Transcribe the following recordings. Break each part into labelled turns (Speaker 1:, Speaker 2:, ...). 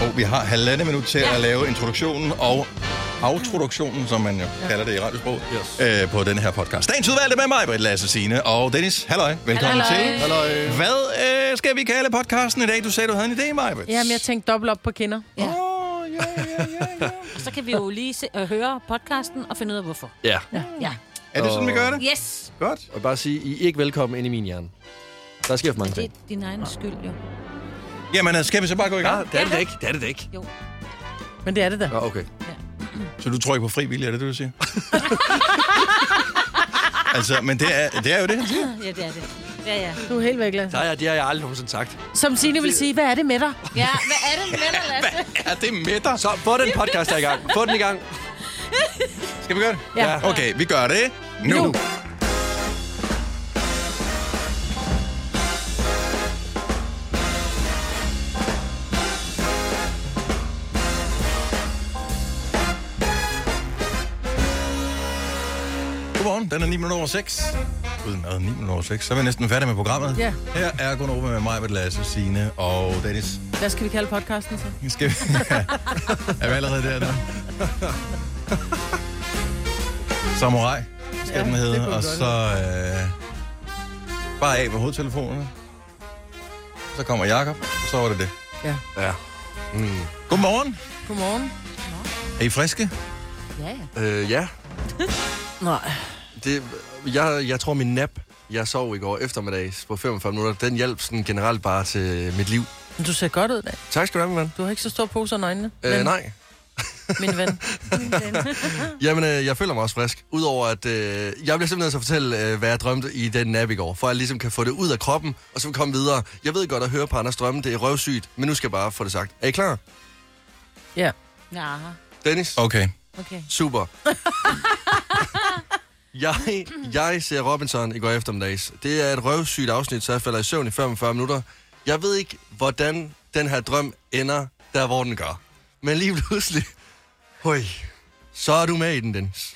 Speaker 1: på. Vi har halvandet minut til ja. at lave introduktionen og aftroduktionen, som man jo kalder det i radiosprog, yes. øh, på den her podcast. Dagens udvalgte med mig, Britt Lasse Signe og Dennis. Halløj, velkommen
Speaker 2: Halløj.
Speaker 1: til. Halløj. Hvad øh, skal vi kalde podcasten i dag? Du sagde, du havde en idé, Maja.
Speaker 2: Jamen, jeg tænkte dobbelt op på kinder.
Speaker 3: Ja.
Speaker 1: Oh, ja, ja, ja, ja.
Speaker 3: Og så kan vi jo lige se, øh, høre podcasten og finde ud af, hvorfor.
Speaker 4: Ja.
Speaker 2: Mm.
Speaker 3: Ja.
Speaker 1: Er det sådan, vi gør det?
Speaker 3: Yes!
Speaker 1: Godt.
Speaker 4: Og bare sige, I er ikke velkommen ind i min hjerne. Der sker for mange
Speaker 3: Det er
Speaker 4: ting.
Speaker 3: din egen skyld, jo.
Speaker 1: Jamen, øh, skal vi så bare gå i
Speaker 4: Ja,
Speaker 1: gang?
Speaker 4: det er det da ikke. Det er det da ikke.
Speaker 3: Jo.
Speaker 2: Men det er det da.
Speaker 4: Nå, okay.
Speaker 1: Så du tror ikke på fri vilje, er det det, du siger? altså, men det er, det er jo det, han siger.
Speaker 3: Ja, det er det. Ja, ja.
Speaker 2: Du er helt væk, Lasse.
Speaker 4: Der er, det har jeg aldrig nogensinde sagt.
Speaker 2: Som Signe vil sige, hvad er det med dig?
Speaker 3: Ja, hvad er det med dig, Lasse?
Speaker 1: Er det med dig?
Speaker 4: Så få den podcast der i gang. Få den i gang.
Speaker 1: Skal vi gøre det?
Speaker 2: Ja.
Speaker 1: Okay, vi gør det nu.
Speaker 2: Nu.
Speaker 1: Godmorgen, den er 9 minutter over 6. Uden mad, 9 minutter over 6. Så er vi næsten færdige med programmet.
Speaker 2: Ja.
Speaker 1: Her er Gunnova med mig, med Lasse, Signe og Dennis.
Speaker 2: Hvad skal vi kalde podcasten så?
Speaker 1: Skal vi... er vi allerede der nu? Samurai skal
Speaker 2: Ja,
Speaker 1: ja, den
Speaker 2: det
Speaker 1: hedde,
Speaker 2: kunne
Speaker 1: og
Speaker 2: den
Speaker 1: så øh, bare af på hovedtelefonerne. Så kommer Jakob, og så var det det.
Speaker 2: Ja.
Speaker 4: Ja. Mm.
Speaker 1: Godmorgen.
Speaker 2: Godmorgen.
Speaker 1: Er I friske?
Speaker 3: Ja, ja.
Speaker 4: Øh, ja.
Speaker 2: Nej.
Speaker 4: Det, jeg, jeg tror, min nap, jeg sov i går eftermiddags på 45 minutter, den hjalp sådan generelt bare til mit liv.
Speaker 2: Men du ser godt ud i dag.
Speaker 4: Tak skal du have, min ven.
Speaker 2: Du har ikke så stor pose under øjnene.
Speaker 4: Øh,
Speaker 2: men-
Speaker 4: nej.
Speaker 2: Min ven.
Speaker 4: Jamen, øh, jeg føler mig også frisk. Udover at øh, jeg bliver simpelthen nødt til at fortælle, øh, hvad jeg drømte i den nap i går, for at jeg ligesom kan få det ud af kroppen, og så komme videre. Jeg ved godt at høre på Anders drømme, det er røvsygt, men nu skal jeg bare få det sagt. Er I klar?
Speaker 2: Ja.
Speaker 3: Aha.
Speaker 4: Dennis?
Speaker 1: Okay.
Speaker 3: Okay.
Speaker 4: Super. jeg, jeg ser Robinson i går eftermiddags. Det er et røvsygt afsnit, så jeg falder i søvn i 45 minutter. Jeg ved ikke, hvordan den her drøm ender, der hvor den gør. Men lige pludselig, høj, så er du med i den, Dennis.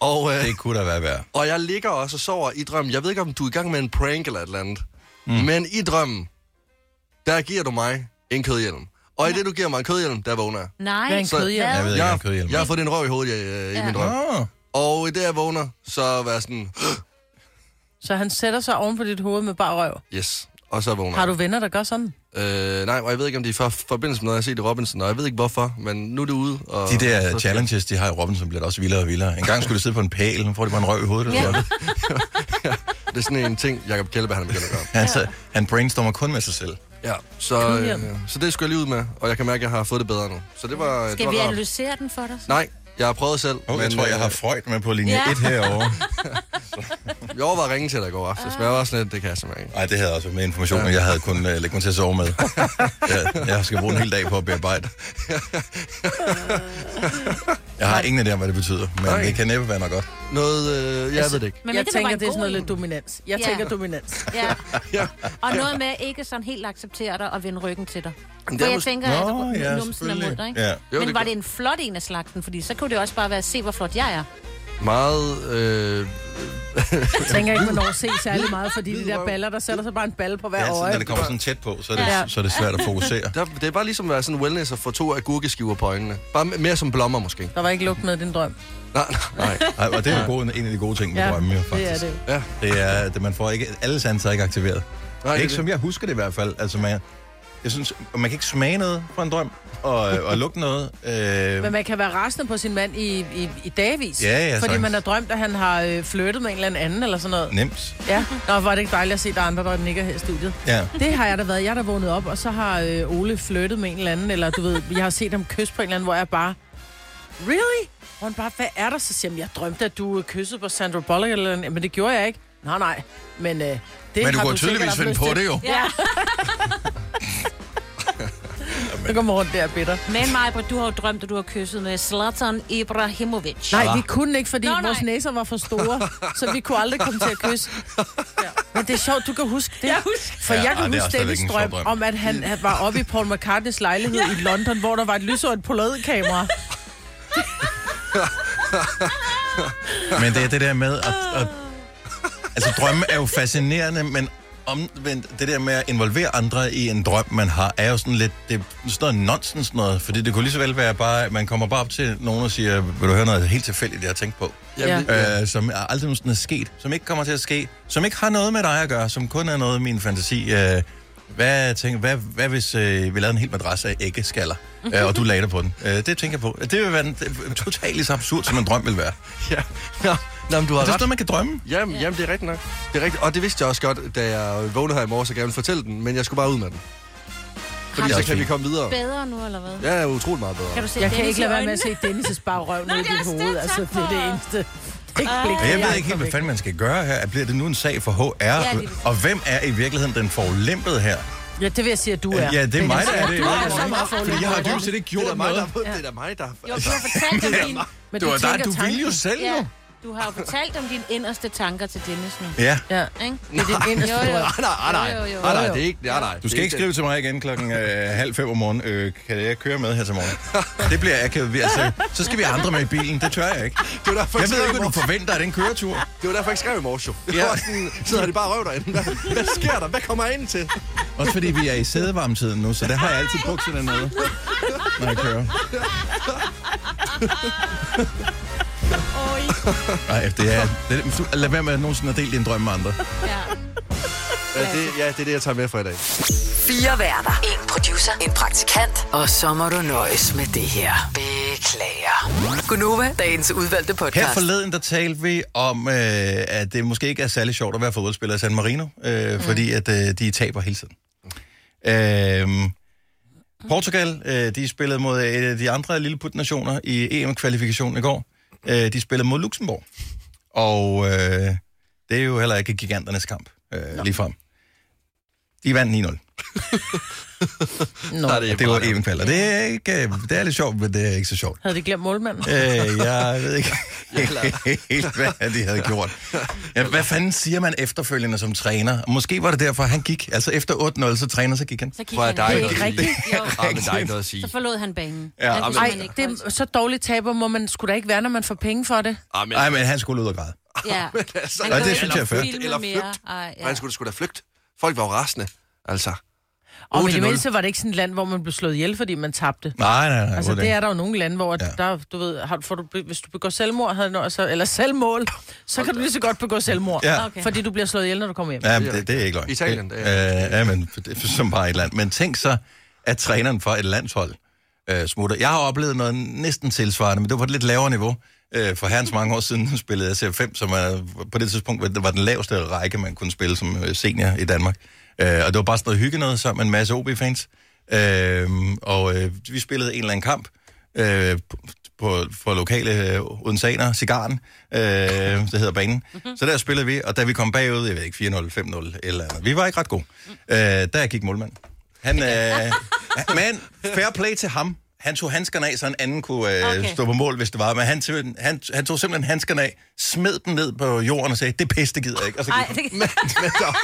Speaker 4: Og, øh,
Speaker 1: Det kunne da være værd.
Speaker 4: og jeg ligger også og sover i drømmen. Jeg ved ikke, om du er i gang med en prank eller et eller andet. Mm. Men i drømmen, der giver du mig en kødhjelm. Og i det, du giver mig en kødhjelm, der vågner jeg.
Speaker 3: Nej.
Speaker 2: Hvad er en
Speaker 4: Så-
Speaker 2: kødhjelm?
Speaker 1: Jeg ved ikke, om
Speaker 4: Jeg,
Speaker 1: kødhjelm. Ah.
Speaker 4: jeg har fået en røv i hovedet øh, i
Speaker 3: Ja.
Speaker 4: min drøm.
Speaker 1: Åh,
Speaker 4: Og i det, jeg vågner, så var jeg sådan,
Speaker 2: Så han sætter sig oven på dit hoved med bare røv.
Speaker 4: yes, og så vågner
Speaker 2: Har
Speaker 4: jeg.
Speaker 2: du venner, der gør sådan?
Speaker 4: Øh, nej, og jeg ved ikke, om det er for, forbindelse med noget, jeg har set i Robinson, og jeg ved ikke hvorfor, men nu er det ude. Og
Speaker 1: de der
Speaker 4: så-
Speaker 1: challenges, de har i Robinson, bliver da også vildere og vildere. En gang skulle de sidde på en pæl, nu får de bare en røv i hovedet. Eller sådan.
Speaker 4: Det er sådan en ting, Jacob Kjellberg, han er begyndt at gøre.
Speaker 1: Altså, han brainstormer kun med sig selv.
Speaker 4: Ja, så, øh,
Speaker 2: Kødhjelm.
Speaker 4: så det skal jeg lige ud med, og jeg kan mærke, at jeg har fået det bedre nu. Så det var... det
Speaker 3: Skal
Speaker 4: var
Speaker 3: vi
Speaker 4: rart.
Speaker 3: analysere den for dig? så?
Speaker 4: Nej, jeg har prøvet selv.
Speaker 1: Oh, jeg tror, jeg har
Speaker 4: øh,
Speaker 1: Freud med på linje
Speaker 3: Ja.
Speaker 1: 1 herovre.
Speaker 4: Jeg overvejede at ringe til dig i går aftes, men jeg var sådan lidt, det kan jeg simpelthen ikke.
Speaker 1: Nej, det havde også været med information, men jeg havde kun uh, lægge mig til at sove med. jeg, jeg skal bruge en hel dag på at bearbejde. jeg har ingen idé om, hvad det betyder, men
Speaker 4: Nej.
Speaker 1: det kan næppe være noget godt.
Speaker 4: Noget, øh,
Speaker 2: Altså-
Speaker 4: jeg ved det ikke.
Speaker 3: Men
Speaker 2: jeg
Speaker 3: mindre var
Speaker 2: tænker,
Speaker 3: en
Speaker 2: det er
Speaker 3: god
Speaker 2: sådan noget
Speaker 3: en.
Speaker 2: lidt dominans. Jeg
Speaker 3: Ja.
Speaker 2: tænker dominans.
Speaker 3: Ja.
Speaker 4: Ah, Ja.
Speaker 3: Og noget med ikke sådan helt acceptere dig og vende ryggen til dig.
Speaker 4: Men
Speaker 3: For
Speaker 4: det er
Speaker 3: jeg
Speaker 4: måske-
Speaker 3: tænker,
Speaker 1: Nå,
Speaker 3: altså,
Speaker 1: ja,
Speaker 3: numsen er munter,
Speaker 1: selvfølgelig.
Speaker 3: ikke?
Speaker 1: Ja.
Speaker 4: Jo,
Speaker 3: Men
Speaker 4: det
Speaker 3: var
Speaker 4: kan-
Speaker 3: det en flot en af slagten? Fordi så kunne det også bare være, se hvor flot jeg er.
Speaker 4: Meget, øh,
Speaker 2: Jeg tænker ikke, man når se særlig meget, fordi de der baller, der sætter sig bare en balle på hver
Speaker 1: Ja,
Speaker 2: øje.
Speaker 1: så, når det kommer sådan tæt på, så er det,
Speaker 2: Ja.
Speaker 1: så er det svært at fokusere.
Speaker 4: der, det er bare ligesom at være sådan en wellness og få to agurkeskiver på øjnene. Bare m- mere som blommer måske.
Speaker 2: Der var ikke lugt med i din drøm.
Speaker 4: Nej, nej, nej.
Speaker 1: Ej, og det er jo gode, en af de gode ting med ja, drømme, jo,
Speaker 2: det er
Speaker 1: faktisk.
Speaker 2: det.
Speaker 4: Ja.
Speaker 1: Det er, at man får ikke, alle sanser er ikke aktiveret.
Speaker 4: Nej,
Speaker 1: Nej,
Speaker 4: det er
Speaker 1: ikke
Speaker 4: det.
Speaker 1: som jeg husker det i hvert fald. Altså, man, jeg synes, man kan ikke smage noget fra en drøm, og, og lugte noget. Øh,
Speaker 2: Men man kan være rasende på sin mand i, i, i dagvis.
Speaker 1: Ja, ja,
Speaker 2: Fordi
Speaker 1: sagtens.
Speaker 2: man har drømt, at han har øh, flyttet med en eller anden, eller sådan noget.
Speaker 1: nemt.
Speaker 2: Ja, Nå, var det ikke dejligt at se, at der er andre, der nikker her i studiet.
Speaker 1: Ja.
Speaker 2: Det har jeg da været. Jeg er da vågnet op, og så har øh, Ole flyttet med en eller anden, eller du ved, jeg har set ham kysse på en eller anden, hvor jeg bare, really? Hvor han bare, hvad er der? Så siger han, jeg drømte, at du øh, kyssede på Sandra Bullock, eller andet. Men det gjorde jeg ikke. Nej, nej. Men øh, det
Speaker 1: Men du
Speaker 2: har sikkert
Speaker 1: kunne tydeligvis
Speaker 2: haft
Speaker 1: finde
Speaker 2: lyst
Speaker 1: på
Speaker 2: til.
Speaker 1: det jo.
Speaker 3: Ja.
Speaker 2: Så kommer rundt der, bitter.
Speaker 3: Men Maja, du har jo drømt, at du har kysset med Zlatan Ibrahimovic.
Speaker 2: Nej, vi kunne ikke, fordi
Speaker 3: Nå,
Speaker 2: Nå,
Speaker 3: nej.
Speaker 2: vores næser var for store, så vi kunne aldrig komme til at kysse. Ja. Men det er sjovt, du kan huske det. Jeg husker. For
Speaker 1: Ja,
Speaker 2: jeg
Speaker 1: ej,
Speaker 2: kan
Speaker 1: det er
Speaker 2: huske
Speaker 1: også
Speaker 2: Dennis
Speaker 1: stadigvæk
Speaker 2: drøm,
Speaker 1: en sjov drøm.
Speaker 2: om, at han
Speaker 3: Mm.
Speaker 2: han var oppe i Paul McCartneys lejlighed i London, hvor der var et lyserødt polaroidkamera.
Speaker 1: Men det er det der med at... at altså, drømme er jo fascinerende, men omvendt, det der med at involvere andre i en drøm, man har, er jo sådan lidt, det er sådan noget nonsens noget, fordi det kunne lige så vel være bare, at man kommer bare op til nogen og siger, vil du høre noget helt tilfældigt, jeg har tænkt på,
Speaker 4: Jamen,
Speaker 1: ja. øh, som er aldrig nogensinde er sket, som ikke kommer til at ske, som ikke har noget med dig at gøre, som kun er noget af min fantasi. Øh, hvad, tænker, hvad, hvad hvis øh, vi lavede en hel madras af æggeskaller, øh, og du lagde dig på den? Øh, det tænker jeg på. Det vil være en, totalt lige så absurd, som en drøm vil være.
Speaker 4: Ja. Nå, Nå, men du har ret.
Speaker 1: Det er sådan noget, man kan drømme.
Speaker 4: Jamen, jamen, det er rigtigt nok. Det er rigtigt. Og det vidste jeg også godt, da jeg vågnede her i morges, og gerne ville fortælle den, men jeg skulle bare ud med den.
Speaker 1: Det
Speaker 4: Fordi
Speaker 1: er
Speaker 4: så
Speaker 1: også
Speaker 4: kan vi
Speaker 1: fint.
Speaker 4: komme videre.
Speaker 3: Bedre nu, eller hvad?
Speaker 4: Ja, jeg er utrolig meget bedre.
Speaker 3: Kan du se
Speaker 2: Jeg kan
Speaker 3: Dennis
Speaker 2: ikke
Speaker 3: i
Speaker 2: lade være med
Speaker 3: øjnene?
Speaker 2: at se Dennis' bare røv ned i
Speaker 3: det er
Speaker 2: dit
Speaker 3: også
Speaker 2: hoved.
Speaker 3: det,
Speaker 2: Altså,
Speaker 3: tak
Speaker 2: det er det
Speaker 3: for-
Speaker 2: eneste. Det er ikke blik,
Speaker 1: Men jeg ved ikke helt, hvad fanden man skal gøre her. Bliver det nu en sag for HR?
Speaker 3: Ja, lige præcis.
Speaker 1: og hvem er i virkeligheden den forulempede her?
Speaker 2: Ja, det vil jeg sige, at du er.
Speaker 1: Ja, ja det er mig, der er det.
Speaker 2: Du er så meget
Speaker 1: Fordi jeg har dybest set ikke
Speaker 4: Det er da
Speaker 1: gjort
Speaker 4: mig, der,
Speaker 1: noget.
Speaker 4: har- det er da mig, der... har-
Speaker 3: Jo, du har fortalt om din...
Speaker 2: Men
Speaker 1: Det var
Speaker 2: tænker
Speaker 1: dig, du ville jo
Speaker 2: tanken.
Speaker 1: selv
Speaker 3: Ja,
Speaker 1: jo.
Speaker 3: du har jo fortalt om dine inderste tanker til Dennis nu.
Speaker 1: Ja.
Speaker 2: Ja.
Speaker 3: Ikke?
Speaker 2: Det er din inderste
Speaker 3: Jo, jo.
Speaker 2: drøm.
Speaker 4: Ah, nej, ah, nej,
Speaker 3: Jo, jo, jo.
Speaker 4: ah, nej, det er ikke... Ah, nej,
Speaker 1: Du
Speaker 4: det
Speaker 1: skal
Speaker 4: er
Speaker 1: ikke skrive til mig igen klokken øh, halv fem om morgenen. Øh, kan jeg køre med her til morgen? Det bliver akavet. Vi- Altså, så skal vi andre med i bilen. Det tør jeg ikke.
Speaker 4: Det var derfor,
Speaker 1: Jeg ved ikke,
Speaker 4: skrev i
Speaker 1: hvad du
Speaker 4: morges.
Speaker 1: forventer af den køretur.
Speaker 4: Det var derfor, jeg skrev i morges, jo. Det
Speaker 1: Ja.
Speaker 4: var sådan, sidder de bare og røv derinde. Hvad, hvad sker der? Hvad kommer jeg ind til?
Speaker 1: Også fordi vi er i sædevarmtiden nu, så der har jeg altid bukserne nede, når jeg kører.
Speaker 3: Oj,
Speaker 1: Nej, det er... Det, er- lad være med at nogensinde at dele din drøm med andre.
Speaker 3: ja.
Speaker 4: Ja, det, ja, det er det, jeg tager med fra i dag.
Speaker 5: Fire værter. En producer. En praktikant. Og så må du nøjes med det her. Beklager. Gunova, dagens udvalgte podcast.
Speaker 1: Her forleden, der talte vi om, øh, at det måske ikke er særlig sjovt at være fodboldspiller i San Marino, øh, mm. fordi at øh, de taber hele tiden. Øh, Portugal, øh, de spillede mod et af de andre lilleput-nationer i EM-kvalifikationen i går. Øh, de spillede mod Luxembourg. Og øh, det er jo heller ikke giganternes kamp, øh, ligefrem. De vandt 9-0.
Speaker 2: Nå.
Speaker 4: Der er det,
Speaker 1: Det var EM-kval, og det er, ikke, øh, det er lidt sjovt, men det er ikke så sjovt.
Speaker 2: Havde de glemt målmanden?
Speaker 1: Øh, jeg ved ikke helt, hvad de havde gjort. Ja, hvad fanden siger man efterfølgende som træner? Måske var det derfor, han gik. Altså efter 8-0, så træner, så gik han.
Speaker 3: Så gik
Speaker 4: Prøv
Speaker 3: han.
Speaker 4: at der er
Speaker 2: Det er
Speaker 4: ikke
Speaker 2: ikke
Speaker 4: noget at sige.
Speaker 2: rigtigt.
Speaker 3: Jo,
Speaker 4: Ja, men der er ikke noget at sige.
Speaker 3: så forlod han banen.
Speaker 1: Ja,
Speaker 3: han kunne
Speaker 2: Ej,
Speaker 3: simpelthen ikke
Speaker 2: det
Speaker 3: holde
Speaker 2: er så dårligt taber, må man skulle da ikke være, når man får penge for det.
Speaker 4: Ah, men,
Speaker 1: Nej, men han skulle ud og græde.
Speaker 3: til. Ja.
Speaker 4: altså,
Speaker 1: det
Speaker 3: kunne
Speaker 1: synes
Speaker 3: ikke
Speaker 1: jeg er fair.
Speaker 3: filme
Speaker 4: Eller
Speaker 3: mere.
Speaker 4: flygt.
Speaker 3: Ej,
Speaker 4: ja. han skulle da skulle da flygte. Folk var jo rasende, altså.
Speaker 2: Og men i
Speaker 4: 8-0.
Speaker 2: det mindste var det ikke sådan et land, hvor man blev slået ihjel, fordi man tabte.
Speaker 1: Nej, nej, nej.
Speaker 2: Altså,
Speaker 1: overhovedet
Speaker 2: det
Speaker 1: ikke.
Speaker 2: er der jo nogle lande, hvor
Speaker 1: Ja.
Speaker 2: ja. der, du ved, har, får du, hvis du begår selvmord, havde, når, så, eller selvmål, så kan du lige så godt begå selvmord.
Speaker 1: Ja.
Speaker 3: Okay.
Speaker 2: Fordi du bliver slået ihjel, når du kommer hjem.
Speaker 1: Ja, men det, det er ikke løgn.
Speaker 4: Italien,
Speaker 1: det
Speaker 4: det
Speaker 1: er... Øh, ja, men det er som bare et land. Men tænk så, at træneren for et landshold øh, smutter. Jeg har oplevet noget næsten tilsvarende, men det var på et lidt lavere niveau. Øh, for herrens mange år siden spillede jeg CF5, som er, på det tidspunkt var- det var den laveste række, man kunne spille som øh, senior i Danmark. Øh, og det var bare sådan noget hygge noget sammen med en masse OB-fans. Øh, og øh, vi spillede en eller anden kamp øh, på, for lokale øh, odensaner, Cigaren, øh, det hedder banen.
Speaker 3: Mhm.
Speaker 1: Så der spillede vi, og da vi kom bagud, jeg ved ikke, 4-0, 5-0 eller eller andet, vi var ikke ret gode. Øh, der gik målmanden. Han, øh, men fair play til ham. Han tog handskerne af, så en anden kunne øh, okay.
Speaker 3: Okay.
Speaker 1: stå på mål, hvis det var. Men han, tog- han, han tog simpelthen handskerne af, smed dem ned på jorden og sagde, det pisse, det gider jeg ikke. Og så,
Speaker 3: Ej,
Speaker 1: gik
Speaker 3: det,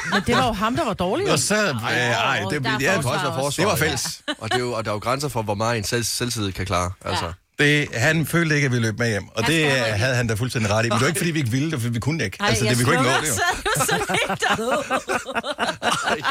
Speaker 2: Men det var jo ham, der var dårlig. jo.
Speaker 1: han. og så øh, ej, det,
Speaker 3: der er
Speaker 1: det, altså ja,
Speaker 3: forsvar
Speaker 4: også.
Speaker 1: det var fælles.
Speaker 4: Og, det er jo, og der er jo grænser for, hvor meget en selv, selvtid kan klare, altså.
Speaker 3: Ja.
Speaker 1: Det, han følte ikke, at vi løb med hjem, og
Speaker 3: Han
Speaker 1: det
Speaker 3: skal
Speaker 1: øh,
Speaker 3: heller ikke.
Speaker 1: havde han da fuldstændig ret i. Men det var ikke, fordi vi ikke ville det, for vi kunne ikke.
Speaker 3: Ej,
Speaker 1: altså,
Speaker 3: jeg
Speaker 1: det, vi kunne ikke nå
Speaker 3: slukker,
Speaker 1: det jo.
Speaker 3: så er jo sådan lidt derude.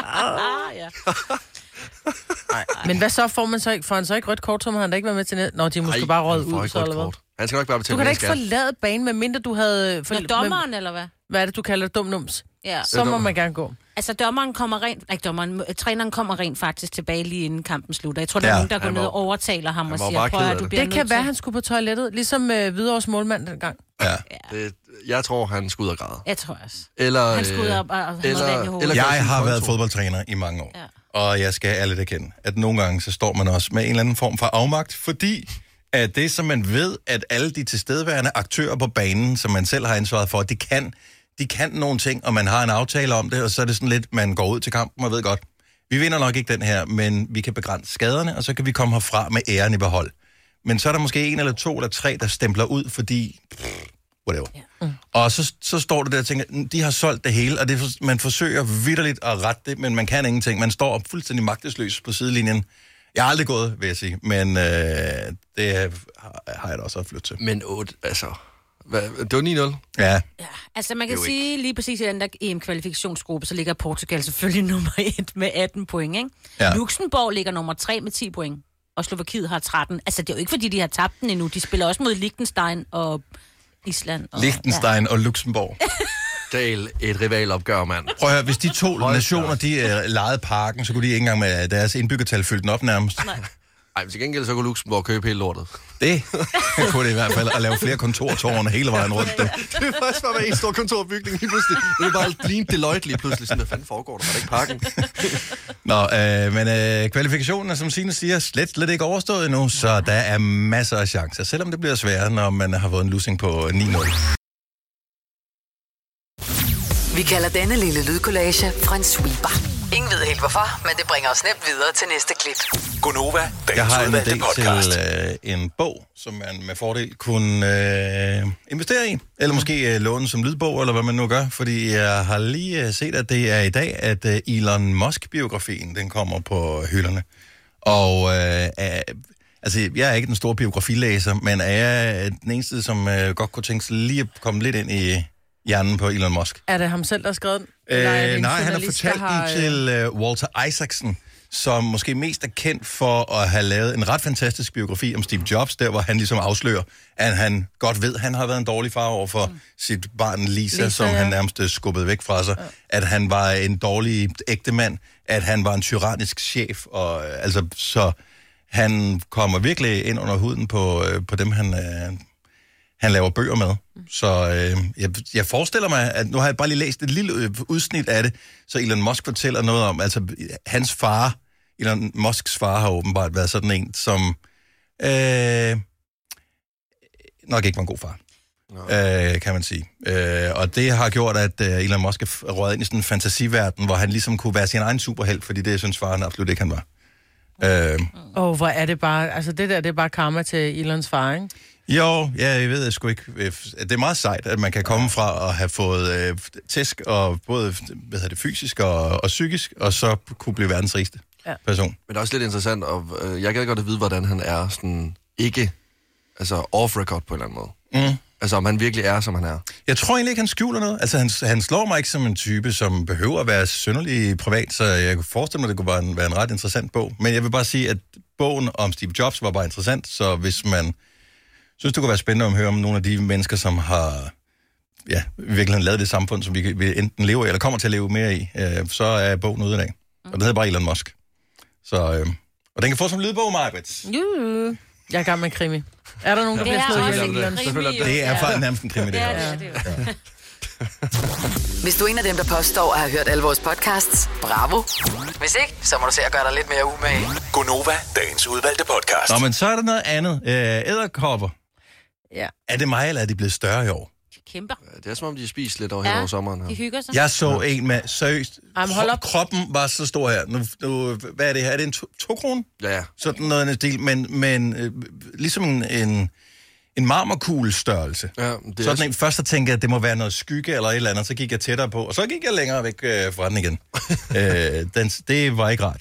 Speaker 3: ja.
Speaker 2: Men hvad så får man så ikke? Får han så ikke rødt kort, så må han da ikke være med til næste? Nå, de er måske
Speaker 4: Ej,
Speaker 2: bare røget
Speaker 4: han får
Speaker 2: ud,
Speaker 4: ikke
Speaker 2: så
Speaker 4: rødt
Speaker 2: eller hvad?
Speaker 4: kort. Han skal nok bare
Speaker 2: Du
Speaker 4: betale
Speaker 2: kan da
Speaker 4: mere
Speaker 2: ikke
Speaker 4: skat.
Speaker 2: forlade banen, medmindre du havde... øh, For,
Speaker 3: Nå, dommeren, eller hvad?
Speaker 2: Hvad er det, du kalder det? Dum nums?
Speaker 3: Ja.
Speaker 2: Så må
Speaker 4: dommeren.
Speaker 2: man gerne gå.
Speaker 3: Altså, dommeren kommer rent... Ikke dommeren, øh, træneren kommer rent faktisk tilbage lige inden kampen slutter. Jeg tror, der
Speaker 1: Ja,
Speaker 3: er nogen, der går
Speaker 4: han
Speaker 3: ned
Speaker 4: var-
Speaker 3: og overtaler ham og
Speaker 4: var
Speaker 3: siger,
Speaker 4: bare
Speaker 3: prøv at
Speaker 4: ked
Speaker 3: høre,
Speaker 4: af
Speaker 3: du
Speaker 4: det.
Speaker 3: bliver
Speaker 2: det kan
Speaker 3: nødt
Speaker 2: være,
Speaker 3: til-
Speaker 2: han skulle på toilettet, ligesom øh, Hvidovres målmand dengang.
Speaker 1: Ja.
Speaker 4: Det, jeg tror, han skulle ud og græde.
Speaker 3: Jeg tror også.
Speaker 4: Eller, øh,
Speaker 3: Han skulle ud og- og- og han havde
Speaker 4: eller,
Speaker 3: vand i hovedet.
Speaker 4: eller gøre
Speaker 1: Jeg
Speaker 4: sin
Speaker 1: har været
Speaker 4: konto.
Speaker 1: fodboldtræner i mange år, ja.
Speaker 3: Ja.
Speaker 1: og jeg skal ærligt erkende, at nogle gange så står man også med en eller anden form for afmagt, fordi at det, som man ved, at alle de tilstedeværende aktører på banen, som man selv har ansvaret for, de kan, de kan nogle ting, og man har en aftale om det, og så er det sådan lidt, man går ud til kampen og ved godt, vi vinder nok ikke den her, men vi kan begrænse skaderne, og så kan vi komme herfra med æren i behold. Men så er der måske en eller to eller tre, der stempler ud, fordi whatever. Ja. Mm. Og så, så står du der og tænker, "Mm, de har solgt det hele, og det, er for- man forsøger vidderligt at rette det, men man kan ingenting. Man står fuldstændig magtesløs på sidelinjen. Jeg har aldrig gået, vil jeg sige, men øh, det har, har jeg da også haft lyst til.
Speaker 4: Men 8, altså... Hva? Det var 9-0.
Speaker 1: Ja.
Speaker 3: Altså, man kan
Speaker 4: Det er jo
Speaker 3: sige lige præcis i den der EM-kvalifikationsgruppe, så ligger Portugal selvfølgelig nummer 1 med 18 point, ikke?
Speaker 4: Ja.
Speaker 3: Ja. Luxembourg ligger nummer 3 med 10 point, og Slovakiet har 13. Altså, det er jo ikke, fordi de har tabt den endnu. De spiller også mod Liechtenstein og Island. Og,
Speaker 1: Liechtenstein og Luxembourg.
Speaker 4: Del et rivalopgør, mand.
Speaker 1: Prøv at høre, hvis de to nationer, de øh, lejede parken, så kunne de ikke engang med deres indbyggertal fylde den op nærmest.
Speaker 3: Nej.
Speaker 4: Ej, men til gengæld så kunne Luxembourg købe hele lortet.
Speaker 1: Det kunne det i hvert fald, at lave flere kontortårne hele vejen rundt. Du.
Speaker 4: det er faktisk bare en stor kontorbygning lige pludselig. Det er bare lige Deloitte lige pludselig. Sådan, hvad fanden foregår der? Var det ikke parken?
Speaker 1: Nå, øh, men øh, kvalifikationen er, som Signe siger, slet, slet ikke overstået endnu, så der er masser af chancer, selvom det bliver sværere, når man har fået en losing på 9-0.
Speaker 5: Vi kalder denne lille lydkollage en sweeper. Ingen ved helt hvorfor, men det bringer os nemt videre til næste klip.
Speaker 6: Gunova,
Speaker 1: Jeg
Speaker 6: dagens
Speaker 1: har en
Speaker 6: udvalgte
Speaker 1: idé
Speaker 6: podcast.
Speaker 1: til øh, en bog, som man med fordel kunne øh, investere i, eller måske øh, låne som lydbog, eller hvad man nu gør, fordi jeg har lige øh, set, at det er i dag, at øh, Elon Musk-biografien, den kommer på hylderne. Og øh, øh, altså, jeg er ikke den store biografilæser, men er jeg den eneste, som øh, godt kunne tænke sig lige at komme lidt ind i hjernen på Elon Musk?
Speaker 2: Er det ham selv, der har skrevet den?
Speaker 1: Øh,
Speaker 2: Eller er det
Speaker 1: nej,
Speaker 2: en
Speaker 1: han har
Speaker 2: journalist, der
Speaker 1: fortalt
Speaker 2: har, øh,
Speaker 1: den til øh, Walter Isaacson, som måske mest er kendt for at have lavet en ret fantastisk biografi om Steve Jobs, der hvor han ligesom afslører, at han godt ved, at han har været en dårlig far over for mm. sit barn Lisa, Lisa
Speaker 2: Lisa,
Speaker 1: som
Speaker 2: ja.
Speaker 1: han nærmest øh, skubbede væk fra sig, ja. at han var en dårlig ægtemand, at han var en tyrannisk chef, og øh, altså så han kommer virkelig ind under huden på, øh, på dem, han, øh, han laver bøger med. Så øh, jeg, jeg forestiller mig, at nu har jeg bare lige læst et lille øh, udsnit af det, så Elon Musk fortæller noget om, altså øh, hans far, Elon Musks far har åbenbart været sådan en, som øh, nok ikke var en god far, øh, kan man sige. Øh, og det har gjort, at øh, Elon Musk er f- er røget ind i sådan en fantasiverden, hvor han ligesom kunne være sin egen superhelt, fordi det synes faren absolut ikke, han var.
Speaker 2: Åh,
Speaker 1: Øh,
Speaker 2: oh, hvor er det bare... Altså, det der, det er bare karma til Elons far, ikke?
Speaker 1: Jo, ja, jeg ved jeg sgu ikke. Øh, Det er meget sejt, at man kan komme fra at have fået øh, tæsk, og både hvad hedder det, fysisk og, og psykisk, og så kunne blive verdens rigeste ja.
Speaker 2: Ja.
Speaker 1: person.
Speaker 4: Men det er også lidt interessant, og øh, jeg gad godt at vide, hvordan han er sådan ikke altså off-record på en eller anden måde.
Speaker 1: Mm.
Speaker 4: Altså om han virkelig er, som han er.
Speaker 1: Jeg tror egentlig ikke, han skjuler noget. Altså, han, han slår mig ikke som en type, som behøver at være synderlig privat, så jeg kunne forestille mig, at det kunne være en, være en ret interessant bog. Men jeg vil bare sige, at bogen om Steve Jobs var bare interessant, så hvis man synes, det kunne være spændende at høre om nogle af de mennesker, som har ja, virkelig lavet det samfund, som vi, kan- vi enten lever i, eller kommer til at leve mere i, øh, så er bogen ude i dag. Og den hedder bare Elon Musk. Så, øh, og den kan få som lydbog, Margaret.
Speaker 2: Juhu. Jeg er i gang med krimi. Er der nogen, der
Speaker 3: Det
Speaker 2: bliver
Speaker 3: er
Speaker 2: slået
Speaker 3: også
Speaker 2: ihjel i
Speaker 4: en
Speaker 2: England?
Speaker 4: Selvfølgelig er
Speaker 1: Det er
Speaker 3: Ja.
Speaker 1: faktisk nærmest en krimi, det
Speaker 3: Ja,
Speaker 1: her
Speaker 3: det
Speaker 1: også.
Speaker 3: er det jo.
Speaker 5: Hvis du er en af dem, der påstår at have hørt alle vores podcasts, bravo. Hvis ikke, så må du se at gøre dig lidt mere umage.
Speaker 6: Gunova, dagens udvalgte podcast.
Speaker 1: Nå, men så er der noget andet. Øh, æderkopper.
Speaker 2: Ja.
Speaker 1: Er det mig, eller er de blevet større i år?
Speaker 3: De kæmper.
Speaker 4: Det er som om, de spiser lidt over ja. over sommeren.
Speaker 3: de
Speaker 4: Her.
Speaker 3: hygger sig.
Speaker 1: Jeg så en med, seriøst,
Speaker 2: Jamen, hold
Speaker 1: kro-
Speaker 2: op.
Speaker 1: kroppen var så stor her. Nu, nu, hvad er det her? Er det en to, to krone?
Speaker 4: Ja, ja.
Speaker 1: Sådan noget i den stil, men, men øh, ligesom en, en, en marmorkugle størrelse.
Speaker 4: ja det er
Speaker 1: Sådan en, først så tænkte jeg, at det må være noget skygge eller et eller andet, så gik jeg tættere på, og så gik jeg længere væk øh, fra den igen. øh, den, det var ikke rart.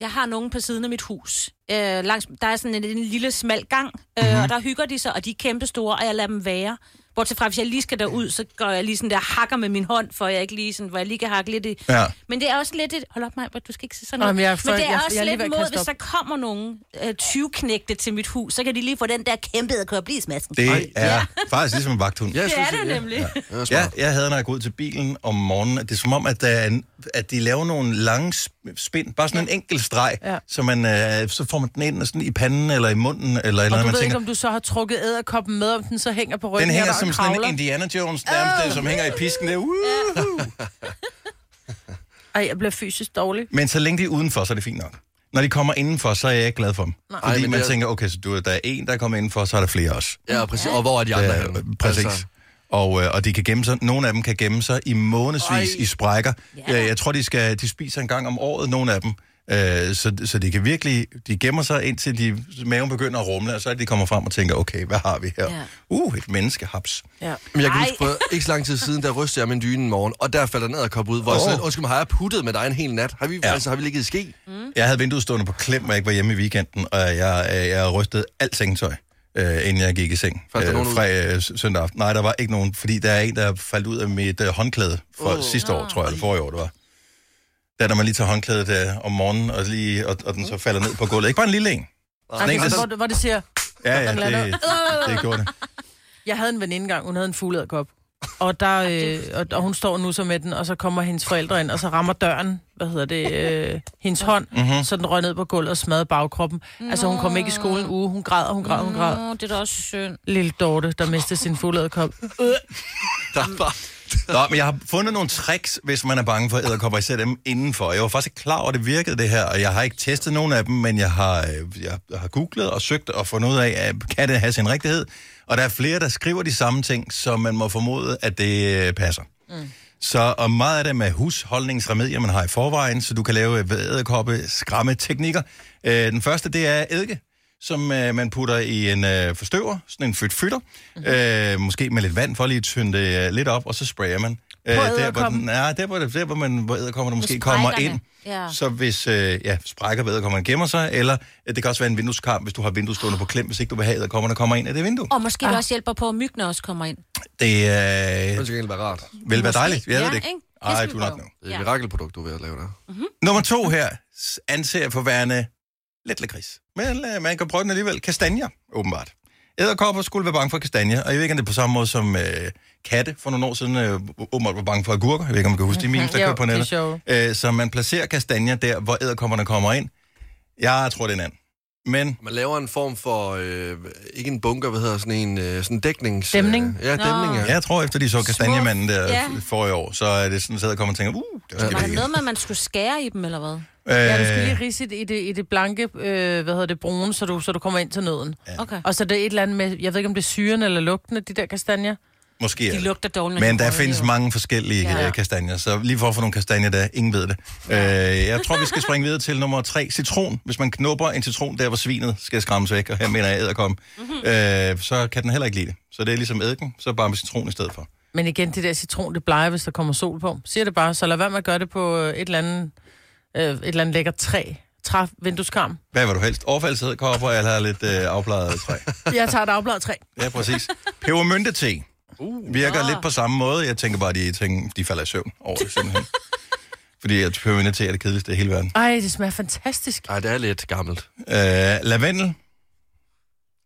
Speaker 3: Jeg har nogen på siden af mit hus. Øh, langs, der er sådan en, en lille smal gang, øh,
Speaker 2: Mhm.
Speaker 3: mm-hmm. og der hygger de sig, og de er kæmpe store, og jeg lader dem være. Bortset fra, hvis jeg lige skal derud, så går jeg lige sådan der hakker med min hånd, for jeg ikke lige sådan, hvor jeg lige kan hakke lidt i.
Speaker 1: Ja.
Speaker 3: Men det er også lidt et... Hold op, mig, du skal ikke se sådan
Speaker 2: Nå,
Speaker 3: noget.
Speaker 2: men jeg er for-
Speaker 3: men det er
Speaker 2: jeg-
Speaker 3: også
Speaker 2: jeg er lige ved
Speaker 3: lidt
Speaker 2: at
Speaker 3: mod,
Speaker 2: kaste
Speaker 3: hvis
Speaker 2: op.
Speaker 3: der kommer nogen øh, 20 knægte til mit hus, så kan de lige få den der kæmpe edderkop i smasken.
Speaker 1: Det
Speaker 4: Ej.
Speaker 1: er faktisk ligesom en vagthund.
Speaker 4: Ja, jeg
Speaker 3: det
Speaker 4: synes,
Speaker 3: er det nemlig. Ja.
Speaker 4: Ja, det er
Speaker 1: Ja,
Speaker 4: smart.
Speaker 1: jeg havde, når jeg går ud til bilen om morgenen, at det er som om, at, der er en, at de laver nogle lange sp- spind, bare sådan en enkelt streg, ja.
Speaker 2: Ja.
Speaker 1: så, man, øh, så får man den ind sådan i panden eller i munden, eller et eller
Speaker 2: Og du
Speaker 1: andet.
Speaker 2: ved
Speaker 1: Man
Speaker 2: tænker... ikke,
Speaker 1: tænker,
Speaker 2: om du så har trukket æderkoppen med, om den så hænger på ryggen
Speaker 1: den hænger
Speaker 2: her, der,
Speaker 1: som
Speaker 2: og
Speaker 1: sådan en
Speaker 2: kravler.
Speaker 1: Indiana Jones, nærmest, øh, som hænger i pisken der. Uh!
Speaker 2: Ej, jeg bliver fysisk dårlig.
Speaker 1: Men så længe de er udenfor, så er det fint nok. Når de kommer indenfor, så er jeg ikke glad for dem. Nej. Fordi
Speaker 4: Ej, men
Speaker 1: man
Speaker 4: det er-
Speaker 1: tænker, okay, så du, der er en, der er kommet indenfor, så er der flere også.
Speaker 4: ja, præcis. Og hvor er de andre
Speaker 1: Ja,
Speaker 4: henne?
Speaker 1: præcis.
Speaker 4: Altså,
Speaker 1: Altså. Og, øh, og de kan gemme sig, nogle af dem kan gemme sig i månedsvis Ej.
Speaker 4: Ej.
Speaker 1: i sprækker.
Speaker 3: Ja.
Speaker 1: Ja. Jeg tror, de, skal, de spiser en gang om året, nogle af dem. Øh, så, så de kan virkelig, de gemmer sig indtil de, maven begynder at rumle, og så er det, de kommer frem og tænker, okay, hvad har vi her? Ja.
Speaker 3: Ja.
Speaker 1: Uh, et menneskehaps.
Speaker 2: Ja.
Speaker 4: men jeg kan
Speaker 3: Ej.
Speaker 4: huske, for Øh, ikke så lang tid siden, der rystede jeg min dyne en morgen, og der faldt der ned og kom ud, hvor oh. jeg
Speaker 1: Åh.
Speaker 4: sådan, lidt, undskyld mig, har jeg puttet med dig en hel nat? Har vi,
Speaker 1: Ja.
Speaker 4: ja. altså, har vi ligget i ski?
Speaker 2: Mm.
Speaker 1: Jeg havde vinduet stående på klem, og jeg ikke var hjemme i weekenden, og jeg, øh, jeg rystede alt sengetøj. øh, inden jeg gik i seng
Speaker 4: Faldt der nogen ud?
Speaker 1: fra øh, s- søndag aften. Nej, der var ikke nogen, fordi der er en, der faldt ud af mit øh, håndklæde for
Speaker 4: Åh.
Speaker 1: oh. sidste år, tror jeg, eller forrige år, det var. Der, når man lige tager håndklædet øh, om morgenen, og, lige, og, og den så falder ned på gulvet. Ikke bare en lille en. Sådan en, der,
Speaker 2: hvor, hvor det siger,
Speaker 1: ja, ja,
Speaker 2: den lander.
Speaker 1: det, det gjorde det.
Speaker 2: Jeg havde en veninde engang, hun havde en fuglederkop. Og, der, øh, og, og hun står nu så med den, og så kommer hendes forældre ind, og så rammer døren, hvad hedder det, øh, hendes hånd,
Speaker 1: Mhm.
Speaker 2: mm-hmm. så den røg ned på gulvet og smadrede bagkroppen. Altså hun kom ikke i skolen en uge, hun græd, hun græd, hun græd.
Speaker 3: Åh, det er da også synd.
Speaker 2: Lille Dorte, der mistede sin fuglederkop.
Speaker 4: Der var...
Speaker 1: Nå, men jeg har fundet nogle tricks, hvis man er bange for æderkopper, især dem indenfor. Jeg var faktisk ikke klar over, at det virkede det her, og jeg har ikke testet nogen af dem, men jeg har, øh, jeg har googlet og søgt og fundet ud af, at øh, kan det have sin rigtighed? Og der er flere, der skriver de samme ting, så man må formode, at det øh, passer. Mm. Så og meget af dem er husholdningsremedier, man har i forvejen, så du kan lave øh, æderkoppe skræmme teknikker. Øh, den første, det er eddike som øh, man putter i en øh, forstøver, sådan en flyt flytter,
Speaker 3: Mhm.
Speaker 1: mm-hmm. øh, måske med lidt vand for lige at tynde det øh, lidt op, og så sprayer man. Øh, der, hvor den,
Speaker 2: edderkoppen?
Speaker 1: ja, der, hvor, det, der, hvor, man, hvor æderkopperne måske kommer
Speaker 3: sprækkerne.
Speaker 1: ind.
Speaker 3: Ja.
Speaker 1: Så hvis øh, ja, sprækker ved æderkopperne gemmer sig, eller øh, det kan også være en vindueskarm, hvis du har vinduet stående på klem, hvis ikke du vil have æderkopperne kommer ind af det vindue.
Speaker 3: Og måske ah. det også hjælper på, at myggene også kommer ind.
Speaker 1: Det
Speaker 4: Det
Speaker 1: øh,
Speaker 4: skal egentlig være rart.
Speaker 1: vil være
Speaker 3: Måske.
Speaker 1: dejligt. Jeg
Speaker 3: Ja,
Speaker 1: ved det ikke.
Speaker 3: ikke? Det
Speaker 1: Ej,
Speaker 3: skal vi
Speaker 1: du nok
Speaker 3: prøve.
Speaker 1: know.
Speaker 4: Det er
Speaker 3: Ja.
Speaker 4: et mirakelprodukt, du er ved at lave der.
Speaker 1: Nummer to her s- anser jeg for værende lidt lakrids. Men øh, man kan prøve den alligevel. Kastanjer, åbenbart. Æderkopper skulle være bange for kastanjer, og jeg ved ikke, om det er på samme måde som øh, katte for nogle år siden øh, åbenbart var bange for agurker. Jeg ved ikke, om du kan huske de memes, der
Speaker 2: Jo,
Speaker 1: kørte på
Speaker 2: det er
Speaker 1: nettet.
Speaker 2: sjovt.
Speaker 1: Øh, så man placerer kastanjer der, hvor æderkopperne kommer ind. Jeg tror, det er en anden. Men
Speaker 4: Man laver en form for, øh, ikke en bunker, hvad hedder sådan en, øh, sådan en dæknings...
Speaker 2: Dæmning.
Speaker 4: Øh, ja, dæmning, ja.
Speaker 1: jeg tror, efter de så kastanjemanden der
Speaker 3: Ja.
Speaker 1: ja. forrige år, så er det sådan, at æderkopperne tænker, uh, det var
Speaker 3: Var der
Speaker 1: skidt.
Speaker 3: noget med, at man skulle skære i dem, eller hvad?
Speaker 2: Ja, du skal
Speaker 1: Øh,
Speaker 2: lige ridse i det, i det blanke, øh, hvad hedder det, brune, så du, så du kommer ind til nøden. Ja.
Speaker 3: Okay.
Speaker 2: Og så er det er et eller andet med, jeg ved ikke, om det er syren eller lugten af de der kastanjer.
Speaker 1: måske er
Speaker 3: De
Speaker 1: det.
Speaker 3: lugter dårligt. når
Speaker 1: Men
Speaker 3: de
Speaker 1: der
Speaker 3: rører
Speaker 1: findes
Speaker 3: ved.
Speaker 1: mange forskellige
Speaker 3: Ja.
Speaker 1: ja. kastanjer, så lige for at få nogle kastanjer der, ingen ved det. Øh, jeg tror, vi skal springe videre til nummer tre. Citron. Hvis man knupper en citron der, hvor svinet skal skræmmes væk, og her mener jeg æderkom,
Speaker 3: Mhm.
Speaker 1: øh, så kan den heller ikke lide det. Så det er ligesom ædiken, så bare med citron i stedet for.
Speaker 2: Men igen, det der citron, det plejer, hvis der kommer sol på. Siger det bare, så lad være med at gøre det på øh, et eller andet, øh, et eller andet lækkert træ. Træf, vindueskarm.
Speaker 1: Hvad vil du helst? Overfaldsæderkopper eller lidt øh, afplejet træ?
Speaker 2: Jeg tager et afbladet træ.
Speaker 1: Ja, præcis. Pebermynte-te
Speaker 4: Uh,
Speaker 1: virker
Speaker 4: ah.
Speaker 1: lidt på samme måde. Jeg tænker bare, at de, tænker, de falder i søvn over det simpelthen. Fordi at pebermynte-te er det kedeligste i hele verden.
Speaker 2: Ej, det smager fantastisk.
Speaker 4: Ej, det er lidt gammelt.
Speaker 1: Øh, lavendel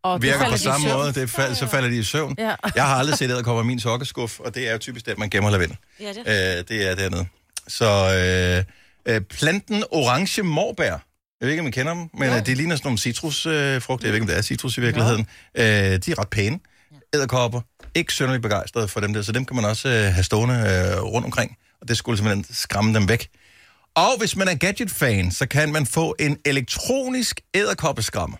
Speaker 2: Og det
Speaker 1: virker
Speaker 2: falder
Speaker 1: på
Speaker 2: i
Speaker 1: samme
Speaker 2: søvn.
Speaker 1: måde, det fal- så falder de i søvn.
Speaker 2: Ja.
Speaker 1: Jeg har aldrig set æderkopper i min sokkeskuff, og det er jo typisk der, man gemmer lavendel.
Speaker 3: Ja, det er
Speaker 1: Øh, det er dernede. Så øh, øh, planten orange morbær. Jeg ved ikke, om I kender dem, men øh, det ligner sådan nogle citrusfrugter. Øh, frugter. jeg ved ikke, om det er citrus i virkeligheden. Øh, de er ret pæne. Æderkopper. Ikke synderligt begejstrede for dem der, så dem kan man også øh, have stående øh, rundt omkring. Og det skulle simpelthen skræmme dem væk. Og hvis man er gadget-fan, så kan man få en elektronisk æderkoppeskræmmer.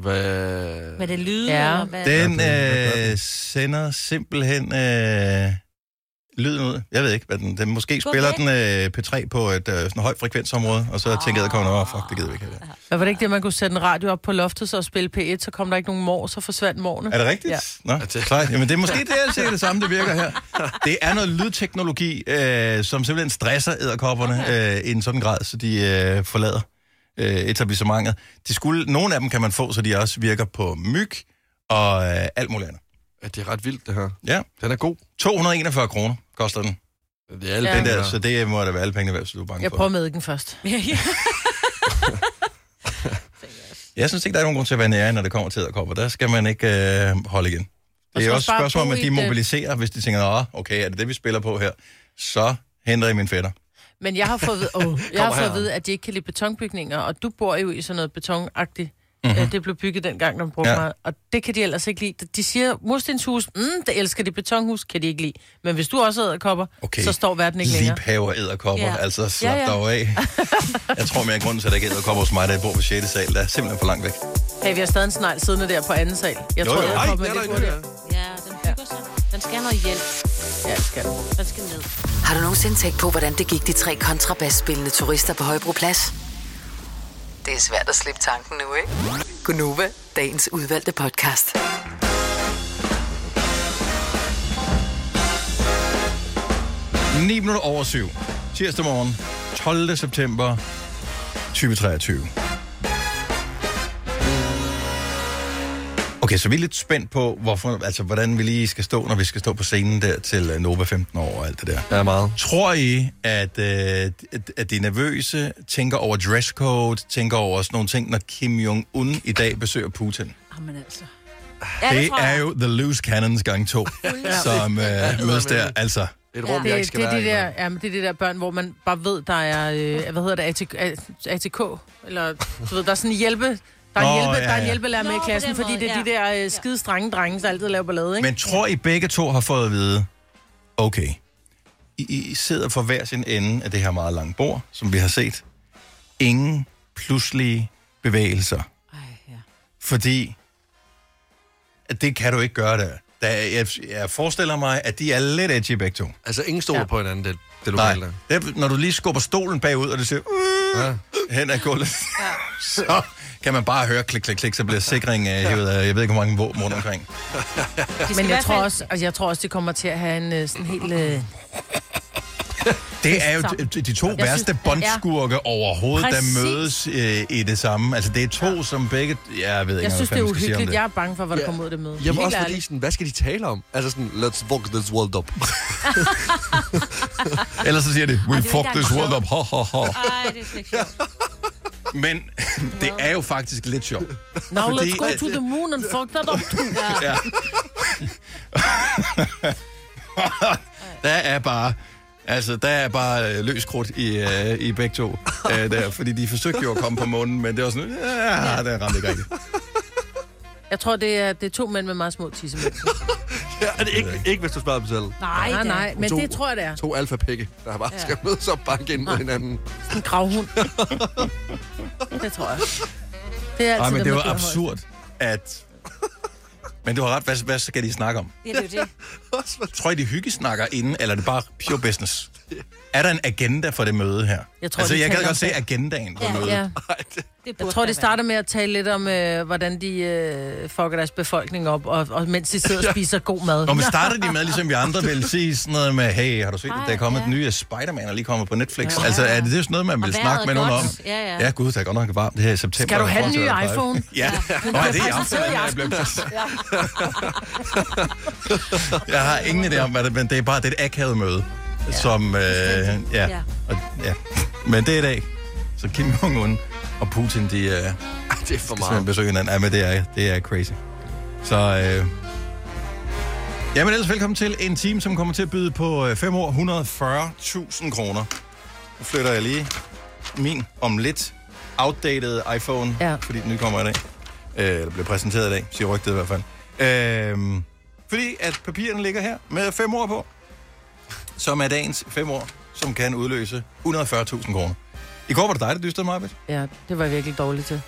Speaker 4: Hvad...
Speaker 3: Hvad det lyder,
Speaker 2: Ja.
Speaker 3: eller hvad?
Speaker 1: Den
Speaker 4: Hvad gør den?
Speaker 1: øh, sender simpelthen øh, lyden ud. Jeg ved ikke, hvad den... den måske
Speaker 3: Gå
Speaker 1: spiller
Speaker 3: væk.
Speaker 1: den øh, P3 på et øh, sådan højt frekvensområde, og så tænker jeg, at kommer fuck, det gider vi ikke. have der."
Speaker 2: Men var det ikke det, man kunne sætte en radio op på loftet, så og spille P1, så kom der ikke nogen mor, så forsvandt morne.
Speaker 1: Er det rigtigt?
Speaker 2: Ja.
Speaker 1: Ja. Nå,
Speaker 4: det-
Speaker 1: klart. Jamen, det er måske det, jeg ser det samme, det virker her. Det er noget lydteknologi, øh, som simpelthen stresser æderkopperne øh, i en sådan grad, så de øh, forlader øh, etablissementet. De skulle, nogle af dem kan man få, så de også virker på myg og øh, alt muligt andet.
Speaker 4: Ja, det er ret vildt, det her.
Speaker 1: Ja,
Speaker 4: Den er god.
Speaker 1: 241 kroner koster den.
Speaker 4: Det er alle
Speaker 2: Ja.
Speaker 4: ja.
Speaker 1: Den der, så det må da være alle pengene værd, så du er bange
Speaker 2: Jeg
Speaker 1: for.
Speaker 2: prøver med den først.
Speaker 1: Jeg synes ikke, der er nogen grund til at være nære, når det kommer til æderkopper. Der skal man ikke øh, holde igen.
Speaker 2: Og
Speaker 1: Det
Speaker 2: så også
Speaker 1: er også et
Speaker 2: bare
Speaker 1: spørgsmål om,
Speaker 2: bo
Speaker 1: at
Speaker 2: i øh,
Speaker 1: de
Speaker 2: det.
Speaker 1: mobiliserer, hvis de tænker, "Åh, okay, er det det, vi spiller på her? Så henter I min fætter.
Speaker 2: Men jeg har fået at vide, oh, jeg har fået at
Speaker 4: herhen.
Speaker 2: vide, at de ikke kan lide betonbygninger, og du bor jo i sådan noget betonagtigt. Mm-hmm. Det blev bygget dengang, når man brugte ja.
Speaker 1: Mhm. Ja.
Speaker 2: meget. Og det kan de ellers ikke lide. De siger, murstenshus, mm, det elsker de. Betonhus kan de ikke lide. Men hvis du også æder kopper, okay.
Speaker 1: Okay.
Speaker 2: så står verden ikke længere.
Speaker 1: Liebhaver æderkopper,
Speaker 3: Ja.
Speaker 1: yeah. altså slap
Speaker 2: Ja,
Speaker 1: ja,
Speaker 2: ja.
Speaker 1: ja. dog af. Jeg tror mere, at grunden til, at der ikke er æderkopper hos mig, da jeg bor på 6. sal, der er simpelthen for langt væk.
Speaker 2: Hey, vi har stadig en snegl siddende der på anden sal. Jeg
Speaker 1: Jo,
Speaker 2: tror,
Speaker 1: jo.
Speaker 2: jeg
Speaker 1: Ej,
Speaker 2: kommer
Speaker 4: den er
Speaker 2: lidt
Speaker 4: ikke
Speaker 2: hurtigere.
Speaker 3: Ja, den hygger sig. Den skal have noget hjælp.
Speaker 2: Ja, det skal den.
Speaker 3: Den skal ned.
Speaker 5: Har du nogensinde tænkt på, hvordan det gik de tre kontrabasspillende turister på Højbroplads? Det er svært at slippe tanken nu, ikke? Gunova, dagens udvalgte podcast.
Speaker 1: den. 9 minutter over 7. Tirsdag morgen, 12. september 2023. Okay, så vi er lidt spændt på, hvorfor, altså, hvordan vi lige skal stå, når vi skal stå på scenen der til øh, Nova 15 år og alt det der.
Speaker 4: Ja, meget.
Speaker 1: Tror I, at, øh, at- at de nervøse tænker over dresscode, tænker over sådan nogle ting, når Kim Jong-un i dag besøger Putin?
Speaker 3: Jamen altså.
Speaker 1: Ja, det
Speaker 3: tror jeg.
Speaker 1: er jo The Loose Cannons gang to, som øh, mødes der. Altså,
Speaker 4: Et rum, ja. jeg ikke
Speaker 2: Det,
Speaker 4: skal
Speaker 2: det, er
Speaker 4: være
Speaker 2: de
Speaker 4: i.
Speaker 2: der, jamen, det er de der børn, hvor man bare ved, der er, øh, hvad hedder det, ATK, ATK eller du ved, der er sådan en hjælpe, der er,
Speaker 1: Nå,
Speaker 2: oh, hjælpe,
Speaker 1: ja,
Speaker 2: der er en
Speaker 1: ja.
Speaker 2: hjælpelærer med
Speaker 3: Nå,
Speaker 2: i
Speaker 3: på
Speaker 2: klassen,
Speaker 3: den
Speaker 2: fordi
Speaker 3: måde,
Speaker 2: det er de der øh, skide strenge drenge, der altid laver ballade, ikke?
Speaker 1: men tror I begge to har fået at vide, okay, I, I sidder for hver sin ende af det her meget lange bord, som vi har set. Ingen pludselige bevægelser.
Speaker 3: Ej, ja.
Speaker 1: Fordi at det kan du ikke gøre der. der jeg, jeg forestiller mig, at de er lidt edgy begge to.
Speaker 4: Altså, ingen stoler
Speaker 2: Ja.
Speaker 4: ja. på hinanden, det, det
Speaker 1: Nej,
Speaker 4: lokale.
Speaker 1: det, er, når du lige skubber stolen bagud, og det siger uh,
Speaker 4: Ja.
Speaker 1: hen ad gulvet, ja. så kan man bare høre klik, klik, klik, så bliver sikringen øh, hævet af, jeg ved ikke, hvor mange våben rundt omkring.
Speaker 3: De skal i
Speaker 2: Men jeg
Speaker 3: hvert
Speaker 2: tror,
Speaker 3: fald-
Speaker 2: også, altså, jeg tror også, det kommer til at have en øh, sådan helt... Øh,
Speaker 1: Det er jo de, de to
Speaker 2: synes-
Speaker 1: værste båndskurke overhovedet,
Speaker 2: Præcis.
Speaker 1: der mødes øh, i det samme. Altså, det er to, som begge... Jeg ved ikke,
Speaker 2: jeg
Speaker 1: engang,
Speaker 2: synes,
Speaker 1: hvad
Speaker 2: det er
Speaker 1: man skal sige om
Speaker 2: uhyggeligt.
Speaker 1: det.
Speaker 2: Jeg er bange for, hvad der
Speaker 4: Ja.
Speaker 2: kommer ud af det møde.
Speaker 4: Jamen
Speaker 2: Helt
Speaker 4: også fordi,
Speaker 2: ærligt.
Speaker 4: sådan, hvad skal de tale om? Altså sådan, let's walk this world up.
Speaker 1: Ellers så siger de, we
Speaker 3: det er
Speaker 1: fuck
Speaker 3: ikke
Speaker 1: this
Speaker 3: engang
Speaker 1: world up, ha, ha, ha.
Speaker 3: Ej, det er slet ikke sjovt.
Speaker 1: Men det er jo faktisk lidt sjovt.
Speaker 2: Now
Speaker 1: fordi-
Speaker 2: let's go to the moon and fuck that up.
Speaker 1: Ja. der er bare... Altså, der er bare øh, løs krudt i, øh, i begge to. Øh, der, fordi de forsøgte jo at komme på månen, men det var sådan... Ja, det ramte ikke rigtigt.
Speaker 2: Jeg tror, det er, det er to mænd med meget små tissemænd.
Speaker 4: ja, det er ikke, ikke hvis du spørger dem selv.
Speaker 3: Nej,
Speaker 2: Nej, nej, men
Speaker 4: To-
Speaker 2: det tror jeg, det er.
Speaker 4: To alfa-pikke, der bare skal mødes og banke ind mod hinanden.
Speaker 2: En gravhund. det tror jeg. Det er altid
Speaker 1: Nej, men
Speaker 2: dem,
Speaker 1: det
Speaker 2: der
Speaker 1: var
Speaker 2: bliver højst.
Speaker 1: absurd, at... Men du har ret, hvad, hvad skal de snakke om?
Speaker 3: Ja, det er jo det.
Speaker 1: Tror I, de hyggesnakker inden, eller er det bare pure business? Er der en agenda for det møde her?
Speaker 2: Jeg tror,
Speaker 1: altså,
Speaker 2: de
Speaker 1: jeg kan
Speaker 2: taler
Speaker 1: godt se
Speaker 2: om det.
Speaker 1: agendaen på
Speaker 3: Ja.
Speaker 1: mødet.
Speaker 2: Ja.
Speaker 4: Ej, det,
Speaker 3: det burde
Speaker 2: Jeg tror,
Speaker 3: der
Speaker 2: de
Speaker 3: være.
Speaker 2: starter med at tale lidt om, øh, hvordan de øh, fucker deres befolkning op, og, og mens de sidder og spiser god mad.
Speaker 1: Når man starter de med, ligesom vi andre vil sige sådan noget med, hey, har du set, at der er kommet
Speaker 3: Ej,
Speaker 1: den
Speaker 3: ja.
Speaker 1: nye Spider-Man, og lige kommer på Netflix?
Speaker 3: Ja.
Speaker 1: Altså, er det, det er sådan noget, man
Speaker 3: Og
Speaker 1: vil
Speaker 3: vejret
Speaker 1: snakke med
Speaker 3: er
Speaker 1: nogen om?
Speaker 3: godt. Ja, ja.
Speaker 1: ja gud, der er godt nok varmt det her i september.
Speaker 2: Skal du have den
Speaker 1: i
Speaker 2: nye
Speaker 1: forhold til,
Speaker 2: iPhone?
Speaker 1: hvad der plejer. Ja. Nå, er det i
Speaker 2: præsenteret i
Speaker 1: aften? Jeg, blev... jeg har ingen idé om, hvad det men det er bare det er et akavet møde, ja. som... Øh, ja.
Speaker 3: Ja.
Speaker 1: Og, ja. Men det er i dag. Så Kim Jong-un og Putin, de øh, skal
Speaker 4: ej, det er for
Speaker 1: simpelthen
Speaker 4: meget.
Speaker 1: besøge hinanden. Ja, men det er, det er crazy. Så... Øh, Jamen ellers velkommen til en time, som kommer til at byde på øh, 5 år 140.000 kroner. Nu flytter jeg lige min om lidt outdated iPhone, ja.
Speaker 2: Ja.
Speaker 1: fordi den nye kommer i dag. Øh, eller bliver præsenteret i dag, siger rygtet i hvert fald. Øh, fordi at papirerne ligger her med 5 år på, som er dagens 5 år, som kan udløse 140.000 kroner. I går var det dig, der dystede mig,
Speaker 2: Ja, det var jeg virkelig dårligt til.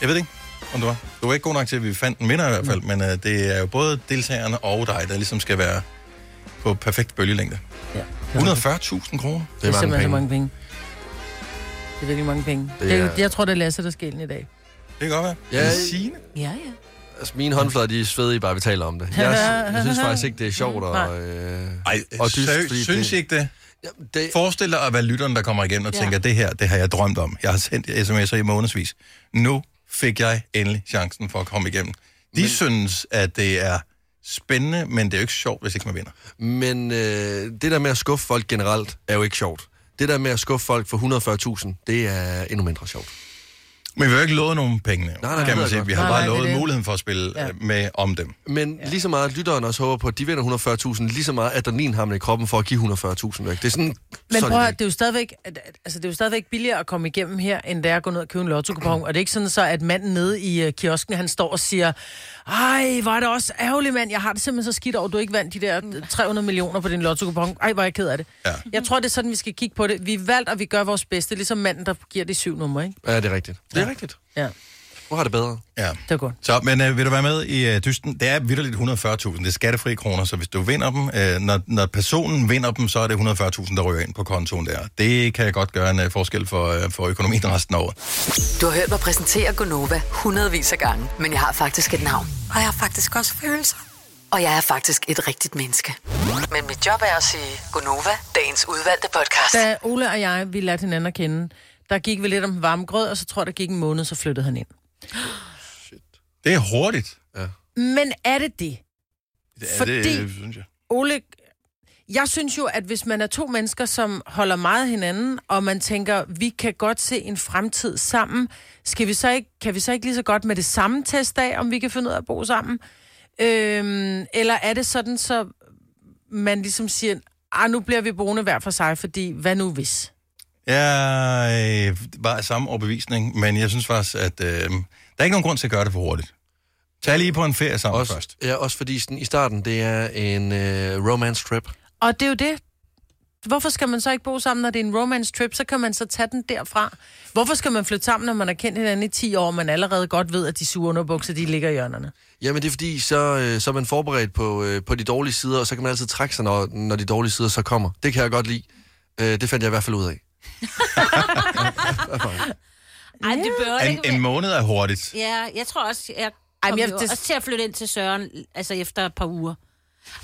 Speaker 1: jeg ved det ikke, om du var. Du var ikke god nok til, at vi fandt en vinder i hvert fald,
Speaker 4: Mm.
Speaker 1: men øh, det er jo både deltagerne og dig, der ligesom skal være på perfekt bølgelængde.
Speaker 2: Ja.
Speaker 1: 140.000 kroner.
Speaker 2: Det er
Speaker 4: mange
Speaker 2: simpelthen så
Speaker 4: penge.
Speaker 2: mange penge. Det er virkelig mange penge.
Speaker 4: Det
Speaker 2: Det er...
Speaker 4: er-
Speaker 2: jeg tror, det er Lasse, der skal ind i dag.
Speaker 1: Det kan godt være.
Speaker 4: Ja,
Speaker 1: Ja,
Speaker 4: i-
Speaker 1: Signe.
Speaker 3: Ja, ja.
Speaker 4: Altså, mine håndflader, de er svedige, bare vi taler om det. Jeg, jeg synes faktisk ikke, det er sjovt.
Speaker 2: Nej.
Speaker 4: Og, øh,
Speaker 1: Ej,
Speaker 4: og
Speaker 1: og
Speaker 4: dyst, fordi
Speaker 1: seriøst, synes
Speaker 4: det-
Speaker 1: I ikke det?
Speaker 4: Jamen, det,
Speaker 1: Forestil dig at være lytteren, der kommer igen og
Speaker 3: Ja.
Speaker 1: tænker, det her, det har jeg drømt om. Jeg har sendt sms'er i månedsvis. Nu fik jeg endelig chancen for at komme igennem. De men... synes, at det er spændende, men det er jo ikke sjovt, hvis ikke man vinder.
Speaker 4: Men øh, det der med at skuffe folk generelt, er jo ikke sjovt. Det der med at skuffe folk for 140.000, det er endnu mindre sjovt.
Speaker 1: Men vi har jo ikke lovet nogen penge,
Speaker 4: nej,
Speaker 1: nej,
Speaker 4: det
Speaker 1: kan
Speaker 4: ved
Speaker 1: man
Speaker 4: jeg
Speaker 1: sige.
Speaker 4: godt.
Speaker 1: Vi har
Speaker 2: Nej,
Speaker 1: bare
Speaker 2: nej, det er
Speaker 1: lovet
Speaker 2: det.
Speaker 1: muligheden for at spille
Speaker 2: Ja.
Speaker 1: øh, med om dem.
Speaker 4: Men ja. lige så meget lytteren også håber på, at de vinder 140.000, lige så meget adrenalin har man i kroppen for at give 140.000 væk. Det er sådan...
Speaker 2: Men
Speaker 4: sådan
Speaker 2: prøv at, høre, det er jo stadigvæk, at- at- altså, det er jo stadigvæk billigere at komme igennem her, end det er at gå ned og købe en lotto
Speaker 4: Mm.
Speaker 2: Og det er ikke sådan så, at manden nede i øh, kiosken, han står og siger, ej, var det også ærgerligt, mand. Jeg har det simpelthen så skidt over, du ikke vandt de der 300 millioner på din lotto Ej, hvor er jeg ked af det.
Speaker 1: Ja.
Speaker 2: Jeg tror, det er sådan, vi skal kigge på det. Vi er valgt, og vi gør vores bedste, ligesom manden, der giver de syv numre, ikke?
Speaker 4: Ja, det er rigtigt. Det er rigtigt.
Speaker 2: Ja,
Speaker 4: Du har det bedre.
Speaker 1: Ja.
Speaker 2: det er godt.
Speaker 1: Så, men øh, vil du være med i øh, dysten? Det er vidderligt 140.000. Det er skattefri kroner, så hvis du vinder dem, øh, når, når personen vinder dem, så er det 140.000, der rører ind på kontoen der. Det kan godt gøre en øh, forskel for, øh, for økonomien resten af året.
Speaker 5: Du har hørt mig præsentere Gonova hundredvis af gange, men jeg har faktisk et navn. Og jeg har faktisk også følelser. Og jeg er faktisk et rigtigt menneske. Men mit job er at sige Gonova, dagens udvalgte podcast.
Speaker 2: Da Ole og jeg, vi lærte hinanden at kende, der gik vi lidt om varmgrød, og så tror jeg, der gik en måned, så flyttede han ind.
Speaker 1: Det er hurtigt.
Speaker 2: Men er det det?
Speaker 1: Det
Speaker 2: Fordi-
Speaker 1: det, synes jeg.
Speaker 2: Ole, jeg synes jo, at hvis man er to mennesker, som holder meget af hinanden, og man tænker, vi kan godt se en fremtid sammen, skal vi så ikke, kan vi så ikke lige så godt med det samme test af, om vi kan finde ud af at bo sammen? Øhm, eller er det sådan, så man ligesom siger, ah, nu bliver vi boende hver for sig, fordi hvad nu hvis?
Speaker 1: Jeg øh, var af samme overbevisning, men jeg synes faktisk, at øh, der er ikke nogen grund til at gøre det for hurtigt. Tag lige på en ferie sammen også.
Speaker 4: Også,
Speaker 1: først.
Speaker 4: Ja, også fordi sådan, i starten, det er en øh, romance trip.
Speaker 2: Og det er jo det. Hvorfor skal man så ikke bo sammen, når det er en romance trip? Så kan man så tage den derfra. Hvorfor skal man flytte sammen, når man har kendt hinanden i 10 år, og man allerede godt ved, at de sure underbukser, de ligger i hjørnerne?
Speaker 4: Jamen det er fordi, så, øh, så er man forberedt på, øh, på de dårlige sider, og så kan man altid trække sig, når, når de dårlige sider så kommer. Det kan jeg godt lide. Øh, det fandt jeg i hvert fald ud af.
Speaker 3: Ej, det bør
Speaker 1: En,
Speaker 3: ikke
Speaker 1: en måned er hurtigt.
Speaker 3: Ja, jeg tror også, jeg
Speaker 2: Ej,
Speaker 3: kom
Speaker 2: men
Speaker 3: Ej,
Speaker 2: jeg-
Speaker 3: jeg, jo
Speaker 2: det-
Speaker 3: også til at flytte ind til Søren, altså efter et par uger.
Speaker 1: Et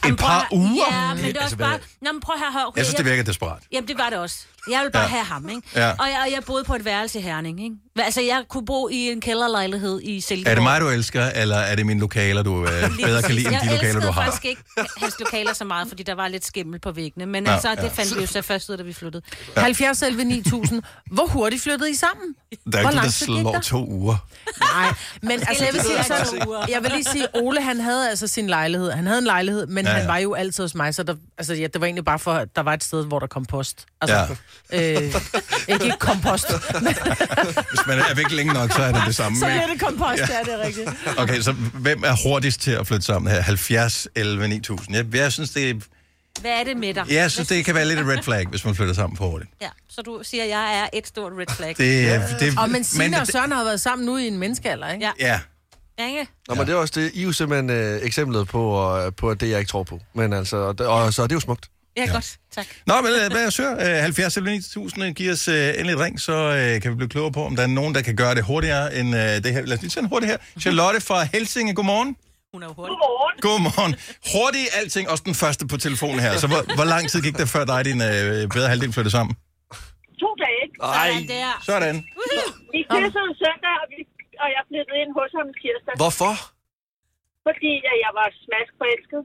Speaker 3: prøv at
Speaker 1: par
Speaker 3: høre-
Speaker 1: uger?
Speaker 3: Ja, men det er
Speaker 1: Altså,
Speaker 3: også
Speaker 1: hvad-
Speaker 3: bare... Nå, men prøv at høre, hør, okay,
Speaker 1: Jeg synes, det virker desperat.
Speaker 3: Jamen, det var det også. Jeg ville bare
Speaker 1: Ja.
Speaker 3: ja. have ham, ikke?
Speaker 1: Ja.
Speaker 3: Og, jeg, og jeg boede på et værelse i Herning, ikke? Hva- Altså, jeg kunne bo i en kælderlejlighed i Silkeborg.
Speaker 1: Er det mig, du elsker, eller er det mine lokaler, du øh,
Speaker 3: Lige
Speaker 1: bedre kan
Speaker 3: præcis.
Speaker 1: lide, end de lokaler, du
Speaker 3: Jeg
Speaker 1: har?
Speaker 3: elskede faktisk ikke hans lokaler så meget, fordi der var lidt skimmel på væggene. Men
Speaker 1: Ja,
Speaker 3: ja, altså,
Speaker 1: ja.
Speaker 3: det fandt vi jo så først ud, af, da vi flyttede.
Speaker 2: 70 11 9000. Hvor hurtigt flyttede I sammen?
Speaker 1: Der er
Speaker 2: Hvor
Speaker 1: ikke noget, der
Speaker 2: lang tid gik
Speaker 1: slår
Speaker 2: der?
Speaker 1: to uger.
Speaker 2: Nej, men altså, jeg vil, sige,
Speaker 3: Det er
Speaker 2: sådan,
Speaker 3: to uger.
Speaker 2: jeg vil lige sige, Ole, han havde altså sin lejlighed. Han havde en lejlighed, men
Speaker 1: Ja,
Speaker 2: ja,
Speaker 1: ja.
Speaker 2: han var jo altid hos mig, så der, altså, ja, det var egentlig bare for, at der var et sted, hvor der kom post. Altså, ja. øh, ikke kompost.
Speaker 1: Hvis man er væk længe nok, så er det det samme.
Speaker 2: så bliver
Speaker 1: ikke?
Speaker 2: det kompost, ja, det er rigtigt.
Speaker 1: Okay, så hvem er hurtigst til at flytte sammen her? 70, 11, 9000. Jeg, jeg synes, det,
Speaker 3: Hvad er det med dig?
Speaker 1: jeg synes, det kan være lidt et red flag, hvis man flytter sammen for hurtigt.
Speaker 3: Ja, så du siger, at jeg er et stort red flag. Det...
Speaker 1: Det, er- det,
Speaker 2: Og men Signe og
Speaker 1: det-
Speaker 2: Søren har været sammen nu i en menneskealder, ikke?
Speaker 3: Ja.
Speaker 1: Ja,
Speaker 3: Ikke?
Speaker 4: Nå, ja. men det er også det. I er jo simpelthen øh, eksemplet på, øh, på, at det jeg ikke tror på. Men altså, og, og så er det jo smukt.
Speaker 3: Ja, ja, godt. Tak.
Speaker 1: Nå, men øh, hvad er sør? 70 eller 9000, giv os øh, endelig et ring, så øh, kan vi blive klogere på, om der er nogen, der kan gøre det hurtigere end øh, det her. Lad os lige tage en hurtig her. Charlotte fra Helsinge, godmorgen.
Speaker 3: Hun er jo hurtig.
Speaker 1: Godmorgen. Hurtig alting, også den første på telefonen her. Så hvor, hvor lang tid gik det før dig og din øh, bedre halvdel flyttede sammen?
Speaker 7: to dage.
Speaker 3: Sådan der. Uhuh.
Speaker 1: Sådan.
Speaker 7: Vi kissede søndag, og, vi, og jeg flyttede ind hos ham tirsdag, Hvor?
Speaker 4: Hvorfor?
Speaker 7: fordi at jeg var smaskforelsket.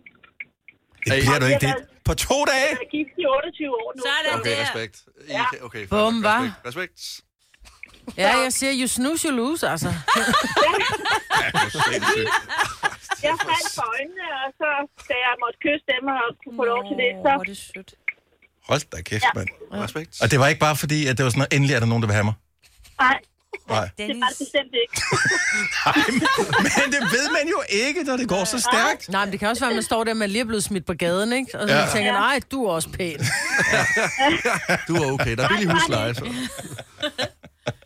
Speaker 1: Det bliver du ikke det. På to dage?
Speaker 7: Jeg er gift i 28 år nu.
Speaker 3: Sådan
Speaker 7: så-
Speaker 3: okay. der.
Speaker 4: respekt. I, kan- okay, fair
Speaker 2: Bum,
Speaker 4: nok.
Speaker 2: hva?
Speaker 4: respekt. respekt.
Speaker 2: Ja, jeg siger, you snooze, you lose, altså.
Speaker 7: Jeg faldt for øjnene, og så da jeg måtte kysse dem og kunne få lov til det, så
Speaker 3: Åh, hvor er det sødt.
Speaker 1: Hold da kæft, mand.
Speaker 4: respekt.
Speaker 1: Og det var ikke bare fordi, at det var sådan, at endelig er der nogen, der vil have mig.
Speaker 7: nej,
Speaker 1: Nej.
Speaker 7: det var det
Speaker 3: Dennis.
Speaker 7: bestemt ikke.
Speaker 1: Men det ved man jo ikke, når det går så stærkt.
Speaker 2: Nej, men det kan også være, at man står der, man lige er blevet smidt på gaden, ikke? Og så
Speaker 1: Ja.
Speaker 2: ja. tænker, nej, du er også pæn.
Speaker 4: Du er okay. Der er billig husleje.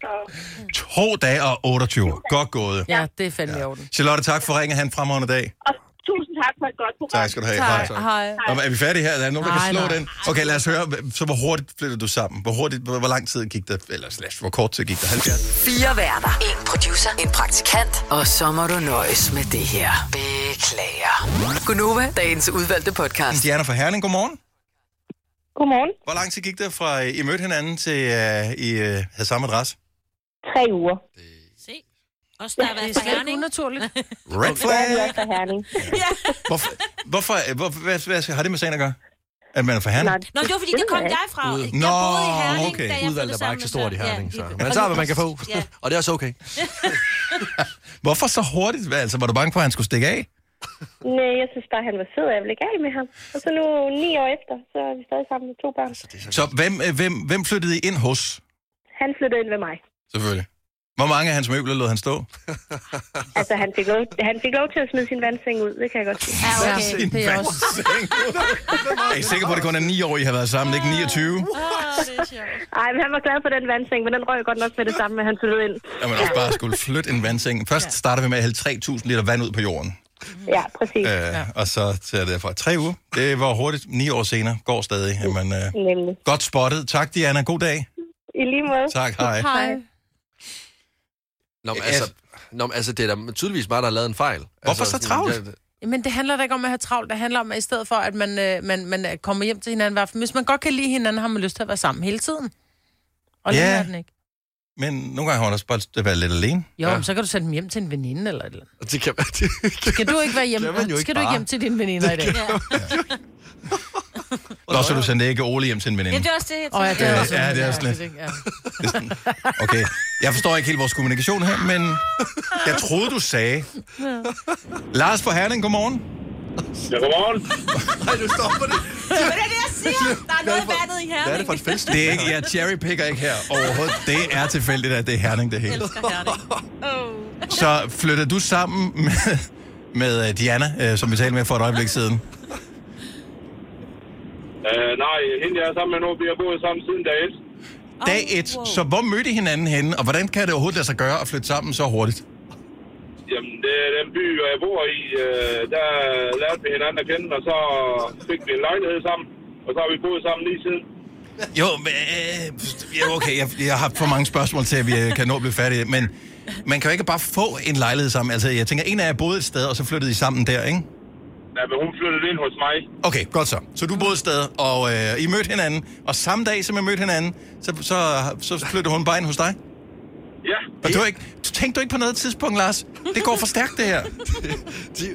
Speaker 4: Så.
Speaker 1: To dage og 28 år. Godt gået.
Speaker 2: Ja, det er fandme i orden.
Speaker 1: Charlotte, tak for ringen. Han fremragende dag.
Speaker 7: Og tusind tak for et godt program.
Speaker 1: Tak skal du have.
Speaker 2: Tak,
Speaker 1: Hej.
Speaker 2: hej.
Speaker 1: Nå, men er vi færdige her? Er der nogen, der kan
Speaker 2: Nej,
Speaker 1: slå
Speaker 2: nej.
Speaker 1: den? Okay, lad os høre. Så hvor hurtigt flyttede du sammen? Hvor, hurtigt, hvor, hvor lang tid gik der? Eller slash, hvor kort tid gik der? 70?
Speaker 5: Fire værter. En producer. En praktikant. Og så må du nøjes med det her. Beklager. Gunova, dagens udvalgte podcast.
Speaker 1: Stjerner fra Herning, godmorgen.
Speaker 7: Godmorgen.
Speaker 1: Hvor lang tid gik der fra, øh, I mødte hinanden til, uh, I uh, havde samme adresse?
Speaker 7: Tre uger.
Speaker 3: Se. Også der har
Speaker 2: Det
Speaker 3: været
Speaker 2: er slet ikke
Speaker 3: forhærning.
Speaker 2: unaturligt.
Speaker 1: Red flag!
Speaker 7: fra Herning.
Speaker 1: Hvorfor, hvorfor, øh, hvor, hvad, hvad har det med sagen at gøre? At man er fra Herning?
Speaker 3: Nå, det var fordi, der kom jeg fra. Jeg
Speaker 1: Nå,
Speaker 3: boede i Herning,
Speaker 1: okay.
Speaker 3: da jeg
Speaker 4: Udvalget er
Speaker 3: flyttede
Speaker 4: bare
Speaker 3: sammen
Speaker 4: ikke så
Speaker 3: med
Speaker 4: stort i
Speaker 3: Søren.
Speaker 4: Herning,
Speaker 3: Ja,
Speaker 4: så
Speaker 3: lige
Speaker 4: man tager, hvad man kan få.
Speaker 3: Ja.
Speaker 4: Og det er også okay.
Speaker 1: Hvorfor så hurtigt? Hvad, Altså, var du bange for, at han skulle stikke af?
Speaker 7: Nej, jeg synes bare, han var sød, og jeg blev gal med ham. Og så nu ni år efter, så er vi stadig sammen med to børn.
Speaker 1: Så hvem, øh, hvem, hvem flyttede I ind hos?
Speaker 7: Han flyttede ind ved mig.
Speaker 1: Selvfølgelig. Hvor mange af hans møbler lod han stå?
Speaker 7: Altså, han fik, lov, han fik lov til at smide sin vandseng ud, det kan jeg godt sige.
Speaker 3: Ja,
Speaker 2: Ja,
Speaker 3: okay.
Speaker 2: det er også.
Speaker 1: Jeg er sikker på, at det kun er 9 år, I har været sammen, ikke 29?
Speaker 3: Åh, det er sjovt.
Speaker 7: Ej, men han var glad for den vandseng, men den røg godt nok med det samme, at han flyttede ind.
Speaker 1: Når man også bare skulle flytte en vandseng. Først starter vi med at hælde 3.000 liter vand ud på jorden.
Speaker 7: Ja, præcis.
Speaker 1: Øh, Og så tager det fra tre uger. Det var hurtigt. Ni år senere. Går stadig. Jamen, øh,
Speaker 7: Nemlig.
Speaker 1: godt spottet. Tak, Diana. God dag.
Speaker 7: I lige måde.
Speaker 1: Tak, hej.
Speaker 2: Hej.
Speaker 4: Nå, men, altså, nå, men, altså, det er da tydeligvis mig, der har lavet en fejl.
Speaker 1: Hvorfor
Speaker 4: altså,
Speaker 1: så travlt?
Speaker 4: sådan,
Speaker 2: Men det handler da ikke om at have travlt. Det handler om, at i stedet for, at man, øh, man, man øh, kommer hjem til hinanden hver aften. Hvis man godt kan lide hinanden, har man lyst til at være sammen hele tiden. Og det
Speaker 1: Ja.
Speaker 2: yeah. er den ikke.
Speaker 1: Men nogle gange har hun også bare lyst til at være lidt alene.
Speaker 2: Jo, ja. så kan du sende dem hjem til en veninde eller et eller andet.
Speaker 4: Og det kan man, det kan,
Speaker 2: Skal du ikke være hjemme?
Speaker 4: Kan man jo ikke
Speaker 2: Skal du ikke
Speaker 4: bare.
Speaker 2: hjem til dine veninder i dag?
Speaker 1: Nå, så du sendte ikke Ole hjem til en veninde.
Speaker 3: Jamen, det er også det, jeg
Speaker 2: Åh, ja,
Speaker 3: tænker.
Speaker 2: det er
Speaker 1: Ja,
Speaker 2: også
Speaker 1: ja,
Speaker 2: en-
Speaker 1: det er også lidt.
Speaker 2: det- ja.
Speaker 1: Okay. Jeg forstår ikke helt vores kommunikation her, men jeg troede, du sagde. Lars fra Herning, godmorgen.
Speaker 8: Ja, godmorgen.
Speaker 4: Nej, du stopper det.
Speaker 3: Men det er det, jeg siger. Der er noget vandet i her.
Speaker 4: Hvad er det for et fest?
Speaker 1: Det er ikke, jeg cherrypicker ikke her overhovedet. Det er tilfældigt, at det er Herning, det
Speaker 3: Jeg
Speaker 1: hele.
Speaker 3: elsker Herning. Oh.
Speaker 1: Så flytter du sammen med, med øh, Diana, øh, som vi talte med for et øjeblik siden.
Speaker 8: Øh, nej, hende jeg er sammen med nu, vi har boet sammen siden dag 1.
Speaker 1: Dag 1.
Speaker 3: wow.
Speaker 1: Så hvor mødte I hinanden henne, og hvordan kan det overhovedet lade sig gøre at flytte sammen så hurtigt?
Speaker 8: Jamen, det er den by, jeg bor i. Øh, der lærte vi hinanden at kende, og så fik vi en lejlighed sammen. Og så har vi boet sammen lige siden.
Speaker 1: Jo, men, øh, ja, okay, jeg, jeg har for mange spørgsmål til, at vi øh, kan nå at blive færdige, men man kan jo ikke bare få en lejlighed sammen. Altså, jeg tænker, en af jer boede et sted, og så flyttede I sammen der, ikke?
Speaker 8: Ja, men hun flyttede ind hos mig.
Speaker 1: Okay, godt så. Så du boede et sted, og øh, I mødte hinanden, og samme dag, som I mødte hinanden, så, så, så flyttede hun bare ind hos dig?
Speaker 8: Ja,
Speaker 1: Og det var ikke, tænkte du ikke på noget tidspunkt, Lars? Det går for stærkt, det her.
Speaker 4: De,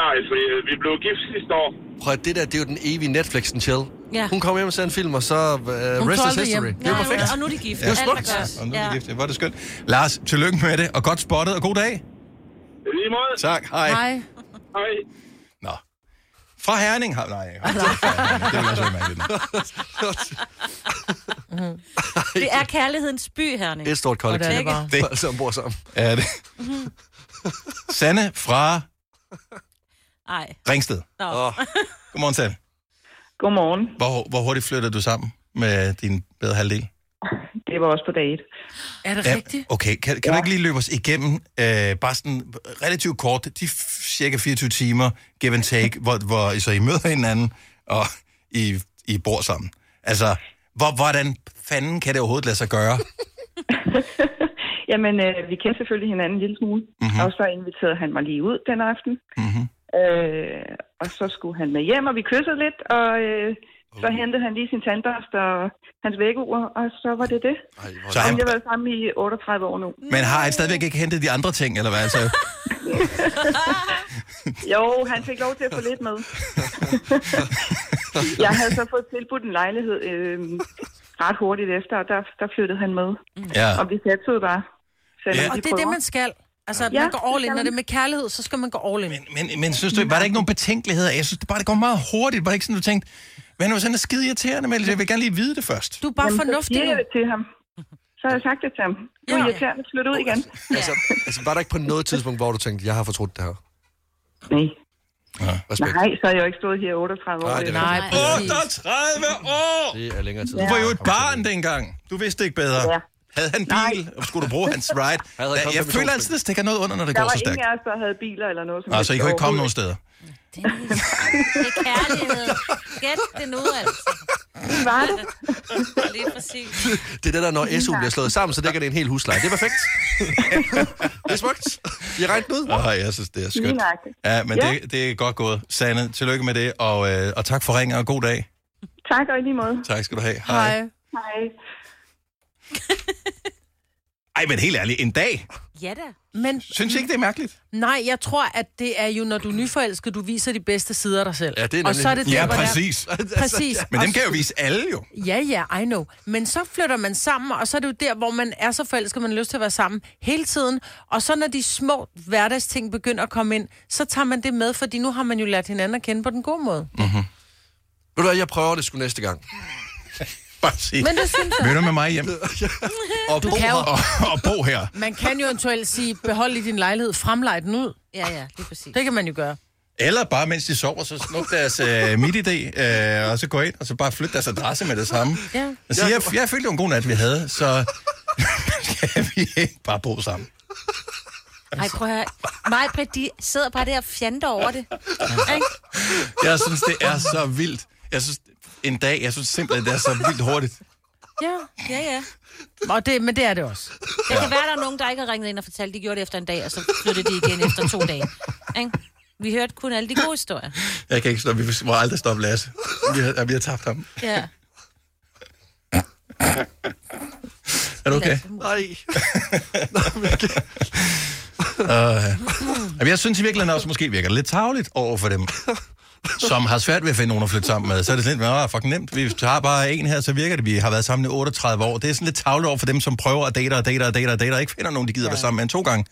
Speaker 8: nej, for øh, vi blev gift sidste år.
Speaker 4: prøv at det der, det er jo den evige Netflix and chill.
Speaker 3: Ja.
Speaker 4: Hun kom hjem og ser en film, og så uh, rest
Speaker 2: tog
Speaker 4: is
Speaker 2: aldrig
Speaker 4: history.
Speaker 2: hjem.
Speaker 4: Det er jo
Speaker 3: Nej,
Speaker 4: perfekt.
Speaker 3: Og nu er de gift.
Speaker 1: Ja.
Speaker 3: Alt er
Speaker 4: Smukt.
Speaker 3: godt.
Speaker 1: Og nu er
Speaker 3: Ja.
Speaker 1: vi gift. Hvor er det skønt. Lars, tillykke med det, og godt spottet, og god dag.
Speaker 8: I Lige måde.
Speaker 1: Tak, hej.
Speaker 2: Hej.
Speaker 8: Hej.
Speaker 1: Nå. Fra Herning har... Nej, jeg har ikke fra Herning. det vil også være mærkeligt.
Speaker 3: Det er kærlighedens by, Herning.
Speaker 4: Et stort
Speaker 2: Og der
Speaker 4: kollektiv.
Speaker 2: er det bare.
Speaker 1: Det-
Speaker 4: Det. Som bor sammen.
Speaker 1: Er det?
Speaker 3: Mhm.
Speaker 1: Sanne fra
Speaker 3: Nej.
Speaker 1: Ringsted.
Speaker 3: Nå.
Speaker 4: Åh,
Speaker 1: Godmorgen, Sanne.
Speaker 9: Godmorgen.
Speaker 1: Hvor, hvor hurtigt flytter du sammen med din bedre halvdel?
Speaker 9: Det var også på date.
Speaker 2: Er det rigtigt?
Speaker 1: okay, kan, kan ja. du ikke lige løbe os igennem, øh, bare sådan relativt kort, de f- cirka 24 timer, give and take, hvor, hvor I så I møder hinanden, og I, I bor sammen. Altså, hvor, hvordan fanden kan det overhovedet lade sig gøre?
Speaker 9: Jamen, øh, vi kendte selvfølgelig hinanden en lille smule,
Speaker 1: Mhm.
Speaker 9: mm-hmm. og så inviterede han mig lige ud den aften.
Speaker 1: Mm-hmm.
Speaker 9: Øh, og så skulle han med hjem, og vi kyssede lidt, og øh, så hentede han lige sin tandbørst og hans vækkeur, og så var det det.
Speaker 4: ej, hvor-
Speaker 1: Så
Speaker 9: Om
Speaker 1: han,
Speaker 9: jeg var sammen i 38 år nu.
Speaker 1: men har han stadigvæk ikke hentet de andre ting, eller hvad? Altså,
Speaker 9: Jo, han fik lov til at få lidt med. jeg havde så fået tilbudt en lejlighed øh, ret hurtigt efter, og der, der flyttede han med.
Speaker 1: ja.
Speaker 9: Og vi satsede bare. Selvom
Speaker 1: Ja.
Speaker 9: vi
Speaker 2: Mm. Og det er det,
Speaker 9: prøver.
Speaker 2: man skal. Altså, at
Speaker 9: Ja,
Speaker 2: man går all
Speaker 9: det
Speaker 2: in.
Speaker 9: skal
Speaker 2: Når det er
Speaker 9: man.
Speaker 2: med kærlighed, så skal man gå all in.
Speaker 1: Men, men synes du, var der ikke nogen betænkeligheder? Jeg synes det bare, det går meget hurtigt. Var det ikke sådan, du tænkte, men nu er sådan er skide irriterende, men jeg vil gerne lige vide det først.
Speaker 2: Du er bare
Speaker 9: Jamen,
Speaker 2: fornuftig nu.
Speaker 9: Så siger jeg det til ham. Så har jeg sagt det til ham. Du er
Speaker 2: Ja.
Speaker 9: irriterende, flyt ud igen.
Speaker 4: Altså, altså, var der ikke på noget tidspunkt, hvor du tænkte, jeg har fortrudt det her?
Speaker 9: Nej,
Speaker 4: Respekt.
Speaker 9: nej, så har jeg jo ikke stået her i 38 år.
Speaker 4: Nej, det er
Speaker 2: Nej, præcis.
Speaker 1: 38 år!
Speaker 4: Det er længere tid.
Speaker 1: Du var jo et barn dengang. Du vidste ikke bedre.
Speaker 9: Ja.
Speaker 1: Havde han bil? Og skulle du bruge hans ride?
Speaker 4: havde
Speaker 1: Jeg,
Speaker 4: kommet
Speaker 1: jeg
Speaker 4: med
Speaker 1: føler
Speaker 4: to
Speaker 1: altid, der stikker noget under, når det
Speaker 9: Der
Speaker 1: går
Speaker 9: var
Speaker 1: så stærkt.
Speaker 9: ingen af os, der havde biler eller noget. Som
Speaker 1: Altså, I kunne ikke komme nogen steder.
Speaker 3: Det er kærlighed. Gæt det nu, altså.
Speaker 9: Var det?
Speaker 3: Lige præcis.
Speaker 4: Det er det der, når SU bliver slået sammen, så dækker det en hel husleje. Det er perfekt. det er smukt. I har regnet den ud.
Speaker 1: Åh, jeg synes, det er
Speaker 9: Lige
Speaker 1: skønt.
Speaker 9: nøjagtigt.
Speaker 1: Ja, men
Speaker 9: Ja.
Speaker 1: det, det er godt gået. Sanne, tillykke med det, og, øh, og tak for ringen, og god dag.
Speaker 9: Tak og i lige måde.
Speaker 1: Tak skal du have. Hej.
Speaker 2: Hej.
Speaker 9: Hej.
Speaker 1: Ej, men helt ærligt, en dag.
Speaker 3: Ja da.
Speaker 2: Men
Speaker 1: Synes I ikke, det er mærkeligt?
Speaker 2: nej, jeg tror, at det er jo, når du er nyforelsket, du viser de bedste sider af dig selv.
Speaker 4: Ja, det er
Speaker 2: Og
Speaker 4: nemlig-
Speaker 2: så er det der, hvor der- Præcis.
Speaker 1: Men dem
Speaker 2: Og-
Speaker 1: kan jeg jo vise alle jo.
Speaker 2: Ja, ja, I know. Men så flytter man sammen, og så er det jo der, hvor man er så forelsket, man har lyst til at være sammen hele tiden. Og så når de små hverdagsting begynder at komme ind, så tager man det med, fordi nu har man jo lært hinanden at kende på den gode måde.
Speaker 4: Ved du hvad, jeg prøver det sgu næste gang.
Speaker 1: Præcis.
Speaker 2: Men det synes jeg.
Speaker 1: Møder med mig hjem
Speaker 4: Og du
Speaker 2: kan jo-
Speaker 1: og, og bo her.
Speaker 2: Man kan jo eventuelt sige, behold i din lejlighed, fremlej den ud.
Speaker 3: Ja, ja, lige præcis.
Speaker 2: Det kan man jo gøre.
Speaker 1: Eller bare, mens de sover, så snup deres øh, midt-idé, øh, og så gå ind, og så bare flytte deres adresse med det samme.
Speaker 2: Ja.
Speaker 1: Altså, jeg, jeg følte, det var en god nat, vi havde, så skal vi ikke bare bo sammen.
Speaker 3: Ej, prøv at høre. Mig, Britt, de sidder bare der og fjander over det. Ikke?
Speaker 1: Jeg synes, det er så vildt. Jeg synes, en dag, jeg synes simpelthen, det er så vildt hurtigt.
Speaker 2: Ja.
Speaker 3: Ja, ja.
Speaker 2: Og det, men det er det også.
Speaker 3: Det kan være, der er nogen, der ikke har ringet ind og fortalt, de gjorde det efter en dag, og så flyttede de igen efter to dage. Ikke? Vi hørte kun alle de gode historier.
Speaker 1: Jeg kan ikke stoppe, vi må aldrig stoppe Lasse. Vi har, vi har tabt ham.
Speaker 3: Ja.
Speaker 1: Er du okay?
Speaker 4: Nej.
Speaker 1: Uh, jeg synes i virkeligheden også, måske virker det lidt tavligt over for dem, som har svært ved at finde nogen at flytte sammen med. Så er det sådan lidt, "Nå, fucking nemt. Vi tager bare en her, så virker det. Vi har været sammen i 38 år. Det er sådan lidt tavligt over for dem, som prøver at date og date og date og date, og ikke finder nogen, de gider ja. være sammen med en to gange.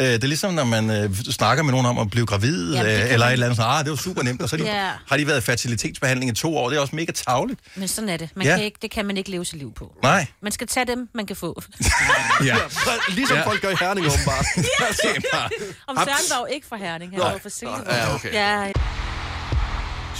Speaker 1: Øh, Det er ligesom, når man øh, snakker med nogen om at blive gravid,
Speaker 3: Jamen, det
Speaker 1: Jamen,
Speaker 3: kan
Speaker 1: eller
Speaker 3: man-
Speaker 1: et eller andet sådan, ah, det var super nemt, og så de,
Speaker 3: Ja.
Speaker 1: har de været i fertilitetsbehandling i to år. Det er også mega tavligt.
Speaker 3: Men sådan er det. Man
Speaker 1: Ja.
Speaker 3: ja. kan ikke, det kan man ikke leve sit liv på.
Speaker 1: Nej.
Speaker 3: Man skal tage dem, man kan få.
Speaker 1: Ja.
Speaker 4: Ligesom
Speaker 1: Ja.
Speaker 4: folk gør i Herning, åbenbart. Altså.
Speaker 1: Det er bare-
Speaker 3: Om Søren var jo ikke fra Herning, han var jo fra Silkeborg.
Speaker 4: Ja, okay.
Speaker 3: Ja,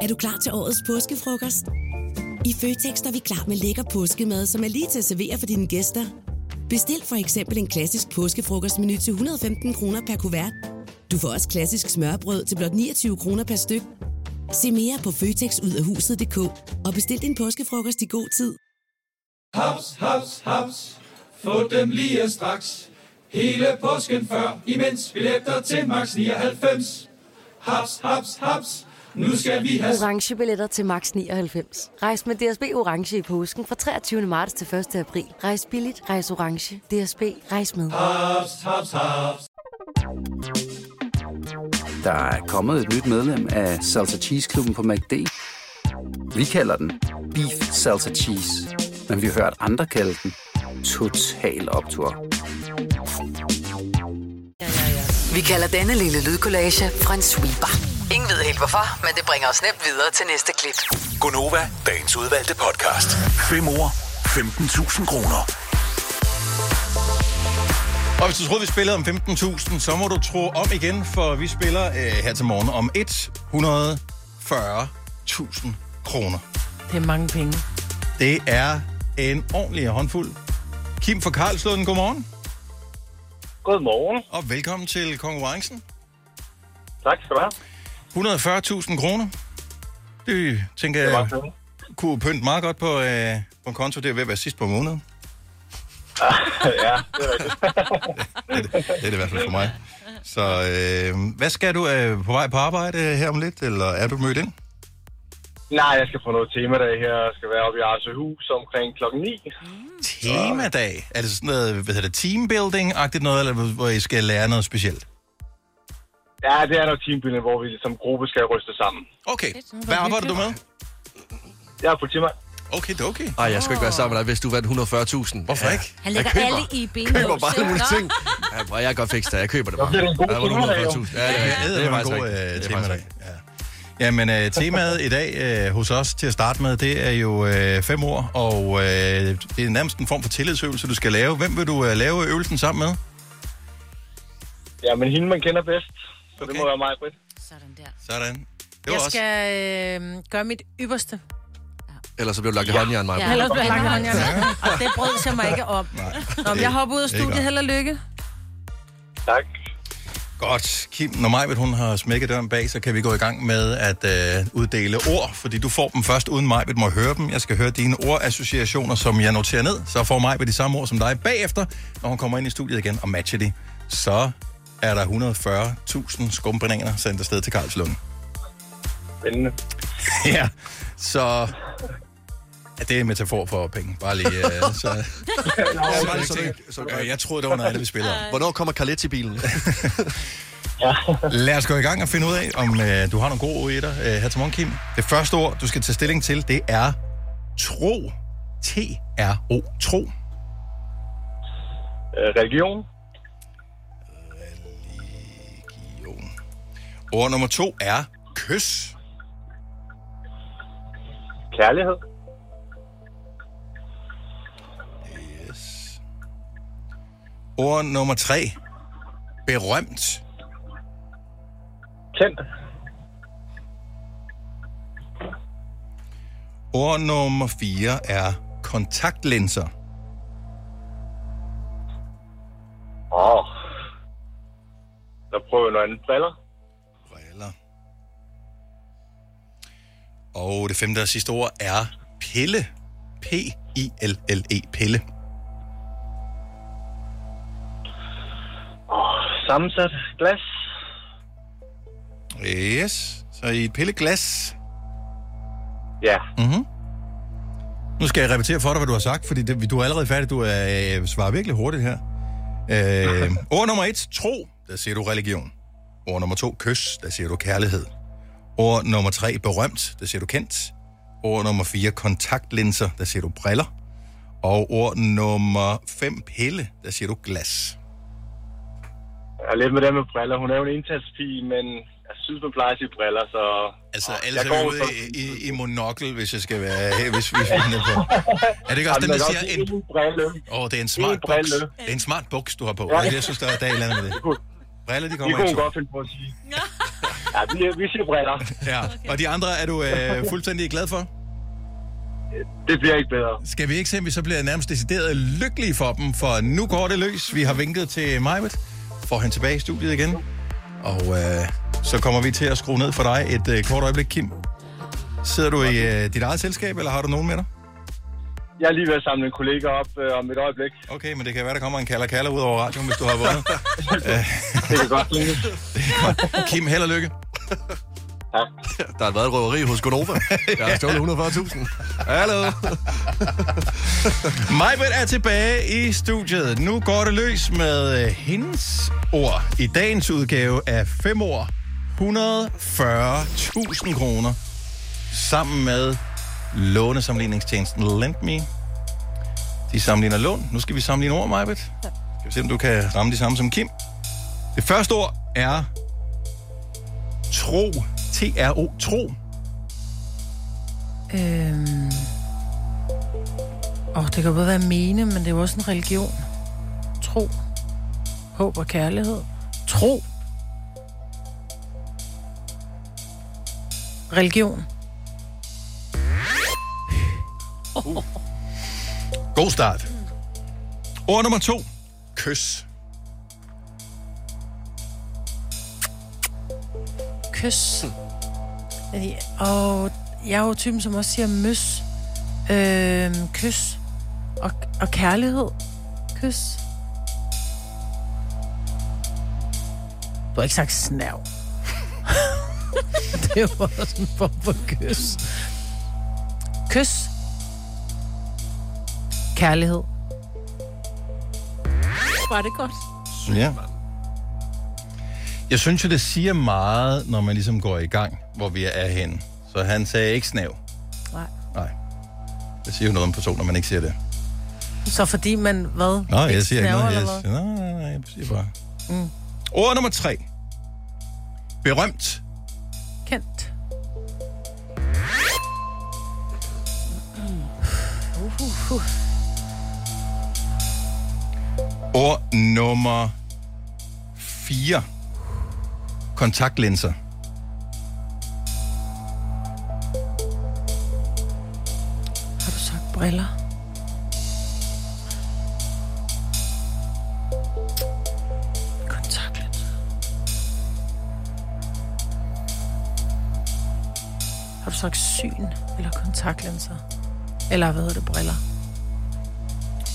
Speaker 10: Er du klar til årets påskefrokost? I Føtex er vi klar med lækker påskemad, som er lige til at servere for dine gæster. Bestil for eksempel en klassisk påskefrokostmenu til 115 kroner per kuvert. Du får også klassisk smørbrød til blot 29 kroner per styk. Se mere på føtexudafhuset.dk og bestil din påskefrokost i god tid.
Speaker 11: Haps, haps, haps. Få dem lige straks. Hele påsken før, imens billetter til max 99. Haps, haps, haps. Nu skal vi have...
Speaker 12: orange billetter til max 99. Rejs med DSB orange i påsken fra 23. marts til 1. april. Rejs billigt, rejs orange. DSB rejs med.
Speaker 11: Haps, haps, haps.
Speaker 13: Der er kommet et nyt medlem af Salsa Cheese Klubben på MACD. Vi kalder den Beef Salsa Cheese, men vi har hørt andre kalde den Total Optor.
Speaker 5: Vi kalder denne lille lydkollage en sweeper. Ingen ved helt hvorfor, men det bringer os nemt videre til næste klip.
Speaker 6: Gunova, dagens udvalgte podcast.
Speaker 14: Fem år, 15.000 kroner.
Speaker 1: Og hvis du troede, vi spillede om 15.000, så må du tro om igen, for vi spiller øh, her til morgen om 140.000 kroner.
Speaker 2: Det er mange penge.
Speaker 1: Det er en ordentlig håndfuld. Kim fra Karlslund, godmorgen.
Speaker 15: Godmorgen.
Speaker 1: Og velkommen til konkurrencen.
Speaker 15: Tak skal du have.
Speaker 1: 140.000 kroner. Det tænker
Speaker 15: Det er
Speaker 1: jeg
Speaker 15: mange penge.
Speaker 1: kunne pynte meget godt på, øh, på en konto. Det er ved at være sidst på måneden.
Speaker 15: ja, det er rigtigt.
Speaker 1: Det er det i hvert fald for mig. Så øh, hvad skal du øh, på vej på arbejde øh, her om lidt, eller er du mødt ind?
Speaker 15: Nej, jeg skal få noget temadag her. Jeg skal være oppe i Arsehus omkring klokken 9.
Speaker 1: Temadag? Er det sådan noget, hvad hedder det, teambuilding-agtigt noget, eller hvor hvor I skal lære noget specielt?
Speaker 15: Ja, det er noget teambuilding, hvor vi som gruppe skal ryste sammen.
Speaker 1: Okay. Hvad arbejder du med?
Speaker 15: Jeg er politimand.
Speaker 1: Okay, det er okay.
Speaker 4: Ej, jeg skal ikke være sammen med dig, hvis du vandt 140.000. Hvorfor
Speaker 1: ikke?
Speaker 3: han lægger
Speaker 4: køber.
Speaker 3: alle i
Speaker 4: Jeg
Speaker 3: benlås.
Speaker 4: køber bare alle mulige
Speaker 3: Nå.
Speaker 4: ting. Ja, bror, jeg kan godt fikse det. Jeg køber det bare.
Speaker 1: det er en god
Speaker 4: Ja, hvor
Speaker 1: temadag, jo.
Speaker 4: 140.000. Ja, det
Speaker 1: Ja,
Speaker 4: er,
Speaker 1: det
Speaker 4: det
Speaker 1: er
Speaker 4: er
Speaker 1: en
Speaker 4: faktisk
Speaker 1: god,
Speaker 4: rigtigt.
Speaker 1: øh,
Speaker 4: Det er faktisk
Speaker 1: temadag.
Speaker 4: rigtigt.
Speaker 1: Jamen, øh, temaet i dag øh, hos os til at starte med, det er jo øh, fem år, og øh, det er nærmest en form for tillidsøvelse, du skal lave. Hvem vil du øh, lave øvelsen sammen med?
Speaker 15: Ja, men hende, man kender bedst. Så okay. det må være mig, Britt.
Speaker 1: Sådan. Det
Speaker 2: Jeg
Speaker 1: var også.
Speaker 2: skal øh, gøre mit ypperste.
Speaker 4: Ellers så bliver du lagt i håndjern, mig.
Speaker 2: Jeg hælder blandt håndjern. Og det brød jeg mig ikke om. Nå, men jeg hopper ud af
Speaker 1: Det er ikke
Speaker 2: studiet.
Speaker 1: godt.
Speaker 2: Held og lykke.
Speaker 15: Tak.
Speaker 1: Godt. Kim, når Majbet, hun har smækket døren bag, så kan vi gå i gang med at øh, uddele ord, fordi du får dem først, uden Majbet må høre dem. Jeg skal høre dine ordassociationer, som jeg noterer ned. Så får Majbet de samme ord som dig bagefter, når hun kommer ind i studiet igen og matcher de. Så er der 140.000 skumbringer sendt afsted til Karlslund.
Speaker 15: Spændende.
Speaker 1: ja, så... Ja, det er en metafor for penge. Bare lige... Øh, så...
Speaker 4: Nå, så det- så det-
Speaker 1: Øh, Jeg troede, det var noget andet, vi spillede om.
Speaker 4: Hvornår kommer Carlet til bilen?
Speaker 1: Lad os gå i gang og finde ud af, om øh, du har nogle gode ord i dig øh, her til morgen, Kim. Det første ord, du skal tage stilling til, det er tro. T-R-O. Tro.
Speaker 15: Øh, religion.
Speaker 1: Ord nummer to er kys.
Speaker 15: Kærlighed.
Speaker 1: Yes. Ord nummer tre. Berømt.
Speaker 15: Kendt.
Speaker 1: Ord nummer fire er kontaktlinser.
Speaker 15: der prøver noget andet briller.
Speaker 1: Og det femte og sidste ord er pille. P-I-L-L-E, E, pille.
Speaker 15: Sammensat glas.
Speaker 1: Yes, så i et pilleglas.
Speaker 15: Ja.
Speaker 1: Mm-hmm. Nu skal jeg repetere for dig, hvad du har sagt, fordi det, du er allerede færdig. Du er, øh, svarer virkelig hurtigt her. Øh, ord nummer et, tro. Der siger du religion. Ord nummer to, kys. Der siger du kærlighed. Ord nummer tre, berømt. Der siger du kendt. Ord nummer fire, kontaktlinser. Der siger du briller. Og ord nummer fem, pille. Der siger du glas.
Speaker 15: Jeg er lidt med det med briller. Hun er jo en indtagspige, men jeg synes, man plejer at sige briller, så...
Speaker 1: Altså, ellers er vi ude i, i, i monokkel, hvis jeg skal være hvis, hvis vi finder på. Er det ikke også
Speaker 15: Jamen,
Speaker 1: den, der
Speaker 15: der er
Speaker 1: siger
Speaker 15: også
Speaker 1: en... Åh, oh, det er en smart
Speaker 15: En
Speaker 1: buks.
Speaker 15: brille.
Speaker 1: Det er en smart buks, du har på.
Speaker 15: Ja.
Speaker 1: Ja. Jeg synes, der er der er et eller andet med det. Briller, de
Speaker 15: Det
Speaker 1: kommer i
Speaker 15: kunne hun
Speaker 1: to.
Speaker 15: godt finde på at sige. ja, vi, vi siger briller.
Speaker 1: Ja. Og de andre er du øh, fuldstændig glad for?
Speaker 15: Det bliver ikke bedre.
Speaker 1: Skal vi ikke se, om vi så bliver nærmest decideret lykkelige for dem, for nu går det løs. Vi har vinket til Majbet, får han tilbage i studiet igen. Og øh, så kommer vi til at skrue ned for dig et øh, kort øjeblik, Kim. Sidder du i øh, dit eget selskab, eller har du nogen med dig?
Speaker 15: Jeg er lige ved at samle en kollega op øh, om et øjeblik.
Speaker 1: Okay, men det kan være, der kommer en kalder kalder ud over radioen, hvis du har vundet.
Speaker 15: det kan godt lide.
Speaker 1: Kim, held og lykke.
Speaker 4: Der har været et røveri hos Godova. Jeg har stjålet 140.000. Hallo.
Speaker 1: Majbet er tilbage i studiet. Nu går det løs med øh, hendes ord i dagens udgave af 5 år. 140.000 kroner sammen med lånesamligningstjenesten LendMe. De sammenligner lån. Nu skal vi sammenligne ord, Majbet. Skal vi se, om du kan ramme de samme som Kim. Det første ord er tro. T-R-O. Tro.
Speaker 2: Øhm... Åh, det kan både være mene, men det er jo også en religion. Tro. Håb og kærlighed. Tro. Religion.
Speaker 1: God start. Ord nummer to. Kys.
Speaker 2: Kys. Og jeg er jo typen, som også siger møs. Øhm, kys. Og, og kærlighed. Kys. Du har ikke sagt snav. det var sådan en form for kys. Kys. Kærlighed.
Speaker 3: Var det godt?
Speaker 1: Ja. Jeg synes jo, det siger meget, når man ligesom går i gang, hvor vi er henne. Så han sagde ikke snav.
Speaker 2: Nej.
Speaker 1: Nej. Det siger jo noget om en person, når man ikke siger det.
Speaker 2: Så fordi man, hvad?
Speaker 1: Nå, jeg siger ikke
Speaker 2: snaver,
Speaker 1: noget. Jeg
Speaker 2: eller hvad?
Speaker 1: siger, nej, nej, nej, jeg siger bare.
Speaker 2: Mm.
Speaker 1: Ord nummer tre. Berømt.
Speaker 2: Kendt.
Speaker 1: Ord nummer 4. Kontaktlinser.
Speaker 2: Har du sagt briller? Kontaktlinser. Har du sagt syn eller kontaktlinser? Eller hvad hedder det, briller?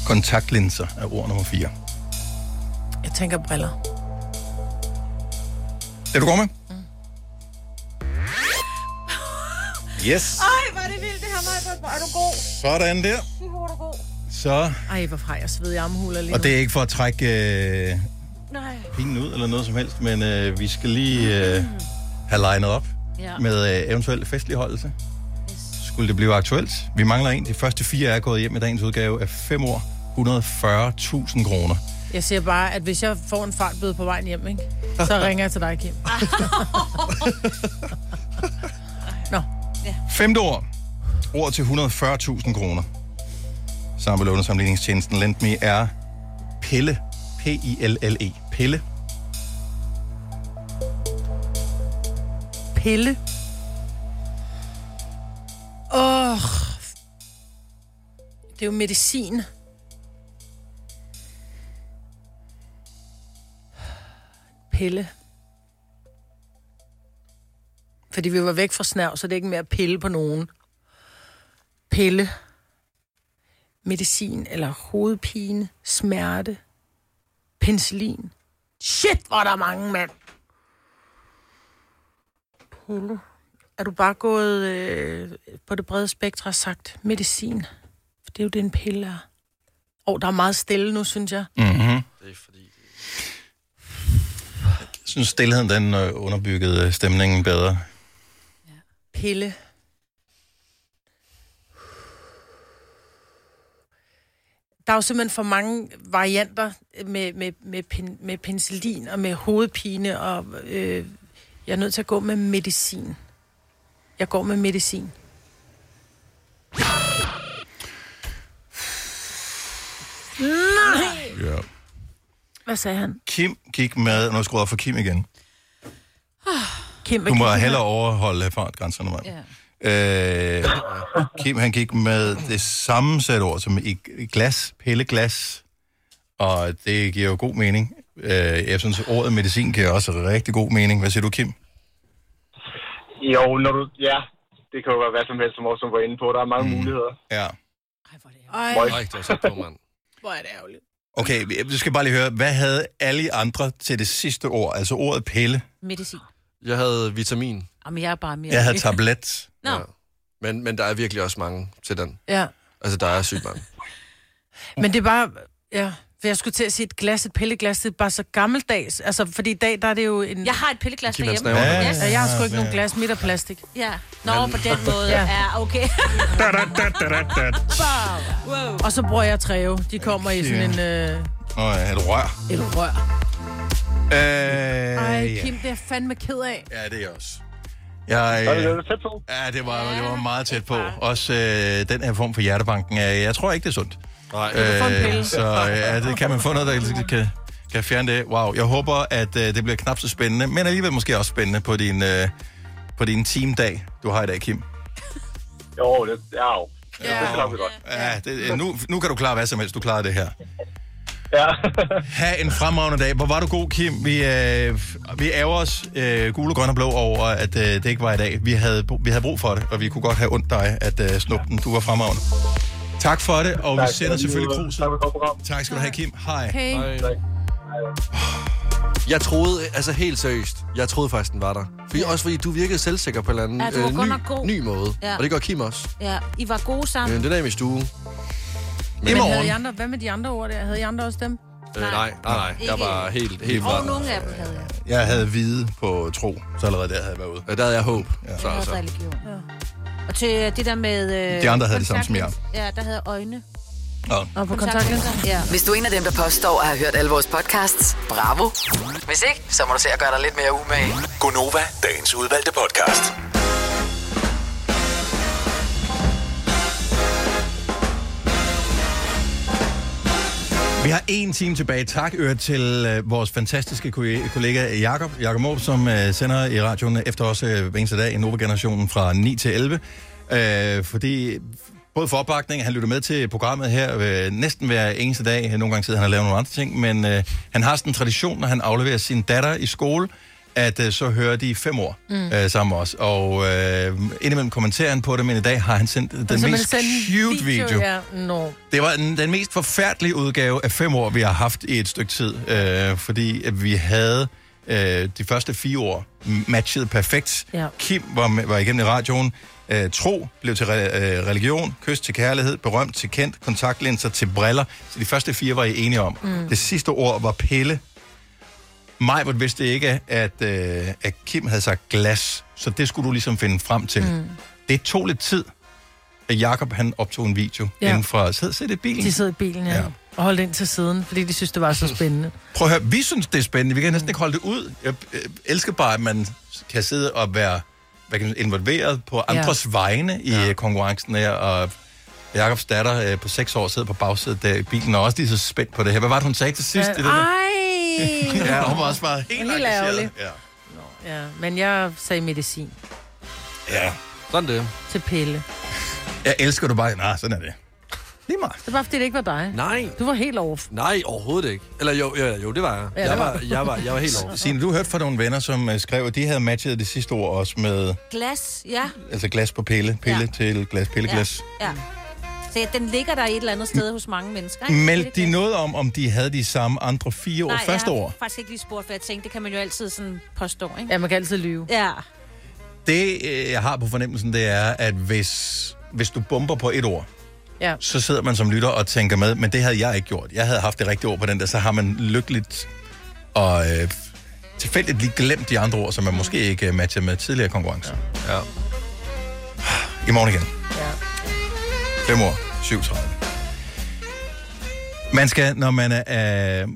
Speaker 1: Kontaktlinser er ord nummer 4.
Speaker 2: Jeg tænker briller.
Speaker 1: Er du går med?
Speaker 2: Mm.
Speaker 1: Yes.
Speaker 2: Ej, hvor er det vildt det her, Maja. Hvor er du god.
Speaker 1: Sådan der.
Speaker 2: Fy, hvor er du god.
Speaker 1: Så
Speaker 2: Ej, hvor har jeg sved i armhuler lige
Speaker 1: Og det
Speaker 2: nu.
Speaker 1: er ikke for at trække øh,
Speaker 2: Nej.
Speaker 1: pinen ud eller noget som helst, men øh, vi skal lige øh, have legnet op
Speaker 2: Ja.
Speaker 1: med øh, eventuel festligholdelse. Skulle det blive aktuelt? Vi mangler en. De første fire er gået hjem i dagens udgave af 5 år. 140.000 kroner.
Speaker 2: Jeg siger bare, at hvis jeg får en fartbøde på vejen hjem, ikke? så ringer jeg til dig, Kim.
Speaker 1: Femte ord. Ord til 140.000 kroner. Samme lånesamligningstjenesten LendMe er Pille. P-I-L-L-E. E. Pille.
Speaker 2: Pille. Åh. Oh. Det er jo medicin. Pille. Fordi vi var væk fra snæv, så det er ikke mere at pille på nogen. Pille. Medicin eller hovedpine. Smerte. Penicillin. Shit, hvor er der mange, mand. Pille. Er du bare gået øh, på det brede spektre og sagt medicin? For det er jo det, en pille er. Og oh, der er meget stille nu, synes jeg.
Speaker 1: Mm-hmm. Jeg synes, stillheden den øh, underbyggede stemningen bedre.
Speaker 2: Pille. Der er jo simpelthen for mange varianter med, med, med, pen, med penicillin og med hovedpine, og øh, jeg er nødt til at gå med medicin. Jeg går med medicin. Nej!
Speaker 1: Ja.
Speaker 2: Hvad sagde han?
Speaker 1: Kim gik med... Nu skruer jeg for Kim igen.
Speaker 2: Kim,
Speaker 1: Du må hellere overholde fartgrænserne, mig.
Speaker 2: Ja.
Speaker 1: Øh, Kim, han gik med det samme sæt ord som i i glas, pilleglas. Og det giver jo god mening. Øh, jeg synes, ordet medicin giver også rigtig god mening. Hvad siger du, Kim?
Speaker 15: Jo, når du... Ja, det kan jo være hvad som helst, som også var inde på. Der er mange mm. muligheder.
Speaker 1: Ja.
Speaker 2: Ej,
Speaker 15: Møg.
Speaker 1: det var så på, mand.
Speaker 2: hvor er det ærgerligt.
Speaker 1: Okay, jeg skal bare lige høre, hvad havde alle andre til det sidste ord? Altså ordet pille.
Speaker 3: Medicin.
Speaker 4: Jeg havde vitamin.
Speaker 3: Jamen, jeg er bare mere...
Speaker 1: Jeg havde tablet.
Speaker 3: Nå.
Speaker 4: Ja. Men, men der er virkelig også mange til den.
Speaker 2: Ja.
Speaker 4: Altså, der er sygt mange.
Speaker 2: Men det er bare... Ja, for jeg skulle til at sige et glas, et pilleglas, det er bare så gammeldags. Altså, fordi i dag, der er det jo en...
Speaker 3: Jeg har et pilleglas
Speaker 4: Kim, han
Speaker 3: derhjemme.
Speaker 4: snæver. Ja,
Speaker 2: Ja, jeg har sgu ikke
Speaker 4: ja.
Speaker 2: nogen glas, midt af plastik.
Speaker 3: Ja. Nå, på den måde.
Speaker 2: Ja.
Speaker 3: Ja, okay. wow.
Speaker 2: Og så bruger jeg træve. De kommer i sådan en... Øh,
Speaker 1: Nå, ja, et rør.
Speaker 2: et rør.
Speaker 1: Øh,
Speaker 2: Ej,
Speaker 1: ja.
Speaker 2: Kim, det er jeg fandme ked af.
Speaker 1: Ja, det er jeg også. Jeg,
Speaker 2: Så det
Speaker 1: øh, ja, det var, det var meget tæt på. Også øh, den her form for hjertebanken, øh, jeg tror ikke, det er sundt. Nej,
Speaker 4: kan få en pille.
Speaker 1: Så øh, ja, det kan man få noget, der kan, kan fjerne det. Wow, jeg håber, at øh, det bliver knap så spændende, men alligevel måske også spændende på din, øh, på din teamdag, du har i dag, Kim.
Speaker 15: Jo, det er jo. Ja. Det klarer vi godt.
Speaker 1: Ja, det, øh, nu, nu kan du klare hvad som helst, du klarer det her.
Speaker 15: Ja.
Speaker 1: ha' en fremragende dag. Hvor var du god, Kim. Vi, øh, vi ærger os øh, gule, grønne og blå over, at øh, det ikke var i dag. Vi havde, br- vi havde brug for det, og vi kunne godt have ondt dig at øh, snuppe den. Du var fremragende. Tak for det, og tak, vi sender selvfølgelig krus.
Speaker 15: Tak for godt program.
Speaker 1: Tak skal du have, Kim. Hej.
Speaker 2: Hej. Hej.
Speaker 4: Jeg troede, altså helt seriøst, jeg troede faktisk, den var der. Fordi, Også fordi du virkede selvsikker på en eller anden øh,
Speaker 3: Ja, du var godt
Speaker 4: ny,
Speaker 3: nok god.
Speaker 4: ny måde.
Speaker 3: Ja.
Speaker 4: Ja. Og det gør Kim også. Øh,
Speaker 3: Ja, I var gode
Speaker 4: Ja.
Speaker 3: sammen.
Speaker 4: En dynamisk duo.
Speaker 2: Men havde I andre, hvad med de andre ord der? Havde I andre også dem?
Speaker 4: Øh, nej, nej, nej. Jeg
Speaker 3: Ikke-
Speaker 4: var helt, helt
Speaker 3: Og
Speaker 4: blandet.
Speaker 3: nogle af dem havde jeg.
Speaker 1: Jeg havde hvide på tro, så allerede der havde jeg været ude.
Speaker 4: Ja, der havde jeg håb. Ja.
Speaker 3: Jeg havde også religion. Og til øh, det der med... Øh,
Speaker 1: De andre havde det samme
Speaker 3: kontaktlinser.
Speaker 1: som jeg.
Speaker 3: Ja, der havde jeg øjne.
Speaker 1: Nå.
Speaker 2: på kontaktlinser?
Speaker 3: Ja.
Speaker 5: Hvis du er en af dem, der påstår at have hørt alle vores podcasts, bravo. Hvis ikke, så må du se at gøre dig lidt mere umage.
Speaker 6: Gonova, dagens udvalgte podcast.
Speaker 1: Vi har en time tilbage. Tak øret til øh, vores fantastiske ko- kollega Jakob Jakob Måb, som øh, sender i radioen efter os øh, hver eneste dag i Nova-generationen fra 9 til 11. Øh, fordi både for opbakning, han lytter med til programmet her øh, næsten hver eneste dag. Nogle gange sidder han og laver nogle andre ting, men øh, han har sådan en tradition, når han afleverer sin datter i skole, at øh, så hører de fem år mm. øh, sammen med os. Og øh, indimellem kommenterer han på det, men i dag har han sendt den
Speaker 2: Altså, man
Speaker 1: mest
Speaker 2: sendte en
Speaker 1: cute video. video.
Speaker 2: Ja, no.
Speaker 1: Det var den, den mest forfærdelige udgave af fem år, vi har haft i et stykke tid, øh, fordi at vi havde øh, de første fire år matchet perfekt.
Speaker 2: Ja.
Speaker 1: Kim var, med, var igennem i radioen. Øh, tro blev til re, øh, religion, kys til kærlighed, berømt til kendt, kontaktlinser til briller. Så de første fire var I enige om.
Speaker 14: Mm.
Speaker 1: Det sidste ord var pille. Majbert vidste ikke, at, øh, at Kim havde sagt glas, så det skulle du ligesom finde frem til. Mm. Det tog lidt tid, at Jakob han optog en video ja.
Speaker 2: Ja.
Speaker 1: inden for... Sid, sid i bilen.
Speaker 2: De sidder i bilen, ja.
Speaker 1: Ja.
Speaker 2: ja. Og holdt ind til siden, fordi de synes, det var så spændende.
Speaker 1: Prøv at høre, vi synes, det er spændende. Vi kan næsten ikke holde det ud. Jeg øh, elsker bare, at man kan sidde og være hvad kan man, sige, involveret på andres ja. vegne i ja. konkurrencen her. Og Jakobs datter øh, på 6 år sidder på bagsædet der i bilen, og også lige så spændt på det her. Hvad var det, hun sagde til sidst? i det der?
Speaker 2: Ej!
Speaker 1: Ja, hun var også bare helt
Speaker 2: Helt
Speaker 1: engageret.
Speaker 2: ærgerlig.
Speaker 1: Ja.
Speaker 2: Ja, men jeg sagde medicin
Speaker 1: ja.
Speaker 4: Sådan det.
Speaker 2: til pille.
Speaker 1: Jeg elsker du bare. Nej, sådan er det. Lige meget.
Speaker 2: Det er bare, fordi det ikke var dig.
Speaker 4: Nej.
Speaker 2: Du var helt off.
Speaker 4: Nej, overhovedet ikke. Eller jo, jo, jo det var jeg.
Speaker 2: Ja,
Speaker 4: jeg,
Speaker 2: det var
Speaker 4: var,
Speaker 2: du.
Speaker 4: jeg, var, jeg var helt over.
Speaker 1: Signe, du hørte fra nogle venner, som øh, skrev, at de havde matchet det sidste ord også med
Speaker 3: Glas, ja.
Speaker 1: altså glas på pille, pille
Speaker 3: Ja.
Speaker 1: ja. til glas, pilleglas.
Speaker 3: Ja. ja. Så ja, den ligger der et eller andet sted hos mange mennesker.
Speaker 1: Ja.
Speaker 3: ikke?
Speaker 1: Meldte de noget om, om de havde de samme andre fire år
Speaker 3: Nej,
Speaker 1: første
Speaker 3: jeg har
Speaker 1: år?
Speaker 3: faktisk ikke lige spurgt, for jeg tænkte, det kan man jo altid sådan påstå, ikke?
Speaker 2: Ja, man kan altid lyve.
Speaker 3: Ja.
Speaker 1: Det, øh, jeg har på fornemmelsen, det er, at hvis, hvis du bomber på et ord,
Speaker 2: Ja.
Speaker 1: så sidder man som lytter og tænker med, men det havde jeg ikke gjort. Jeg havde haft det rigtige ord på den der, så har man lykkeligt og øh, tilfældigt lige glemt de andre ord, som man måske ikke øh, matcher med tidligere konkurrencer. Ja. ja. I morgen igen. Ja. 5 år, 37. Man skal, når man er øh,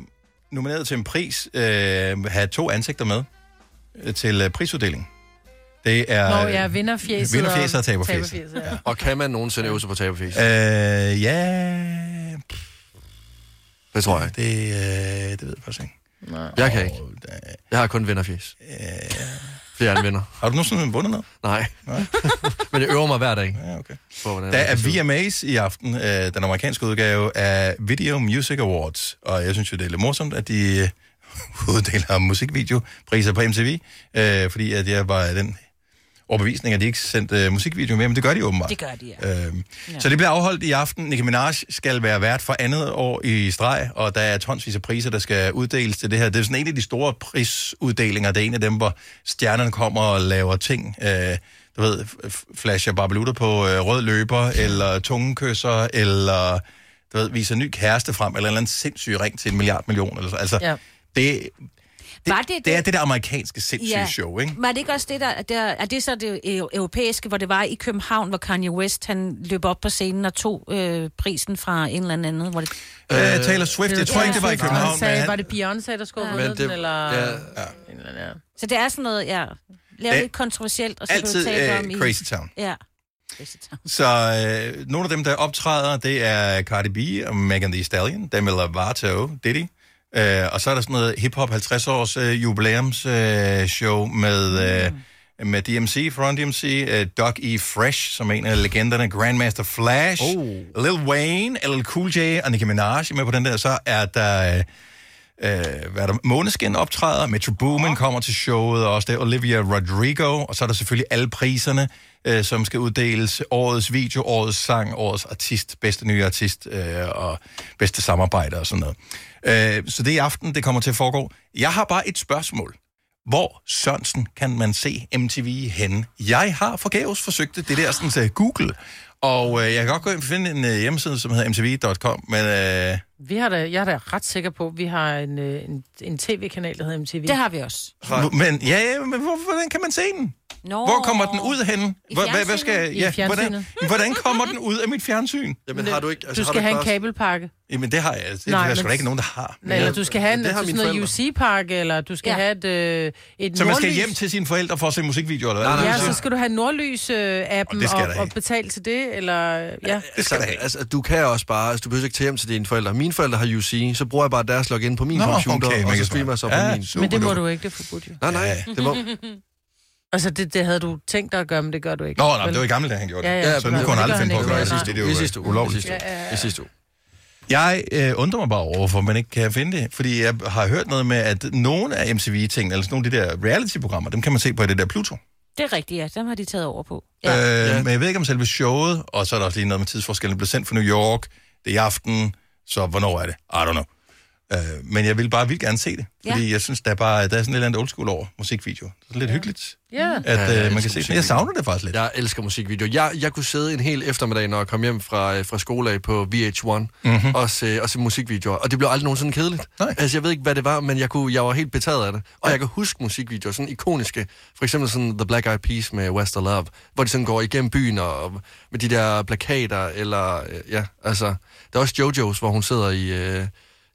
Speaker 1: nomineret til en pris, øh, have to ansigter med øh, til øh, prisuddeling. Det er...
Speaker 2: Nå, jeg vinder fjeset.
Speaker 1: øh, vinderfjæset og taberfjæset.
Speaker 2: ja.
Speaker 4: Og kan man nogensinde øve sig på taberfis?
Speaker 1: Øh, ja...
Speaker 4: Det tror jeg.
Speaker 1: Det, øh, det ved jeg faktisk ikke. øh,
Speaker 2: Nej.
Speaker 4: Jeg kan ikke. Jeg har kun vinderfis. Fordi jeg er en vinder.
Speaker 1: Har du nogensinde vundet noget?
Speaker 4: Nej. Men jeg øver mig hver dag.
Speaker 1: Ja, okay.
Speaker 4: På, hvordan
Speaker 1: Der
Speaker 4: jeg
Speaker 1: er
Speaker 4: skal se ud.
Speaker 1: VMAs i aften, øh, den amerikanske udgave af Video Music Awards, og jeg synes jo, det er lidt morsomt, at de øh, uddeler musikvideopriser på MTV, øh, fordi at jeg var af den overbevisning, at de ikke sendte øh, musikvideo med, men det gør de åbenbart.
Speaker 3: Det gør de, ja.
Speaker 1: Øhm, ja. Så det bliver afholdt i aften. Nicki Minaj skal være vært for andet år i streg, og der er tonsvis af priser, der skal uddeles til det her. Det er sådan en af de store prisuddelinger. Det er en af dem, hvor stjernerne kommer og laver ting. Øh, du ved, f- f- flasher barbelutter på øh, rød løber, eller tungekysser, eller du ved, viser ny kæreste frem, eller en eller anden sindssyg ring til en milliard million. Eller så. Altså,
Speaker 3: Ja.
Speaker 1: ja. det, det,
Speaker 3: Var det
Speaker 1: det er
Speaker 3: det-
Speaker 1: det der amerikanske sindssyge show, ikke?
Speaker 3: Men er det ikke også det, der, der er det så det eu- europæiske, hvor det var i København, hvor Kanye West, han løb op på scenen og tog øh, prisen fra en eller anden anden, hvor det...
Speaker 1: Øh, Taylor Swift, jeg tror ikke, det var i København.
Speaker 2: Han sagde,
Speaker 1: men han-
Speaker 2: var det Beyoncé, der skulle ja. den, eller... Ja.
Speaker 3: Så det er sådan noget, ja,
Speaker 1: Øh,
Speaker 3: lavet lidt kontroversielt, og så kan du
Speaker 1: altid,
Speaker 3: tale
Speaker 1: øh,
Speaker 3: om i-
Speaker 1: Crazy Town.
Speaker 3: Ja.
Speaker 1: Så øh, nogle af dem, der optræder, det er Cardi B og Megan Thee Stallion, Demi Lovato, Diddy. Øh, og så er der sådan noget hip-hop 50-års øh, jubilæums øh, show med, øh, med DMC, Front DMC, øh, Doc E. Fresh, som er en af legenderne, Grandmaster Flash, oh. Lil Wayne, LL Cool J og Nicki Minaj er med på den der. Så er der... Øh, øh, hvad er der, Måneskin optræder, Metro Boomin kommer til showet, og også det er Olivia Rodrigo, og så er der selvfølgelig alle priserne, øh, som skal uddeles. Årets video, årets sang, årets artist, bedste nye artist øh, og bedste samarbejde og sådan noget. Øh, så det er i aften, det kommer til at foregå. Jeg har bare et spørgsmål. Hvor Sørensen kan man se MTV henne? Jeg har forgæves forsøgt det, det der sådan til Google, og øh, jeg kan godt gå ind og finde en øh, hjemmeside, som hedder mtv.com, men... Øh,
Speaker 2: Vi har da, jeg er da ret sikker på, at vi har en, øh, en, en tv-kanal, der hedder MTV.
Speaker 3: Det har vi også.
Speaker 1: Hvor- Men ja, ja, men hvor, hvordan kan man se den?
Speaker 3: Nå.
Speaker 1: Hvor kommer den ud henne?
Speaker 3: I
Speaker 1: Hvor, hvad, hvad skal,
Speaker 2: fjernsynet.
Speaker 1: ja,
Speaker 2: I fjernsynet.
Speaker 1: hvordan, hvordan kommer den ud af mit fjernsyn?
Speaker 4: Jamen, har du ikke...
Speaker 1: Altså,
Speaker 2: du skal have en kabelpakke.
Speaker 1: Jamen, det har jeg. Det
Speaker 2: Nej,
Speaker 1: Nej, er der sgu
Speaker 2: men-
Speaker 1: da ikke nogen, der har.
Speaker 2: Nej, eller du skal have en,
Speaker 1: Det har
Speaker 2: sådan
Speaker 1: mine
Speaker 2: noget
Speaker 1: forældre.
Speaker 2: UC-pakke, eller du skal ja. have et, øh, et
Speaker 1: Så man skal
Speaker 2: nordlys.
Speaker 1: hjem til sine forældre for at se musikvideoer, eller hvad?
Speaker 2: Ja, så skal du have Nordlys-appen
Speaker 1: Og det skal
Speaker 2: og,
Speaker 1: jeg da
Speaker 2: og,
Speaker 1: have.
Speaker 2: betale til det, eller... Ja.
Speaker 1: Det skal
Speaker 4: altså, altså, du kan også bare, altså, du behøver ikke tage hjem til dine forældre. Mine forældre har UC, så bruger jeg bare deres login på min
Speaker 1: Nå,
Speaker 4: computer,
Speaker 1: okay,
Speaker 4: og
Speaker 1: mega
Speaker 4: så streamer jeg så
Speaker 1: smart.
Speaker 4: på
Speaker 1: Ja,
Speaker 4: min.
Speaker 1: super
Speaker 2: Men det må du ikke, det er forbudt jo.
Speaker 4: Nej, nej, det må...
Speaker 2: Altså, det, det havde du tænkt dig at gøre, men det gør du ikke.
Speaker 1: Nå, nej,
Speaker 2: Vel?
Speaker 1: det var i gamle dage, han gjorde det.
Speaker 2: Ja, ja,
Speaker 1: så nu kunne han aldrig finde på at gøre det.
Speaker 2: Nej.
Speaker 1: Det, det er jo
Speaker 4: I sidste uge.
Speaker 1: ulovligt.
Speaker 4: I sidste uge. I sidste uge.
Speaker 1: Jeg øh, undrer mig bare over, hvorfor man ikke kan finde det. Fordi jeg har hørt noget med, at nogle af MTV-tingene, altså nogle af de der reality-programmer, dem kan man se på det der Pluto.
Speaker 3: Det er rigtigt, ja. Dem har de taget over på.
Speaker 1: Ja. Øh, men jeg ved ikke om selve showet, og så er der også lige noget med tidsforskellen, Det blev sendt fra New York, det er i aften, så hvornår er det? I don't know. Øh, men jeg vil bare vildt gerne se det, fordi
Speaker 3: Ja.
Speaker 1: jeg synes, der er, bare, der er sådan et eller andet old school over musikvideo. Det er sådan lidt ja. hyggeligt,
Speaker 2: Ja.
Speaker 1: at
Speaker 4: Ja, jeg
Speaker 1: øh, man
Speaker 4: elsker
Speaker 1: kan se det. Jeg savner det faktisk lidt.
Speaker 4: Jeg elsker musikvideoer. Jeg, jeg kunne sidde en hel eftermiddag, når jeg kom hjem fra, øh, fra skole af på VH1, mm-hmm. og, se, og se musikvideoer. Og det blev aldrig nogensinde kedeligt.
Speaker 1: Mhm. Nej.
Speaker 4: Altså, jeg ved ikke, hvad det var, men jeg, kunne, jeg var helt betaget af det. Og jeg kan huske musikvideoer, sådan ikoniske. For eksempel sådan The Black Eyed Peas med West of Love, hvor de sådan går igennem byen og, og med de der plakater, eller... øh, Ja, altså... Der er også JoJo's, hvor hun sidder i, øh,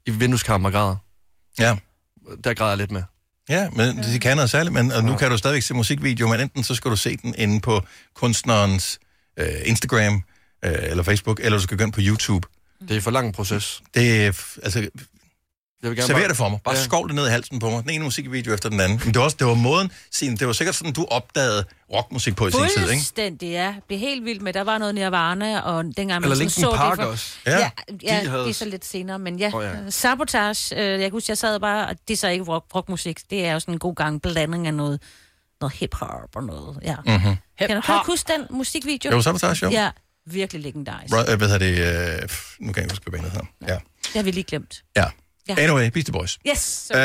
Speaker 4: i vindueskammer og græder.
Speaker 1: Ja.
Speaker 4: Der græder jeg lidt med.
Speaker 1: Ja, men de kan noget særligt, men og nu kan du stadigvæk se musikvideo, men enten så skal du se den inde på kunstnerens øh, Instagram øh, eller Facebook, eller du skal gå ind på YouTube.
Speaker 4: Det er for lang proces.
Speaker 1: Det er, f- altså,
Speaker 4: Jeg vil gerne
Speaker 1: Server
Speaker 4: bare-
Speaker 1: det for mig. Bare ja.
Speaker 4: Ja.
Speaker 1: skovl det ned i halsen på mig. Den ene musikvideo efter den anden. Men det var, også, det var måden, Signe, det var sikkert sådan, du opdagede rockmusik på i sin tid, ikke?
Speaker 3: Fuldstændig, ja. Blev helt vildt med, der var noget Nirvana, og dengang man
Speaker 1: Eller
Speaker 3: sådan
Speaker 1: Linkin
Speaker 3: så
Speaker 1: Park
Speaker 3: det for...
Speaker 1: også. Ja,
Speaker 3: Ja, ja,
Speaker 1: de
Speaker 3: ja
Speaker 1: havde-
Speaker 3: det er så lidt senere, men ja.
Speaker 1: Åh,
Speaker 3: Oh,
Speaker 1: ja.
Speaker 3: ja. Sabotage, øh, jeg kan huske, jeg sad bare, og det er så ikke rock, rockmusik, det er jo sådan en god gang blanding af noget, noget hip-hop og noget, ja.
Speaker 1: Mhm.
Speaker 3: Kan du kan du huske den musikvideo?
Speaker 1: Jo, Sabotage, jo.
Speaker 3: Ja, virkelig legendarisk.
Speaker 1: Right, hvad hedder det? Øh, pff, nu kan jeg ikke huske, hvad bandet hedder. Ja.
Speaker 3: Det har vi lige glemt.
Speaker 1: ja.
Speaker 3: Ja.
Speaker 1: Anyway, Beastie Boys.
Speaker 3: Yes!
Speaker 1: Øh,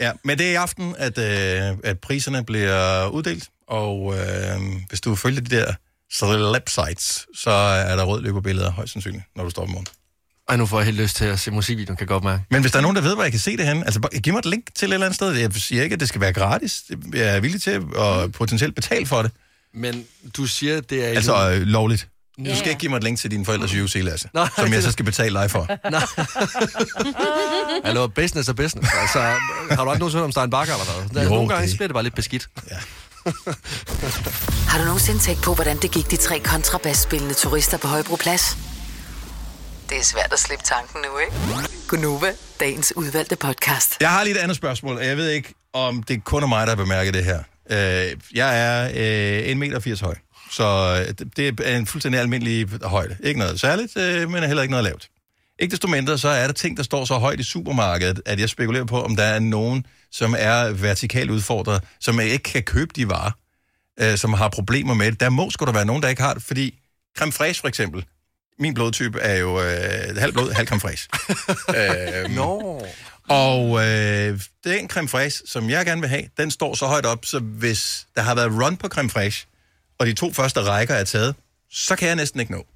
Speaker 1: ja, men det er i aften, at, øh, at priserne bliver uddelt, og øh, hvis du følger de der celeb sites, så er der rødløberbilleder højst sandsynligt, når du står op i morgen.
Speaker 4: Ej, nu får jeg helt lyst til at se musikvideoen, kan jeg godt mærke.
Speaker 1: Men hvis der er nogen, der ved, hvor jeg kan se det hen, altså bare giv mig et link til et eller andet sted. Jeg siger ikke, at det skal være gratis. Jeg er villig til
Speaker 4: Mm.
Speaker 1: at potentielt betale for det.
Speaker 4: Men du siger, at det er...
Speaker 1: Altså øh, lovligt. Du
Speaker 4: Ja,
Speaker 1: skal
Speaker 4: ja.
Speaker 1: ikke give mig et link til dine forældres UC, Lasse,
Speaker 4: Nej,
Speaker 1: som jeg
Speaker 4: det-
Speaker 1: så skal betale dig for.
Speaker 4: Hallo, business er business. Altså, har du aldrig nogensinde hørt om Stein Bakker eller hvad? Der,
Speaker 1: Jo,
Speaker 4: jo, nogle gange
Speaker 1: det-
Speaker 4: det... bliver det bare lidt beskidt.
Speaker 5: Har du nogensinde tænkt på, hvordan det gik de tre kontrabasspillende turister på Højbroplads? Det er svært at slippe tanken nu, ikke? Gunova, dagens udvalgte podcast.
Speaker 1: Jeg har lige et andet spørgsmål, og jeg ved ikke, om det kun er mig, der har bemærket det her. Øh, Jeg er øh, 1,80 meter høj, så øh, det- det er en fuldstændig almindelig højde. Ikke noget særligt, øh, men heller ikke noget lavt. Ikke desto mindre, så er der ting, der står så højt i supermarkedet, at jeg spekulerer på, om der er nogen, som er vertikalt udfordret, som ikke kan købe de varer, øh, som har problemer med det. Der må sgu da være nogen, der ikke har det, fordi creme fraiche for eksempel, min blodtype er jo øh, halv blod, halv creme fraiche. øhm,
Speaker 4: Nå.
Speaker 1: Og øh, den creme fraiche, som jeg gerne vil have, den står så højt op, så hvis der har været run på creme fraiche, og de to første rækker er taget, så kan jeg næsten ikke nå.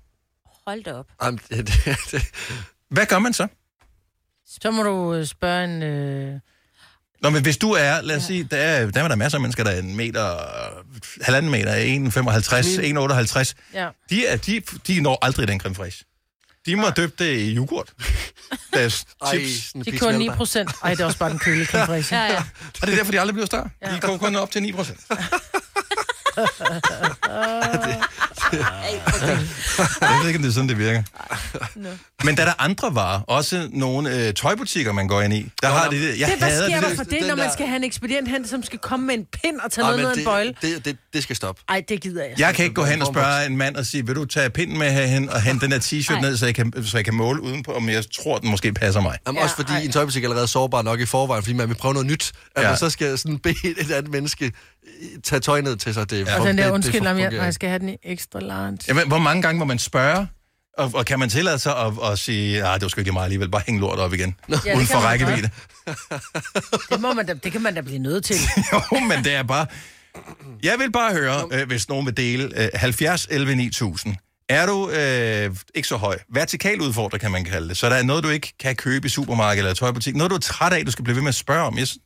Speaker 3: Hold da op.
Speaker 4: Jamen, det, det, det.
Speaker 1: Hvad gør man så?
Speaker 2: Så må du øh, spørge en... Øh...
Speaker 1: Nå, men hvis du er, lad os ja. sige, der er, der er der masser af mennesker, der er en meter, halvanden meter, 1,55, 1,58.
Speaker 2: Ja.
Speaker 1: De, er, de, de når aldrig den creme fraiche. De må døbe det i yoghurt. Deres
Speaker 2: Ej,
Speaker 1: chips.
Speaker 2: De kører 9 procent. Ej, det er også bare den kølige konference.
Speaker 1: Ja, ja. Og det er derfor, de aldrig bliver større. De går kun op til 9 procent. Jeg ved ikke, om det er sådan, det virker. Men der er der andre varer, også nogle øh, tøjbutikker, man går ind i. Der har de det. Jeg
Speaker 2: det, hvad
Speaker 1: hader
Speaker 2: sker
Speaker 1: det
Speaker 2: der for det, når man skal have en ekspedient hen, som skal komme med en pind og tage
Speaker 4: Ej,
Speaker 2: noget
Speaker 4: men
Speaker 2: ned af en
Speaker 4: det-
Speaker 2: bøjle?
Speaker 4: Det, det, det skal stoppe.
Speaker 2: Ej, det gider jeg.
Speaker 1: Jeg kan ikke gå hen og spørge en mand og sige, vil du tage pinden med herhen og hente den her t-shirt ned, så jeg, kan, så jeg kan måle udenpå, om jeg tror, den måske passer mig.
Speaker 4: Jamen, ja, også fordi en tøjbutik er allerede sårbar nok i forvejen, fordi man vil prøve noget nyt. At
Speaker 1: Ja.
Speaker 4: ja. man så skal sådan bede et andet menneske øh, tage tøj ned til sig. Det,
Speaker 2: Og Altså, den
Speaker 4: det-
Speaker 2: der
Speaker 4: det
Speaker 2: undskyld, om jeg,
Speaker 4: fungerer
Speaker 2: når jeg
Speaker 4: ikke.
Speaker 2: skal have den i ekstra large.
Speaker 1: Jamen, hvor mange gange må man spørge, og, og kan man tillade sig at, at sige, at det var sgu ikke lige mig alligevel, bare hæng lort op igen,
Speaker 2: Ja, det
Speaker 1: ja, uden
Speaker 2: kan
Speaker 1: for
Speaker 2: man
Speaker 1: rækkevidde.
Speaker 2: Det, må man da, det kan man da blive nødt til.
Speaker 1: jo, men det er bare... Jeg vil bare høre, øh, hvis nogen vil dele, øh, 70 11 9000. Er du øh, ikke så høj? Vertikal udfordrer, kan man kalde det. Så der er noget, du ikke kan købe i supermarked eller tøjbutik. Noget, du er træt af, du skal blive ved med at spørge om. Jeg synes,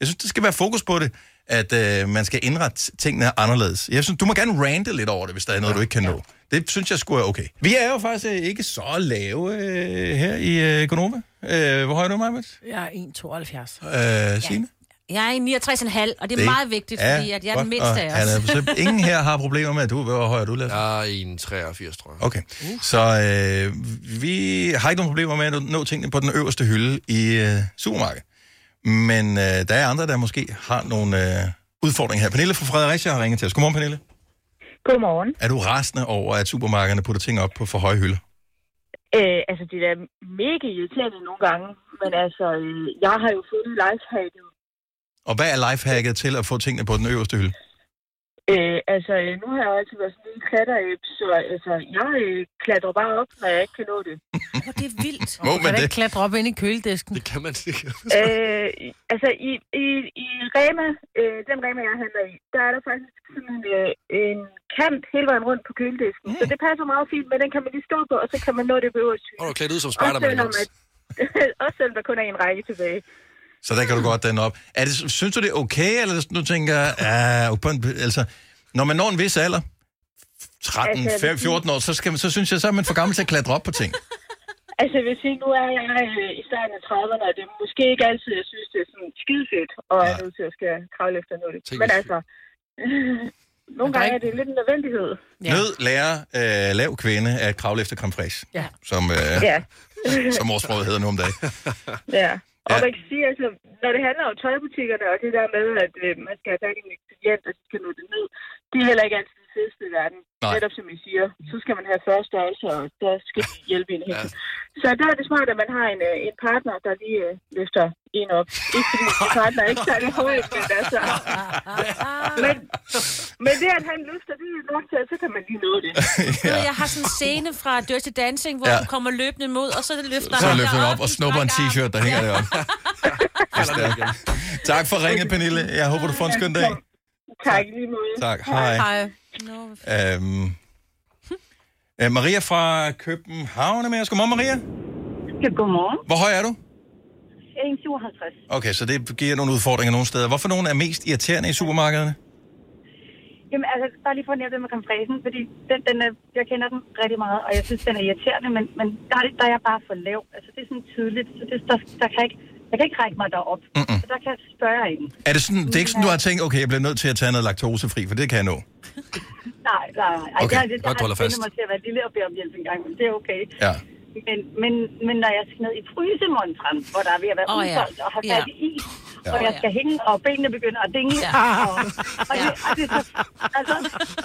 Speaker 1: jeg synes det skal være fokus på det, at øh, man skal indrette tingene anderledes. Jeg synes, du må gerne rante lidt over det, hvis der er noget, du ikke kan nå. Det synes jeg skulle er okay. Vi er jo faktisk øh, ikke så lave øh, her i øh, Gonova. Øh, hvor høj er du, Marvitt?
Speaker 2: Jeg er 1,72.
Speaker 1: Øh, Signe?
Speaker 3: Jeg er i 69,5, og det er det meget vigtigt,
Speaker 1: er
Speaker 3: fordi at jeg er den
Speaker 1: godt,
Speaker 3: mindste
Speaker 1: og
Speaker 3: af os.
Speaker 1: Han er, så ingen her har problemer med, at du hvor høj er du, Lasse?
Speaker 4: Jeg er en 83, tror jeg.
Speaker 1: Okay, så øh, vi har ikke nogen problemer med at nå tingene på den øverste hylde i øh, supermarkedet. Men øh, der er andre, der måske har nogle øh, udfordringer her. Pernille fra Fredericia har ringet til os. Godmorgen, Pernille.
Speaker 16: Godmorgen.
Speaker 1: Er du rasende over, at supermarkederne putter ting op på for høje hylder?
Speaker 16: Øh, altså, det er da mega irriterende nogle gange, men altså, øh, jeg har jo fundet lifehacket.
Speaker 1: Og hvad er lifehacket til at få tingene på den øverste hylde?
Speaker 16: Øh, altså, øh, nu har jeg jo altid været sådan en lille klatteræb, så altså, jeg øh, klatrer bare op, når jeg ikke kan nå det.
Speaker 3: Oh, det er vildt.
Speaker 1: Må
Speaker 2: man kan det? ikke klatre op ind i køledisken? Det
Speaker 4: kan man ikke.
Speaker 16: øh, altså, i, i, i Rema, øh, den Rema, jeg handler i, der er der faktisk sådan en, øh, en kant hele vejen rundt på køledisken. Mm. Så det passer meget fint, men den kan man lige stå på, og så kan man nå det på øverst.
Speaker 4: Og du er klædt ud som
Speaker 16: Også
Speaker 4: Spider-Man.
Speaker 16: selvom, at, også selvom der kun er en række tilbage.
Speaker 1: Så der kan du godt den op. Er det, synes du, det er okay, eller sådan, du tænker, ah, på en, altså, når man når en vis alder, 13,
Speaker 16: Altså,
Speaker 1: 15, 14 år, så, skal man, så synes jeg, så er man for gammel til at klatre op på ting.
Speaker 16: Altså, hvis vi nu er jeg øh, i starten af 30'erne, og det er måske ikke altid, jeg synes, det er sådan skidefedt, og er nødt til at skal kravle efter noget.
Speaker 1: Tænk,
Speaker 16: Men
Speaker 1: hvis-
Speaker 16: altså, nogle gange er det lidt en nødvendighed.
Speaker 1: Ja. Nød lærer øh, lav kvinde at kravle efter creme fraiche,
Speaker 16: Ja.
Speaker 1: som øh,
Speaker 16: ja.
Speaker 1: som ordsproget hedder nu om dagen.
Speaker 16: Ja. Og
Speaker 1: Ja.
Speaker 16: ja. man kan sige, altså, når det handler om tøjbutikkerne, og det der med, at øh, man skal have fat i en klient, og de skal nå det ned, det er heller ikke altid det fedeste i verden.
Speaker 1: Nej.
Speaker 16: Netop som I siger, så skal man have første størrelse, og der skal de hjælpe en helt. Ja. Så der er det smart, at man har en, øh, en partner, der lige øh, løfter en op. Ikke fordi min partner er altså ikke særlig høj, men altså... Men, men det, at han løfter, det er nok til, at så kan man lige nå det.
Speaker 3: Ja. Jeg har sådan en scene fra Dirty Dancing, hvor
Speaker 1: Ja.
Speaker 3: ja. hun kommer løbende mod, og så løfter
Speaker 1: Så
Speaker 3: han
Speaker 1: løfter jeg
Speaker 3: derop.
Speaker 1: op og snupper en t-shirt, der hænger derop. tak for ringet, Pernille. Jeg håber, du får en skøn dag.
Speaker 16: Tak lige måde.
Speaker 1: Tak. Hej.
Speaker 3: Hej.
Speaker 1: Øhm, øh, Maria fra København er med os. Godmorgen, Maria.
Speaker 17: Godmorgen.
Speaker 1: Hvor høj er du?
Speaker 17: 1,57.
Speaker 1: Okay, så det giver nogle udfordringer nogle steder. Hvorfor nogen er mest irriterende i supermarkederne?
Speaker 17: Jamen, altså, bare lige for at nævne det med komfræsen, fordi den, den er, jeg kender den rigtig meget, og jeg synes, den er irriterende, men, men der, er- der er jeg bare for lav. Altså, det er sådan tydeligt, så det, der, der kan jeg ikke, jeg kan ikke række mig derop. Mm-mm. Så der kan jeg spørge i den.
Speaker 1: Er det, sådan, det er ikke sådan, du har tænkt, okay, jeg bliver nødt til at tage noget laktosefri, for det kan jeg nå.
Speaker 17: Nej, nej, nej.
Speaker 1: Okay,
Speaker 17: jeg, jeg,
Speaker 1: godt, du holder
Speaker 17: jeg
Speaker 1: fast.
Speaker 17: mig til at være lille og bede om hjælp en gang, men det er okay.
Speaker 1: Ja.
Speaker 17: Men, men, men når jeg skal ned i frysemontren, hvor der er ved at være
Speaker 18: Åh,
Speaker 17: oh,
Speaker 18: ja.
Speaker 17: udsolgt og har fat i is, og jeg skal hænge, og benene begynder at dinge,
Speaker 18: Ja.
Speaker 17: ja. og, og, det, og det, er så, altså,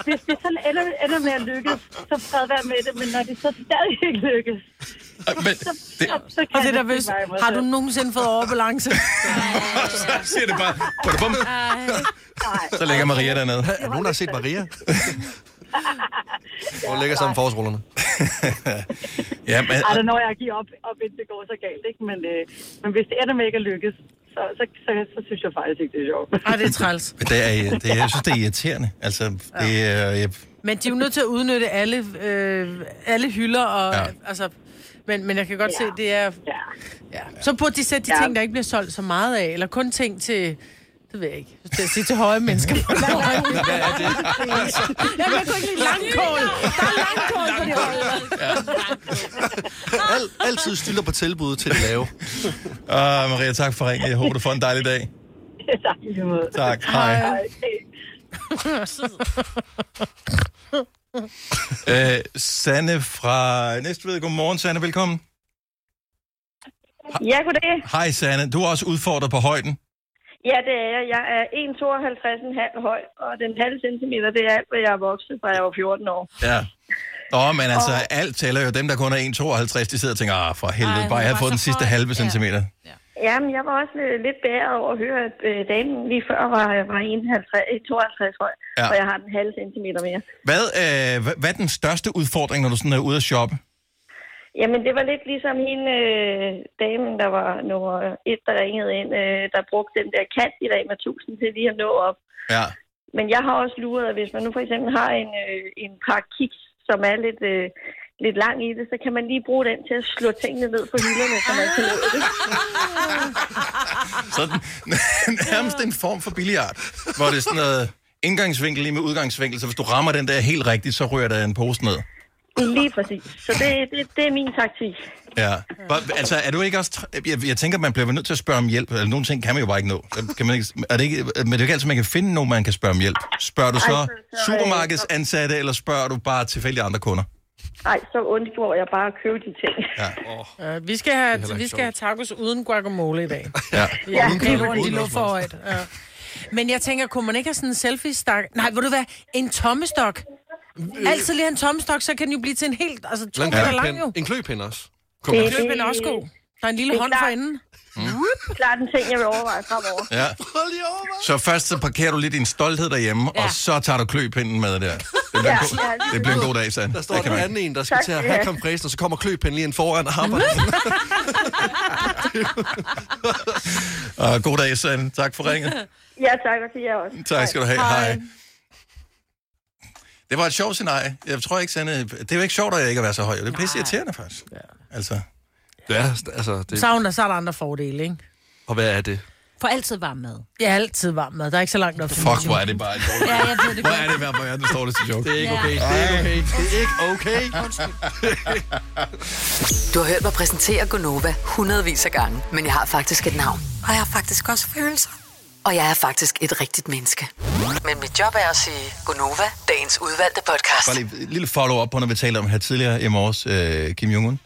Speaker 17: hvis det sådan ender, ender med at lykkes, så fred være med det, men når det så stadig ikke lykkes,
Speaker 1: men,
Speaker 17: så, det, så, så kan
Speaker 2: Og det der
Speaker 17: ikke
Speaker 2: vist,
Speaker 17: være imod
Speaker 2: har du
Speaker 17: det.
Speaker 2: nogensinde fået overbalance?
Speaker 1: Så siger det bare, bum, så lægger Maria dernede.
Speaker 4: Er der nogen, der har set Maria? Hun ligger sammen med forårsrullerne.
Speaker 1: ja, men,
Speaker 17: Ej, der når jeg at give op, op indtil det går så galt, ikke? Men, øh, men hvis det ender med ikke at lykkes, så, så, så, så synes jeg faktisk ikke, det er sjovt.
Speaker 2: Nej, det er træls.
Speaker 1: men det er, øh, det, er- jeg synes, det er irriterende. Altså, det er, jeg,
Speaker 2: Men de er jo nødt til at udnytte alle, øh, alle hylder. Og,
Speaker 1: Ja.
Speaker 2: ja. altså, men, men jeg kan godt ja. se, det er...
Speaker 17: Ja.
Speaker 2: Ja. Så burde de sætte de ja. ting, der ikke bliver solgt så meget af, eller kun ting til... Det ved jeg ikke. Til at sige til høje mennesker.
Speaker 18: Hvad er det?
Speaker 2: Jamen, jeg kunne ikke lide langkål. Der er langkål på det høje.
Speaker 4: Al, altid stiller på tilbud til det lave.
Speaker 1: uh, Maria, tak for ringen. Jeg håber, du får en dejlig dag.
Speaker 17: tak, i lige måde.
Speaker 1: Tak. Hej. Uh, Sanne fra Næstved. Godmorgen, Sanne. Velkommen.
Speaker 7: Ja, goddag.
Speaker 1: Hej, Sanne. Du er også udfordret på højden.
Speaker 7: Ja, det er jeg. Jeg er 1,52,5 høj, og den halve centimeter, det er alt, hvad jeg er vokset, fra jeg var 14 år.
Speaker 1: Ja. Nå, men altså, og... alt tæller jo. Dem, der kun er 1,52, de sidder og tænker, ah, for helvede,
Speaker 7: Ej,
Speaker 1: bare
Speaker 7: hun
Speaker 1: jeg havde
Speaker 7: var
Speaker 1: fået
Speaker 7: så
Speaker 1: den sidste halve centimeter.
Speaker 7: Jamen, jeg var også øh, lidt bæret over at høre, at øh, damen lige før var, var 51, 52 høj,
Speaker 1: Ja.
Speaker 7: ja. og jeg har den halve centimeter mere.
Speaker 1: Hvad, øh, hva- hvad er den største udfordring, når du sådan er ude at shoppe?
Speaker 7: Jamen, det var lidt ligesom hende øh, damen, der var nummer et, der ringede ind, øh, der brugte den der kant i dag med 1000 til lige at nå op.
Speaker 1: Ja.
Speaker 7: Men jeg har også luret, at hvis man nu for eksempel har en, øh, en par kiks, som er lidt, øh, lidt lang i det, så kan man lige bruge den til at slå tingene ned på hylderne, så man kan nå det.
Speaker 1: Sådan, nærmest en form for billiard, hvor det er sådan noget indgangsvinkel lige med udgangsvinkel, så hvis du rammer den der helt rigtigt, så rører der en pose ned.
Speaker 7: Lige præcis. Så det, det, det er min taktik.
Speaker 1: Ja. Hvor- Altså, er du ikke også... tr- Jeg, jeg tænker, man bliver vel nødt til at spørge om hjælp. Altså, nogle ting kan man jo bare ikke nå. Så Kan man ikke, er det ikke, men det er jo ikke altid, man kan finde nogen, man kan spørge om hjælp. Spørger du
Speaker 7: Ej,
Speaker 1: så
Speaker 7: så- så-
Speaker 1: supermarkedsansatte, eller spørger du bare tilfældige andre kunder?
Speaker 7: Nej, så undgår jeg bare at købe de ting.
Speaker 1: Ja.
Speaker 2: Ja, Øh, vi skal
Speaker 1: Det er heller
Speaker 2: have,
Speaker 1: ikke
Speaker 2: vi skal have tacos uden guacamole i dag.
Speaker 1: Ja.
Speaker 2: Ja,
Speaker 1: Uden
Speaker 2: det er
Speaker 1: kød,
Speaker 2: rundt i
Speaker 1: uden noget som helst.
Speaker 2: luftforhøjt. Ja. Men jeg tænker, kunne man ikke have sådan en selfie-stak? Nej, vil du være en tommestok?
Speaker 1: Øh.
Speaker 2: Altid lige have en tommestok, så kan den jo blive til en helt, altså to
Speaker 4: Lang
Speaker 2: meter lang
Speaker 4: kløpind.
Speaker 2: jo.
Speaker 4: En kløpind også.
Speaker 2: Kom med. Køb en også god. Der er en lille
Speaker 7: Det er
Speaker 2: hånd
Speaker 7: klart.
Speaker 2: for enden.
Speaker 7: Mm. Klart en ting, jeg vil overveje fremover.
Speaker 1: Ja. Så først så parkerer du lidt din stolthed derhjemme, ja. og så tager du kløpinden med der. Det bliver, en,
Speaker 4: Ja,
Speaker 1: god,
Speaker 4: ja.
Speaker 1: det bliver en god dag, Sand.
Speaker 4: Der står en anden en, der skal
Speaker 1: Tak,
Speaker 4: til at
Speaker 1: ja.
Speaker 4: have kompressen, og så kommer kløpinden lige ind foran og arbejder.
Speaker 1: Og god dag, Sand. Tak for ringet.
Speaker 7: Ja, tak, og til jer også.
Speaker 1: Tak skal du have. Hej. Det var et sjovt scenarie. Jeg tror ikke, Sande... Det er jo ikke sjovt, at jeg ikke er så høj. Det er pisse irriterende, faktisk. Ja. Altså.
Speaker 4: Ja, altså... Det...
Speaker 2: Så er, der, så er der andre fordele, ikke?
Speaker 4: Og hvad er det?
Speaker 3: For altid varm mad.
Speaker 2: Ja, altid varm mad. Der er ikke så langt op. til
Speaker 4: Fuck,
Speaker 1: Hvor er det bare en dårlig...
Speaker 3: Ja, jeg ved det
Speaker 1: Hvor er det, hvor er den dårligste joke?
Speaker 4: Det er ikke okay. Det er ikke okay. Det er ikke okay.
Speaker 5: Du har hørt mig præsentere Gonova hundredvis af gange, men jeg har faktisk et navn.
Speaker 19: Og jeg har faktisk også følelser.
Speaker 5: Og jeg er faktisk et rigtigt menneske. Men mit job er at sige Gonova, dagens udvalgte podcast.
Speaker 1: Bare lige et lille follow-up på, når vi talte om her tidligere i morges, øh, Kim Jong-un.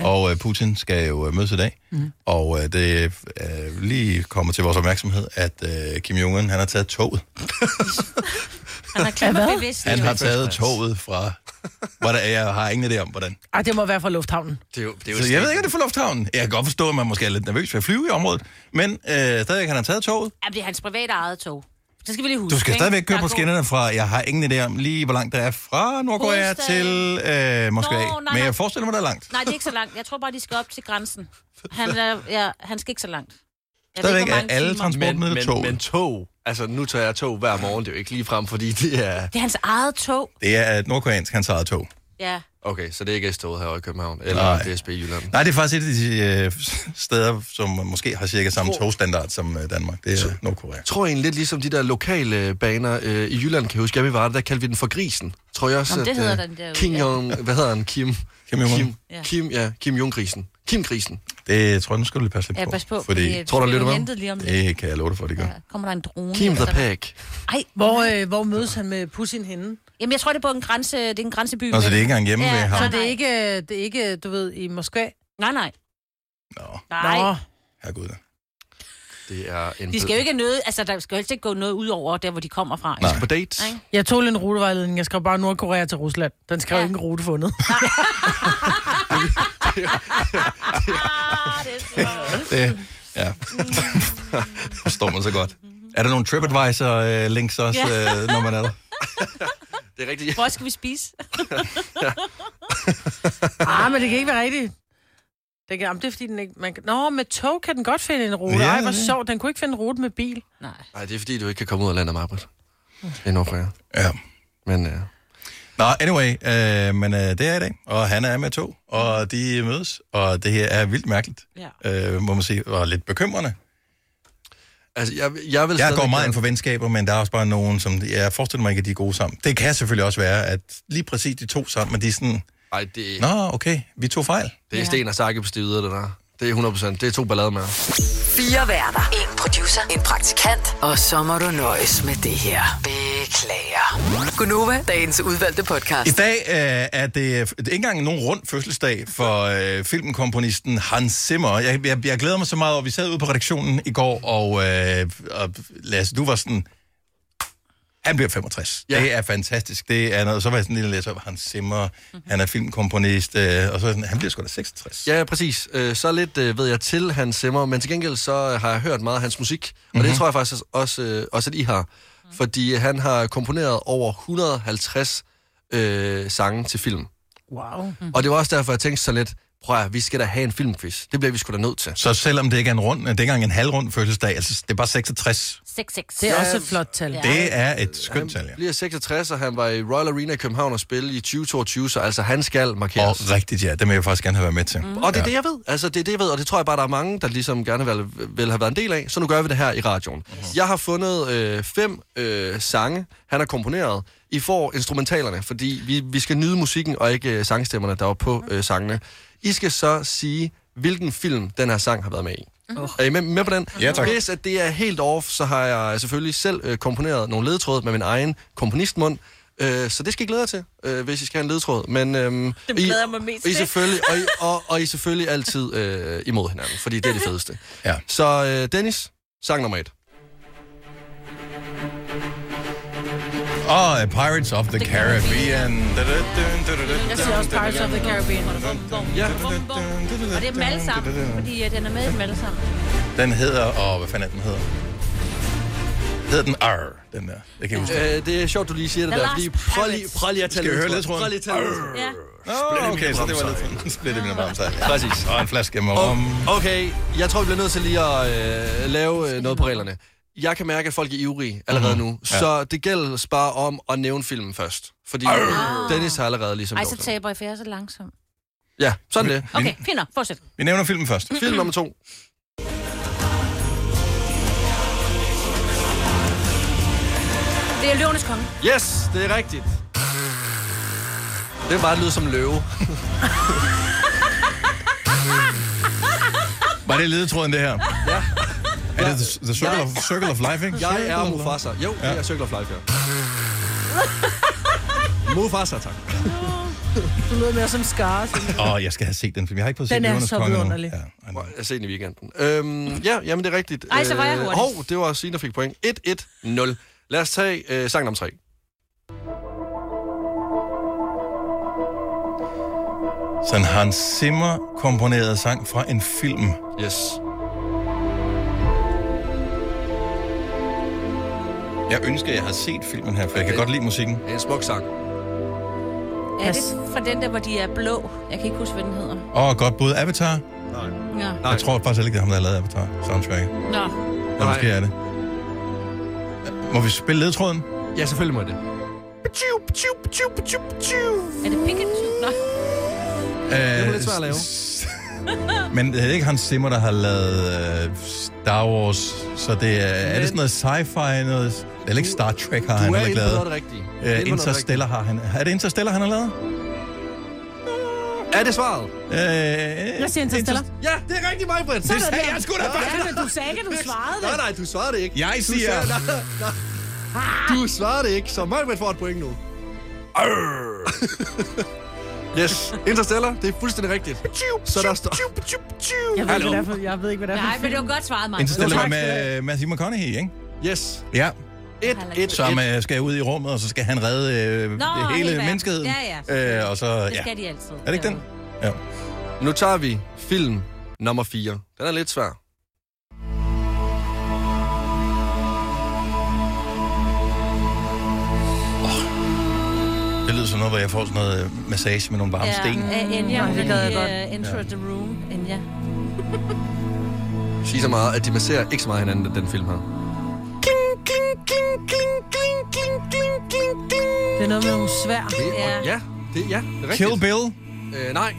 Speaker 1: Og øh, Putin skal jo øh, mødes i dag. Mm. Og øh, det er øh, lige kommet til vores opmærksomhed, at øh, Kim Jong-un, han har taget toget.
Speaker 3: Han har klimabevidst.
Speaker 1: Han har taget toget fra... Hvor der, jeg har ingen idé om, hvordan.
Speaker 2: Ej, det må være fra lufthavnen.
Speaker 4: Det er jo, det er
Speaker 1: Så jeg ved ikke, om det er for lufthavnen. Jeg kan godt forstå, at man måske er lidt nervøs ved at flyve i området. Men øh, stadigvæk, han har taget toget.
Speaker 3: Jamen, det er hans private eget tog. Så skal vi lige huske,
Speaker 1: Du skal
Speaker 3: ikke?
Speaker 1: stadigvæk køre
Speaker 3: Der
Speaker 1: på
Speaker 3: er god-
Speaker 1: skinnerne fra... Jeg har ingen idé om lige, hvor langt der er fra Nordkorea
Speaker 3: Hovedstaden.
Speaker 1: til øh, Moskva.
Speaker 3: Nå, nej,
Speaker 1: Men
Speaker 3: nej.
Speaker 1: jeg forestiller mig, der er langt.
Speaker 3: Nej, det er ikke så langt. Jeg tror bare, de skal op til grænsen. Han, er, ja, han skal ikke så langt. Jeg
Speaker 1: Stadigvæk
Speaker 3: hvor mange timer.
Speaker 1: transportmidler
Speaker 4: men,
Speaker 1: tog.
Speaker 4: Men, men tog, altså nu tager jeg tog hver morgen, det er jo ikke lige frem, fordi det er...
Speaker 3: Det er hans eget tog.
Speaker 1: Det er et nordkoreansk, hans eget tog.
Speaker 3: Ja.
Speaker 4: Okay, så det er ikke S-toget her i København, eller
Speaker 1: Nej.
Speaker 4: DSB i Jylland.
Speaker 1: Nej, det er faktisk et af de øh, steder, som måske har cirka samme togstandard som øh, Danmark. Det er øh, Nordkorea.
Speaker 4: Jeg tror egentlig lidt ligesom de der lokale baner øh, i Jylland, kan jeg huske, jeg vi var der, der kaldte vi den for grisen. Tror jeg også,
Speaker 3: Nå, men det
Speaker 4: at,
Speaker 3: hedder den derude,
Speaker 4: King
Speaker 3: ja.
Speaker 4: Jong, hvad hedder han? Kim?
Speaker 1: Kim Jong-un.
Speaker 4: Kim,
Speaker 3: Ja.
Speaker 4: ja. Kim, ja, Kim Jong-grisen. Kim Grisen.
Speaker 1: Det tror jeg, nu skal du lige passe lidt
Speaker 3: Ja,
Speaker 1: på.
Speaker 3: pas på, fordi,
Speaker 1: fordi
Speaker 3: øh, Tror du, der vi lytter bliver med? hentet lige om lidt.
Speaker 1: Det kan jeg love dig for, det gør. Ja.
Speaker 3: Kommer der en drone?
Speaker 1: Kim
Speaker 3: efter
Speaker 1: the
Speaker 3: dig?
Speaker 1: Pig.
Speaker 3: Ej,
Speaker 2: hvor, øh, hvor mødes han med Putin henne?
Speaker 3: Jamen, jeg tror, det er på en grænse, det er en grænseby.
Speaker 1: Nå, så det er ikke engang hjemme ved ham?
Speaker 2: Så det er, ikke, det er ikke, du ved, i Moskva?
Speaker 3: Nej, nej.
Speaker 1: Nå.
Speaker 3: Nej. Nå.
Speaker 1: Herregud. da.
Speaker 4: Det er en
Speaker 3: De skal jo ikke nøde, altså der skal jo helst ikke gå noget ud over der, hvor de kommer fra.
Speaker 4: Nej. På dates.
Speaker 3: Ikke?
Speaker 2: Jeg tog lige en rutevejledning. Jeg skrev bare Nordkorea til Rusland. Den skrev ja. ikke en rute fundet.
Speaker 1: Det, ja. Forstår man så godt. Er der nogle TripAdvisor-links også,
Speaker 3: Ja.
Speaker 1: øh, når man er der?
Speaker 4: Det er rigtigt.
Speaker 3: Hvor skal vi spise?
Speaker 2: ah, men det kan ikke være rigtigt. Det, kan, jamen, det er fordi, den ikke... Man, kan- Nå, med tog kan den godt finde en rute.
Speaker 4: Ja,
Speaker 2: Ja, Ej, hvor
Speaker 4: ja.
Speaker 2: sjovt. Den kunne ikke finde en rute med bil.
Speaker 4: Nej, det er fordi, du ikke kan komme ud af landet, Marbrit. Det er Nordkorea.
Speaker 1: Ja.
Speaker 4: Men øh,
Speaker 1: Nå, anyway, øh, men øh, det er i dag, og han er med to, og de mødes, og det her er vildt mærkeligt, ja. øh, må man sige, og lidt bekymrende.
Speaker 4: Altså, jeg, jeg, vil
Speaker 1: jeg
Speaker 4: stadig
Speaker 1: går meget
Speaker 4: gerne-
Speaker 1: ind for venskaber, men der er også bare nogen, som jeg forestiller mig ikke, at de er gode sammen. Det kan selvfølgelig også være, at lige præcis de to sammen, men de er sådan,
Speaker 4: Ej, det,
Speaker 1: nå, okay, vi tog fejl.
Speaker 4: det er sten og sakke på stivet, det der. Det er 100%. Det er to ballader med.
Speaker 5: Fire værter. En producer. En praktikant. Og så må du nøjes med det her. Beklager. Gunova, dagens udvalgte podcast.
Speaker 1: I dag øh, er det øh, ikke engang nogen rund fødselsdag for øh, filmkomponisten Hans Zimmer. Jeg, jeg, jeg glæder mig så meget over, vi sad ude på redaktionen i går, og, øh, og Lasse, du var sådan, han bliver 65. Ja. Det er fantastisk. Det er noget, så var jeg sådan en lille læser op, Hans Zimmer, han er filmkomponist, øh, og så var jeg sådan, han bliver sgu da 66.
Speaker 4: Ja, præcis. Øh, Så lidt øh, ved jeg til hans simmer, men til gengæld så øh, har jeg hørt meget af hans musik, og mm-hmm. det tror jeg faktisk også, øh, også at I har. Fordi han har komponeret over 150 øh, sange til film.
Speaker 2: Wow.
Speaker 4: Og det var også derfor, jeg tænkte så lidt, prøv at, høre, vi skal da have en filmquiz. Det bliver vi sgu da nødt til.
Speaker 1: Så selvom det ikke er en rund, det er ikke engang en halvrund fødselsdag, altså det er bare 66.
Speaker 3: 6-6.
Speaker 2: Det er
Speaker 4: Ja,
Speaker 2: også et flot tal.
Speaker 1: Det er et skønt tal, ja.
Speaker 4: Han bliver 66, og han var i Royal Arena i København og spille i 2022, så altså han skal
Speaker 1: Og
Speaker 4: markeres.
Speaker 1: rigtigt, ja. Det vil jeg faktisk gerne have været med til.
Speaker 4: Mm. Og det er det, jeg ved. Altså, det er det, jeg ved, og det tror jeg bare, der er mange, der ligesom gerne vil, vil have været en del af. Så nu gør vi det her i radioen. Yes. Jeg har fundet øh, fem øh, sange, han har komponeret. I får instrumentalerne, fordi vi, vi skal nyde musikken, og ikke øh, sangstemmerne, der var på øh, sangene. I skal så sige, hvilken film den her sang har været med i. Oh. Er I med, med på den?
Speaker 1: Ja, tak.
Speaker 4: Hvis at det er helt off, så har jeg selvfølgelig selv øh, komponeret nogle ledtråd med min egen komponistmund. Øh, så det skal I glæde jer til, øh, hvis I skal have en ledtråd. Men, øhm,
Speaker 2: Dem
Speaker 4: I-
Speaker 2: glæder jeg mig mest
Speaker 4: I
Speaker 2: til.
Speaker 4: selvfølgelig, og, I, og, og I er selvfølgelig altid øh, imod hinanden, fordi det er det fedeste.
Speaker 1: Ja.
Speaker 4: Så øh, Dennis, sang nummer et.
Speaker 1: Og oh, Pirates of the Caribbean.
Speaker 3: Jeg siger også Pirates of the Caribbean. Ja. Og det er dem alle sammen, fordi øh, den er med i dem alle sammen.
Speaker 1: Den hedder, og hvad fanden er den hedder? Hedder den R, den der. Det kan jeg huske.
Speaker 4: Øh, det er sjovt, du lige siger det
Speaker 1: The
Speaker 4: der,
Speaker 1: Last
Speaker 4: fordi prøv lige, prøv lige at tage
Speaker 1: Skal vi høre
Speaker 4: ledtråd. Prøv lige at tage ledtråd.
Speaker 3: Ja.
Speaker 1: Nå, okay, så det var lidt Split i mine bamser.
Speaker 4: Præcis.
Speaker 1: Og en flaske med
Speaker 4: Og-
Speaker 1: rum.
Speaker 4: Okay, jeg tror, vi bliver nødt til lige at øh, lave øh, noget på reglerne. Jeg kan mærke, at folk er ivrige allerede
Speaker 1: Mhm.
Speaker 4: nu,
Speaker 1: Ja.
Speaker 4: så det gælder bare om at nævne filmen først. Fordi Dennis har allerede ligesom
Speaker 3: Ej,
Speaker 4: gjort
Speaker 3: så
Speaker 4: det.
Speaker 3: taber jeg, for jeg er så langsom.
Speaker 4: Ja, sådan det.
Speaker 3: Okay, fint nok. Fortsæt.
Speaker 1: Vi nævner filmen først.
Speaker 4: Film nummer to.
Speaker 3: Det er Løvenes Konge.
Speaker 4: Yes, det er rigtigt. Det var bare lyder som løve.
Speaker 1: Var det ledetråden, det her?
Speaker 4: Ja.
Speaker 1: Er det The, the circle, of, circle of Life, ikke?
Speaker 4: Jeg
Speaker 1: Circle
Speaker 4: er
Speaker 1: of Life.
Speaker 4: Mufasa. Jo, ja. jeg er Circle of Life, ja. Mufasa, tak.
Speaker 2: Du lyder mere som Skars.
Speaker 1: Åh, oh, jeg skal have set den film. Jeg har ikke fået set
Speaker 2: Den er
Speaker 1: Løvernes
Speaker 2: så
Speaker 1: Konge endnu.
Speaker 2: vidunderlig.
Speaker 1: Ja.
Speaker 4: Jeg ser den i weekenden. Øhm, ja, jamen det er rigtigt. Øh,
Speaker 2: Ej, så var jeg hurtig.
Speaker 4: Hov, det var Signe, der fik point. 1-1-0. Lad os tage øh, sangen om tre.
Speaker 1: Så en Hans Zimmer komponeret sang fra en film.
Speaker 4: Yes.
Speaker 1: Jeg ønsker, jeg havde set filmen her, for jeg kan godt lide musikken. Det
Speaker 4: er en smuk sang.
Speaker 3: Er det fra den der, hvor de er blå? Jeg kan ikke huske, hvad den hedder.
Speaker 1: Åh, oh, godt bud. Avatar?
Speaker 3: Ja.
Speaker 1: Nej. Jeg tror faktisk heller ikke, det er ham, der har lavet Avatar soundtrack.
Speaker 3: Nå.
Speaker 1: Eller måske er det. Må vi spille ledtråden?
Speaker 4: Ja, selvfølgelig må det.
Speaker 3: Er det Pikachu? Nå.
Speaker 1: Det
Speaker 4: var lidt svært at lave.
Speaker 1: Men det er ikke Hans Zimmer, der har lavet øh, Star Wars, så det er, er det sådan noget sci-fi? Noget, det er heller ikke Star Trek, har
Speaker 4: du
Speaker 1: han
Speaker 4: er
Speaker 1: heller ikke
Speaker 4: inde på
Speaker 1: lavet.
Speaker 4: noget af det rigtige. Du er inde på noget
Speaker 1: Øh,
Speaker 4: af det
Speaker 1: Interstellar har han. Er det Interstellar, han har lavet?
Speaker 4: Er det svaret?
Speaker 1: Øh,
Speaker 2: Jeg siger Interstellar.
Speaker 4: Ja, det er rigtig meget, Britt.
Speaker 1: Det sagde jeg sgu da
Speaker 2: bare.
Speaker 1: bare.
Speaker 2: Ja, men du sagde ikke, at du svarede det.
Speaker 4: Nej, nej, du svarede det ikke.
Speaker 1: Jeg
Speaker 4: Du
Speaker 1: siger-
Speaker 4: nej, nej. Du svarede det ikke, så Margaret får et point nu. Arr. yes, Interstellar, det er fuldstændig rigtigt. Så der står...
Speaker 2: Jeg ved, ikke, hvad det er for, jeg ved ikke, hvad det er for
Speaker 3: Nej,
Speaker 2: en
Speaker 3: men det
Speaker 2: film.
Speaker 3: var godt svaret, mig.
Speaker 1: Interstellar var med øh, Matthew McConaughey, ikke?
Speaker 4: Yes.
Speaker 1: Ja.
Speaker 4: Et, et,
Speaker 1: Som øh, skal ud i rummet, og så skal han redde øh,
Speaker 3: Nå,
Speaker 1: det hele
Speaker 3: hele verden.
Speaker 1: menneskeheden. Øh,
Speaker 3: Ja,
Speaker 1: ja. Øh, og så, ja.
Speaker 3: Det skal de altid.
Speaker 1: Er det ikke den? Ja.
Speaker 4: Nu tager vi film nummer 4. Den er lidt svær.
Speaker 1: Det lyder som noget, hvor jeg får sådan noget øh, massage med nogle varme
Speaker 3: Ja,
Speaker 1: sten.
Speaker 3: øh, Enya.
Speaker 2: Nå, det gad jeg
Speaker 3: i,
Speaker 2: godt.
Speaker 3: øh, Enter the Room. Enya.
Speaker 4: Sig så meget, at de masserer ikke så meget hinanden, den film her.
Speaker 2: Det er noget med nogle svær.
Speaker 4: Ja. Ja, det, ja, det er rigtigt.
Speaker 1: Kill Bill?
Speaker 4: Øh, nej.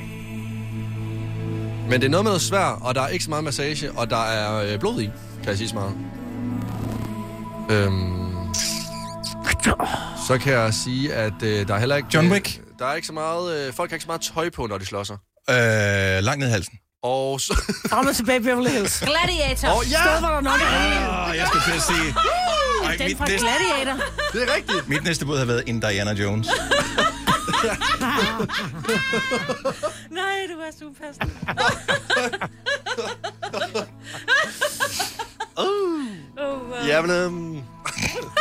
Speaker 4: Men det er noget med noget svær, og der er ikke så meget massage, og der er øh, blod i, kan jeg sige så meget. Øhm, så kan jeg sige, at øh, der er heller ikke...
Speaker 1: John Wick?
Speaker 4: Øh, der er ikke så meget... Øh, folk har ikke så meget tøj på, når de slår sig.
Speaker 1: Øh, langt ned i halsen.
Speaker 4: Og så...
Speaker 2: Frem og tilbage i Beverly Hills.
Speaker 3: Gladiator.
Speaker 4: Åh, ja! Ah,
Speaker 2: Sted, hvor der nok er alien.
Speaker 1: Åh, jeg skulle til at sige... Ej,
Speaker 2: Den
Speaker 1: mit,
Speaker 2: fra
Speaker 1: næste,
Speaker 2: Gladiator.
Speaker 4: det er rigtigt.
Speaker 1: mit næste bud har været en Diana Jones.
Speaker 3: Nej, du er så upassende. oh. Oh, wow.
Speaker 4: Jamen, øhm,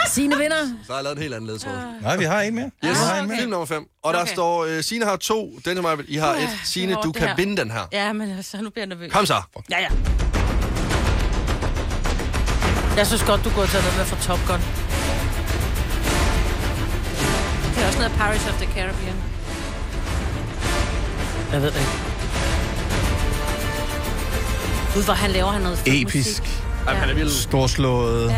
Speaker 2: Signe vinder.
Speaker 4: så har jeg lavet en helt anden ledtråd.
Speaker 1: Nej, vi har en mere.
Speaker 4: Yes,
Speaker 1: Vi har en
Speaker 4: okay.
Speaker 1: mere.
Speaker 4: film nummer 5. Og der
Speaker 3: Okay.
Speaker 4: står, øh, Signe har to, denne Marvel, I har
Speaker 3: Uha,
Speaker 4: et. Signe,
Speaker 3: det er
Speaker 4: du
Speaker 3: hårdt,
Speaker 4: kan
Speaker 3: det her.
Speaker 4: vinde den her.
Speaker 3: Ja, men altså, nu bliver jeg nervøs.
Speaker 4: Kom så.
Speaker 3: Ja, ja.
Speaker 2: Jeg synes godt, du kunne have taget noget med fra Top Gun.
Speaker 3: Det er også noget Pirates of the Caribbean.
Speaker 2: Jeg ved det ikke.
Speaker 3: Gud, hvor han laver han noget fed
Speaker 1: Episk.
Speaker 3: musik.
Speaker 4: Ej, han er vild.
Speaker 1: Storslået.
Speaker 3: Ja.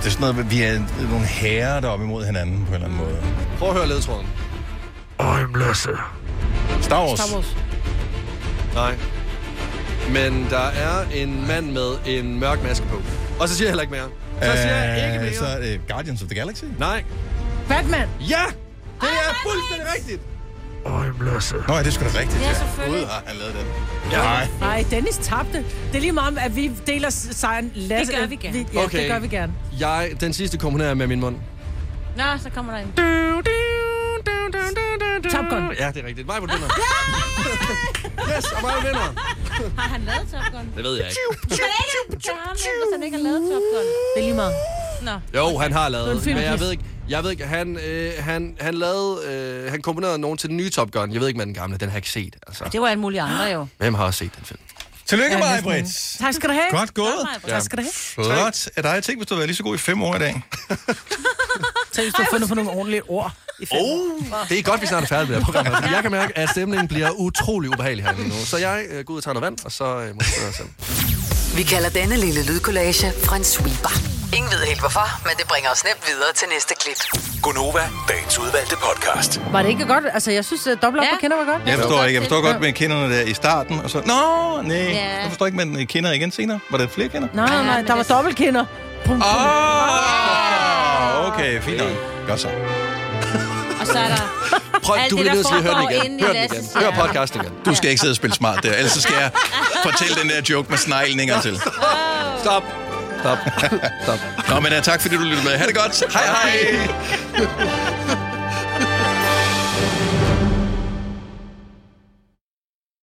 Speaker 1: Det er sådan noget, vi er nogle herrer, der er op imod hinanden på en eller anden måde.
Speaker 4: Prøv at høre ledtråden.
Speaker 1: I'm Lasse. Star Wars.
Speaker 2: Star Wars.
Speaker 4: Nej. Men der er en mand med en mørk maske på. Og så siger jeg heller ikke mere. Så siger jeg ikke
Speaker 1: Øh,
Speaker 4: mere.
Speaker 1: Så er det Guardians of the Galaxy.
Speaker 4: Nej.
Speaker 2: Batman.
Speaker 4: Ja! Det er fuldstændig rigtigt.
Speaker 1: I'm Lasse. Nå, ja, det er sgu da rigtigt.
Speaker 2: Ja, selvfølgelig.
Speaker 1: Gud, har han lavet den.
Speaker 4: Ja.
Speaker 1: Nej.
Speaker 2: Nej, Dennis tabte. Det er lige meget, om, at vi deler sejren. Lad os-
Speaker 3: Det gør vi gerne.
Speaker 2: ja, okay.
Speaker 4: Okay.
Speaker 2: det gør vi gerne.
Speaker 4: Jeg, den sidste komponerer jeg med min mund.
Speaker 3: Nå, så kommer der en.
Speaker 2: Top Gun.
Speaker 4: Ja, det er rigtigt. Mig på vinder. Yes, og mig vinder.
Speaker 3: Har han lavet Top Gun?
Speaker 4: Det ved jeg ikke.
Speaker 3: Det er ikke- det er ham, ikke, hvis han ikke har lavet Top Gun.
Speaker 2: Det er lige meget.
Speaker 3: Nå.
Speaker 4: Jo, han har lavet,
Speaker 3: Det er en film,
Speaker 4: men jeg
Speaker 3: yes.
Speaker 4: ved ikke, jeg ved ikke, han, øh, han, han lavede, øh, han komponerede nogen til den nye Top Gun. Jeg ved ikke, med den gamle, den har jeg ikke set, altså.
Speaker 3: Det var alle mulige andre jo.
Speaker 4: Hvem har også set den film?
Speaker 1: Tillykke,
Speaker 2: Ja,
Speaker 1: mig,
Speaker 2: næsten.
Speaker 1: Britt.
Speaker 2: Tak skal du have.
Speaker 1: Godt gået.
Speaker 2: Ja. Tak skal du have.
Speaker 1: Flot af dig. Jeg tænkte, hvis du havde været lige så god i fem år i dag.
Speaker 2: Tænk, hvis du har fundet på nogle ordentlige ord. I fem år.
Speaker 1: Oh.
Speaker 4: Det er godt, vi snart er færdige med det her program. altså, fordi Jeg kan mærke, at stemningen bliver utrolig ubehagelig herinde nu. Så jeg øh, går ud og tager noget vand, og så øh, må jeg spørge selv.
Speaker 5: Vi kalder denne lille lydkollage Frans sweeper. Ingen ved helt hvorfor, men det bringer os nemt videre til næste klip.
Speaker 6: Gunova, dagens udvalgte podcast.
Speaker 2: Var det ikke godt? Altså, jeg synes, at dobbelt op på kender var godt.
Speaker 1: Jeg forstår ikke. Jeg forstår godt med kinderne der i starten, og så... Nå, nej.
Speaker 2: Ja.
Speaker 1: Jeg forstår ikke med den kinder igen senere. Var der flere kinder?
Speaker 2: Nej, nej, der var dobbeltkender. Pum, pum.
Speaker 1: Ah, okay, fint nok. Godt så.
Speaker 2: Altså,
Speaker 3: Og så er der...
Speaker 4: Prøv,
Speaker 3: Alt
Speaker 4: du
Speaker 3: det,
Speaker 4: bliver
Speaker 3: der
Speaker 4: nødt til at høre den
Speaker 3: foregår
Speaker 4: igen.
Speaker 3: inde i
Speaker 4: Hør den
Speaker 3: Lasses
Speaker 4: igen. Hør
Speaker 3: hjerne.
Speaker 4: podcasten igen.
Speaker 1: Du skal ikke sidde og spille smart der, ellers så skal jeg fortælle den der joke med sneglen en gang til.
Speaker 4: Stop. Stop. Stop.
Speaker 1: Nå, men uh, tak fordi du lyttede med. Ha' det godt. Hej hej.